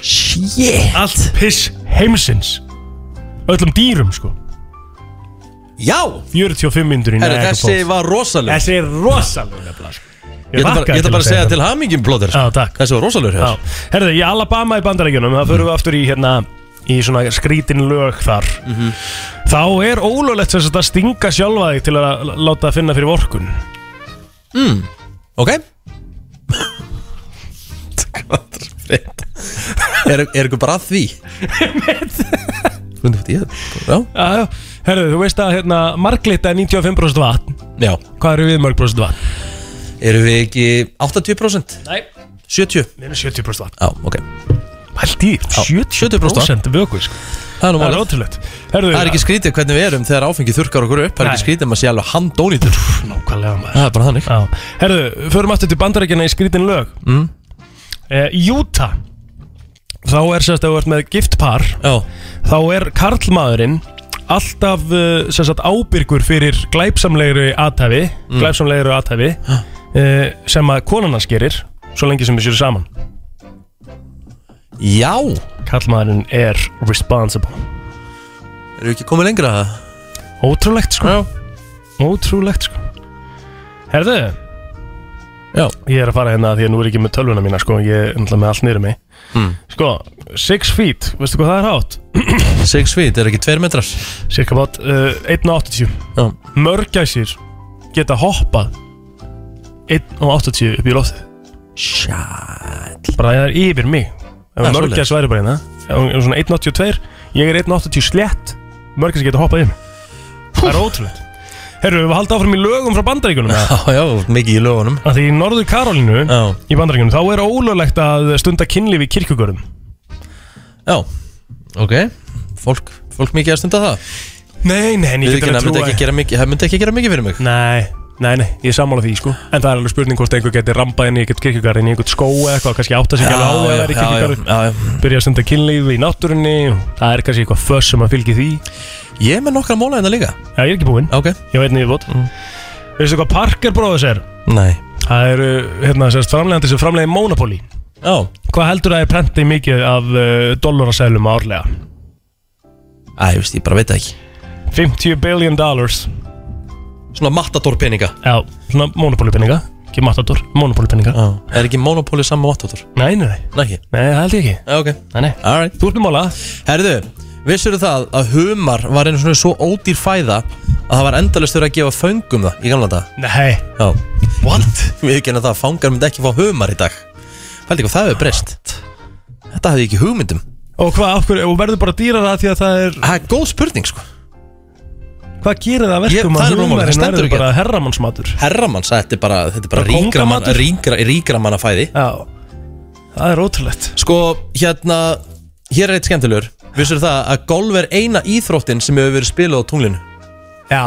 Speaker 2: Shit Allt piss heimsins Öllum dýrum sko Já 45 myndur í
Speaker 1: Herra, þessi var rosaleg
Speaker 2: Þessi er rosaleg nefnilega sko.
Speaker 1: Ég ætla bara- ég ætla bara að segja til hamingjum blóðir
Speaker 2: Já, takk
Speaker 1: Þessi var rosaleg
Speaker 2: Já, herðu, í Alabama í bandarækjunum Það förum við aftur í hérna Í svona skrítin lög þar
Speaker 1: Mhm.
Speaker 2: Þá er ólulegt sem sagt að stinga sjálfa þig Til að láta að finna fyrir vorkun
Speaker 1: mm, Ok Er, er ykkur bara að því? Hvernig fyrir ég? Já
Speaker 2: Já, já, herðu, þú veist að hérna Marglitta er 95% vatn
Speaker 1: Já
Speaker 2: Hvað eru við mörg prosent vatn?
Speaker 1: Eru við ekki 80%?
Speaker 2: Nei
Speaker 1: 70?
Speaker 2: Við erum 70% vatn
Speaker 1: Já, ok
Speaker 2: Haldi, 70% vöku sko.
Speaker 1: Það er nú
Speaker 2: Það er
Speaker 1: málið.
Speaker 2: ótrúlegt Herðu,
Speaker 1: Það er ekki skrítið hvernig við erum þegar áfengi þurkar okkur upp Það er ekki
Speaker 2: Nei.
Speaker 1: skrítið að maður sé alveg handónýtur
Speaker 2: Nákvæmlega maður
Speaker 1: Það er bara þannig
Speaker 2: Já. Herðu, förum aftur til bandarækjana í skrítin lög
Speaker 1: Mm.
Speaker 2: Eh, Í Utah Þá er sérst að þú ert með gift par
Speaker 1: Já.
Speaker 2: Þá er karlmaðurinn Alltaf eh, sem sagt ábyrgur fyrir glæpsamlegri aðtæfi
Speaker 1: Mm.
Speaker 2: Glæpsamlegri aðtæfi eh, Sem að konan hans gerir Svo lengi sem við séu saman
Speaker 1: Já
Speaker 2: Karlmaðurinn er responsible
Speaker 1: Eru ekki komið lengra?
Speaker 2: Ótrúlegt sko Já. Ótrúlegt sko Herðu
Speaker 1: Já
Speaker 2: Ég er að fara hérna því að nú er ég ekki með tölvuna mína sko Ég er náttúrulega með allt niður mig
Speaker 1: Mm.
Speaker 2: Sko, six feet, veistu hvað það er hátt?
Speaker 1: 6 feet, er ekki 2 metrar?
Speaker 2: Cirka bát uh, 1.80
Speaker 1: Já.
Speaker 2: Mörgæsir geta hoppað 1.80 upp í loftið Shall Bara það er yfir mig
Speaker 1: Það er
Speaker 2: Ef mörgæs væri bara hérna Ef hún er svona 1.82 Ég er 1.80 slétt Mörgæsir geta hoppað yfir mig Það er ótrúlegt Herru, við haldum áfram í lögum frá bandaríkunum Já,
Speaker 1: já, mikið í lögunum
Speaker 2: Því í Norður Karolínu í bandaríkunum Þá er ólöglegt að stunda kynlíf í kirkugörðum
Speaker 1: Já, ok Fólk, fólk mikið að stunda það
Speaker 2: Nei, nei, en ég
Speaker 1: Við
Speaker 2: get
Speaker 1: ekki,
Speaker 2: alveg
Speaker 1: það myndi
Speaker 2: trúað.
Speaker 1: ekki gera mikið Það myndi ekki gera mikið fyrir mig
Speaker 2: Nei, nei, nei, ég er sammála því sko En það er alveg spurning hvort einhver geti rampað inn í eitthvað kirkjugarð inn í eitthvað skó eða eitthvað, kannski átta sig ekki alveg á að vera í kirkjugarð
Speaker 1: kirkjugarð
Speaker 2: Byrja að stunda kynlíf í náttúrunni Það er kannski eitthvað föss sem að fylgi því
Speaker 1: Ég er með nokkra móla hérna líka
Speaker 2: Já, ég er ekki búinn
Speaker 1: Ok
Speaker 2: Ég veit niður bótt Veistu hvað Parker bróðis er?
Speaker 1: Nei
Speaker 2: Það eru, hérna, sérst framlegandi sem framlegið Monopoly
Speaker 1: Já
Speaker 2: Hvað heldur að ég prenti mikið af uh, dollarasælum árlega?
Speaker 1: Æ, ég veist, ég bara veit það ekki
Speaker 2: 50 billion dollars
Speaker 1: Svona matador peninga
Speaker 2: Já, svona Monopoly peninga Ekki matador, Monopoly peninga
Speaker 1: Já, er ekki Monopoly saman matador?
Speaker 2: Nei, nei,
Speaker 1: nei
Speaker 2: Nei, það held ég ekki
Speaker 1: Já, ok
Speaker 2: Nei, nei
Speaker 1: Alright
Speaker 2: Þú ert með mála
Speaker 1: Herðu, vissur það að humar var einu svona svo ódýr fæða að það var endalist verið að gefa föngum það í gamla dag
Speaker 2: Nei
Speaker 1: Já What? Við ekki það að fangar myndi ekki fá humar í dag Hældi hvað það hefur breyst Þetta hefði ég ekki hugmyndum
Speaker 2: Og hvað, af hverju, og verður bara dýrar að því að það er
Speaker 1: Það er góð spurning, sko
Speaker 2: Hvað gerir það að
Speaker 1: Ég-
Speaker 2: verkum
Speaker 1: það
Speaker 2: að
Speaker 1: er rúmmáli, það
Speaker 2: húmarinn
Speaker 1: stendur
Speaker 2: verður
Speaker 1: ekki
Speaker 2: bara
Speaker 1: hérna.
Speaker 2: herramannsmatur
Speaker 1: Herramanns, þetta er bara, þetta er bara
Speaker 2: Bara
Speaker 1: ríkra, man,
Speaker 2: kóngamatur?
Speaker 1: ríkra, ríkra manna fæði
Speaker 2: Já Það er ótrúlegt
Speaker 1: Sko, hérna, hér er eitt skemmtilegur Vissur það að golf er eina íþróttin sem hefur verið spilað á tunglinu
Speaker 2: Já,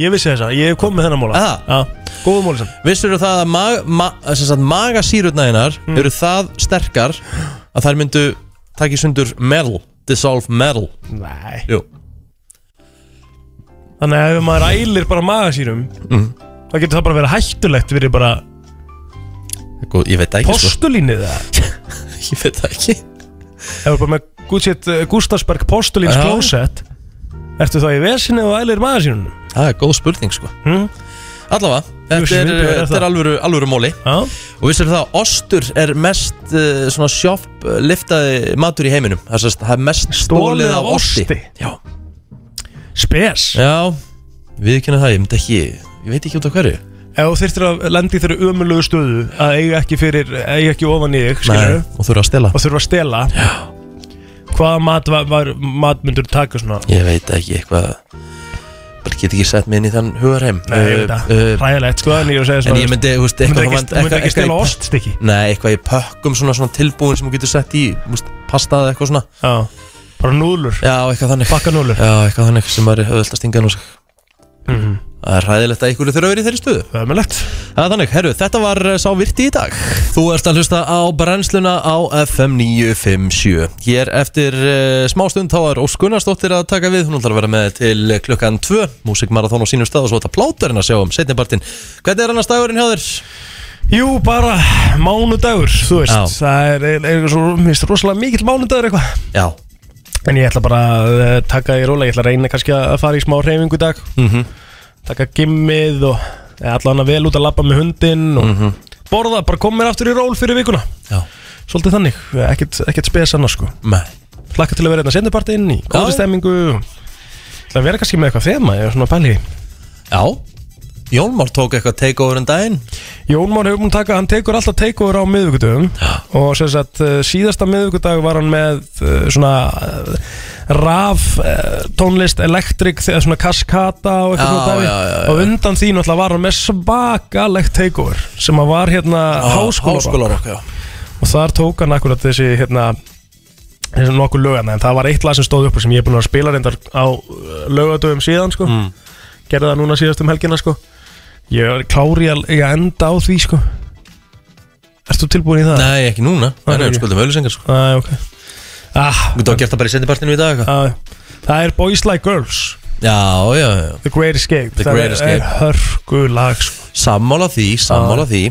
Speaker 2: ég vissi þessa, ég hef komið þennan mála
Speaker 1: Aha.
Speaker 2: Já, góða máli sem
Speaker 1: Vissur það að mag, ma, sem sagt, magasýrutnæðinar eru það sterkar að þær myndu takja sundur metal, dissolve metal
Speaker 2: Nei
Speaker 1: Jú,
Speaker 2: Þannig að ef maður ælir bara magasýrum
Speaker 1: Mhm.
Speaker 2: þá getur það bara verið hættulegt verið bara
Speaker 1: Gó, ég veit það ekki sko.
Speaker 2: postulínið það
Speaker 1: Ég veit það ekki
Speaker 2: Ef við bara með Gucci- eh, Gustafsberg postulíns
Speaker 1: Já.
Speaker 2: klósett Ertu þá í vesinni og ælir magasýrunum?
Speaker 1: Það er góð spurning sko
Speaker 2: Mm.
Speaker 1: Allavega,
Speaker 2: Jú,
Speaker 1: þetta
Speaker 2: sem
Speaker 1: er,
Speaker 2: myndi vera
Speaker 1: þetta er
Speaker 2: það.
Speaker 1: alvöru, alvöru móli
Speaker 2: Já.
Speaker 1: Og vissur það að ostur er mest uh, svona sjopp uh, liftaði matur í heiminum Það sést, það er mest stólið af osti Já
Speaker 2: Spes
Speaker 1: Já, við kynna það, ég myndi ekki, ég veit ekki út af hverju
Speaker 2: Ef þú þyrftir að lendi þeirri ömulegu stöðu að eiga ekki fyrir, eiga ekki ofan í þig skilurðu,
Speaker 1: og þurfa að stela
Speaker 2: og þurfa að stela Já. hvaða mat, var, var, mat myndur taka svona
Speaker 1: Ég veit ekki eitthvað Bara get ekki sett mig inn í þann hugarheim
Speaker 2: Nei, ég veit það,
Speaker 1: uh,
Speaker 2: ræðilegt sko en ég er að segja
Speaker 1: En
Speaker 2: svona
Speaker 1: ég myndi, þú veist,
Speaker 2: myndi
Speaker 1: eitthvað
Speaker 2: ekki-
Speaker 1: vant-
Speaker 2: myndi
Speaker 1: eitthvað-
Speaker 2: ekki
Speaker 1: eitthvað
Speaker 2: stela
Speaker 1: í-
Speaker 2: oststykki?
Speaker 1: Nei, eitthvað í pökkum svona, svona tilbúin sem þú getur sett í þú veist, Pasta eða eitthvað svona
Speaker 2: Já, bara núlur
Speaker 1: Já, eitthvað þannig
Speaker 2: Bakkanúlur.
Speaker 1: Já, eitthvað þannig sem maður er höfðvöld að stinga nú sig
Speaker 2: Mhm.
Speaker 1: Það er ræðilegt að ykkur þurfa að vera í þeirri stöðu
Speaker 2: Ömulegt
Speaker 1: Það er þannig, herru, þetta var eh, sá virti í dag Þú ert að hlusta á brennsluna á FM 957 Hér eftir uh, smá stund þá er Óskunarsdóttir að taka við Hún ætlar að vera með til klukkan 2 Músikmarathon á sínum stað og svo þetta pláturinn að sjá um setnipartin Hvernig er annars dagurinn hjá þér?
Speaker 2: Jú, bara mánudagur, þú veist
Speaker 1: Já.
Speaker 2: Það er, er, er svo, mér finnst rosalega mikill mánudagur eitthvað
Speaker 1: Já
Speaker 2: En ég ætla bara að eh, taka því róla Ég ætla að reyna kannski að fara í smá reyfingu í dag
Speaker 1: Mhm.
Speaker 2: Taka gimmið og eða allan að vel út að labba með hundinn og borða, bara koma mér aftur í ról fyrir vikuna
Speaker 1: Já.
Speaker 2: Svolítið þannig, ekkert, ekkert spes annars sko
Speaker 1: Nei
Speaker 2: Hlakka til að vera hérna sendipartinn í góðri
Speaker 1: Já.
Speaker 2: stemmingu Það vera kannski með eitthvað þema eða svona pæli
Speaker 1: Já Jón Már tók eitthvað takeover en daginn
Speaker 2: Jón Már hefur búin að taka, hann tekur alltaf takeover á miðvíkudöfum og sem sagt eh, síðasta miðvíkudag var hann með eh, svona eh, raf eh, tónlist elektrik þegar svona kaskata og
Speaker 1: Já,
Speaker 2: eitthvað svona dæmi
Speaker 1: já, já, já.
Speaker 2: og undan því náttúrulega var hann með svakalegt takeover sem að var hérna háskólarokk
Speaker 1: Háskólarokk, já
Speaker 2: og þar tók hann akkurat þessi hérna þessi nokkuð lögana en það var eitt lag sem stóð upp úr sem ég er búin að vera að spila reyndar á lögadöfum síðan sko
Speaker 1: Mm.
Speaker 2: gerði það núna síðast um helgina sko ég er klári að ég enda á því sko Erst þú tilbúin í það?
Speaker 1: Nei, ekki núna
Speaker 2: Nei,
Speaker 1: Nei, nei,
Speaker 2: ekki.
Speaker 1: skuldum auðlýsingar sko
Speaker 2: Æ, ok ah,
Speaker 1: Þú getur að gert það bara í sendipartinu í dag eitthvað.
Speaker 2: á, Það er Boys Like Girls
Speaker 1: Já, já, já
Speaker 2: The Great Escape
Speaker 1: The Great
Speaker 2: Það er-
Speaker 1: Escape.
Speaker 2: er hörgu lag sko
Speaker 1: Sammála því, sammála því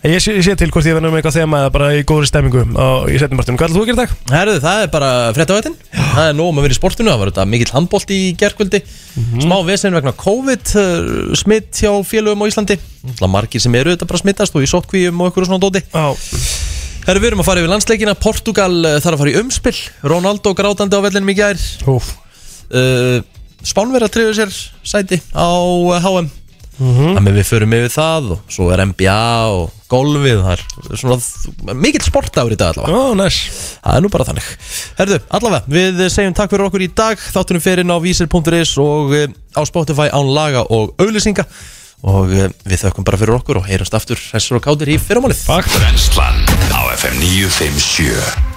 Speaker 2: Ég sé, ég sé til hvort ég verður með eitthvað þema eða bara í góðri stemmingu og ég setjum bara Hvað er þú að gera í dag?
Speaker 1: Herðu, það er bara fréttavættin Það er nóg um að vera í sportinu Það var þetta mikill handbólt í gerkvöldi Smá vesen vegna COVID uh, Smitt hjá félögum á Íslandi Það margir sem eru þetta bara að smittast og í sótkvíum og einhverju svona dóti
Speaker 2: Á,
Speaker 1: Herðu, við erum að fara yfir landsleikina Portugal uh, þarf að fara í umspil Ronaldo grátandi á vellinum í gær
Speaker 2: úf,
Speaker 1: uh, Spánverða triður sér sæti á uh, HM Þannig við förum yfir það og svo er NBA og golfið þar Svona þ- mikill sportáður í dag allavega
Speaker 2: ó, næs
Speaker 1: Það er nú bara þannig Herðu, allavega, við segjum takk fyrir okkur í dag Þáttunum fyrir inn á vísir.is og eh, á Spotify án laga og auðlýsinga Og eh, við þökkum bara fyrir okkur og heyrumst aftur hressur og kátir í fyrramálið
Speaker 3: Brennslan á FM 957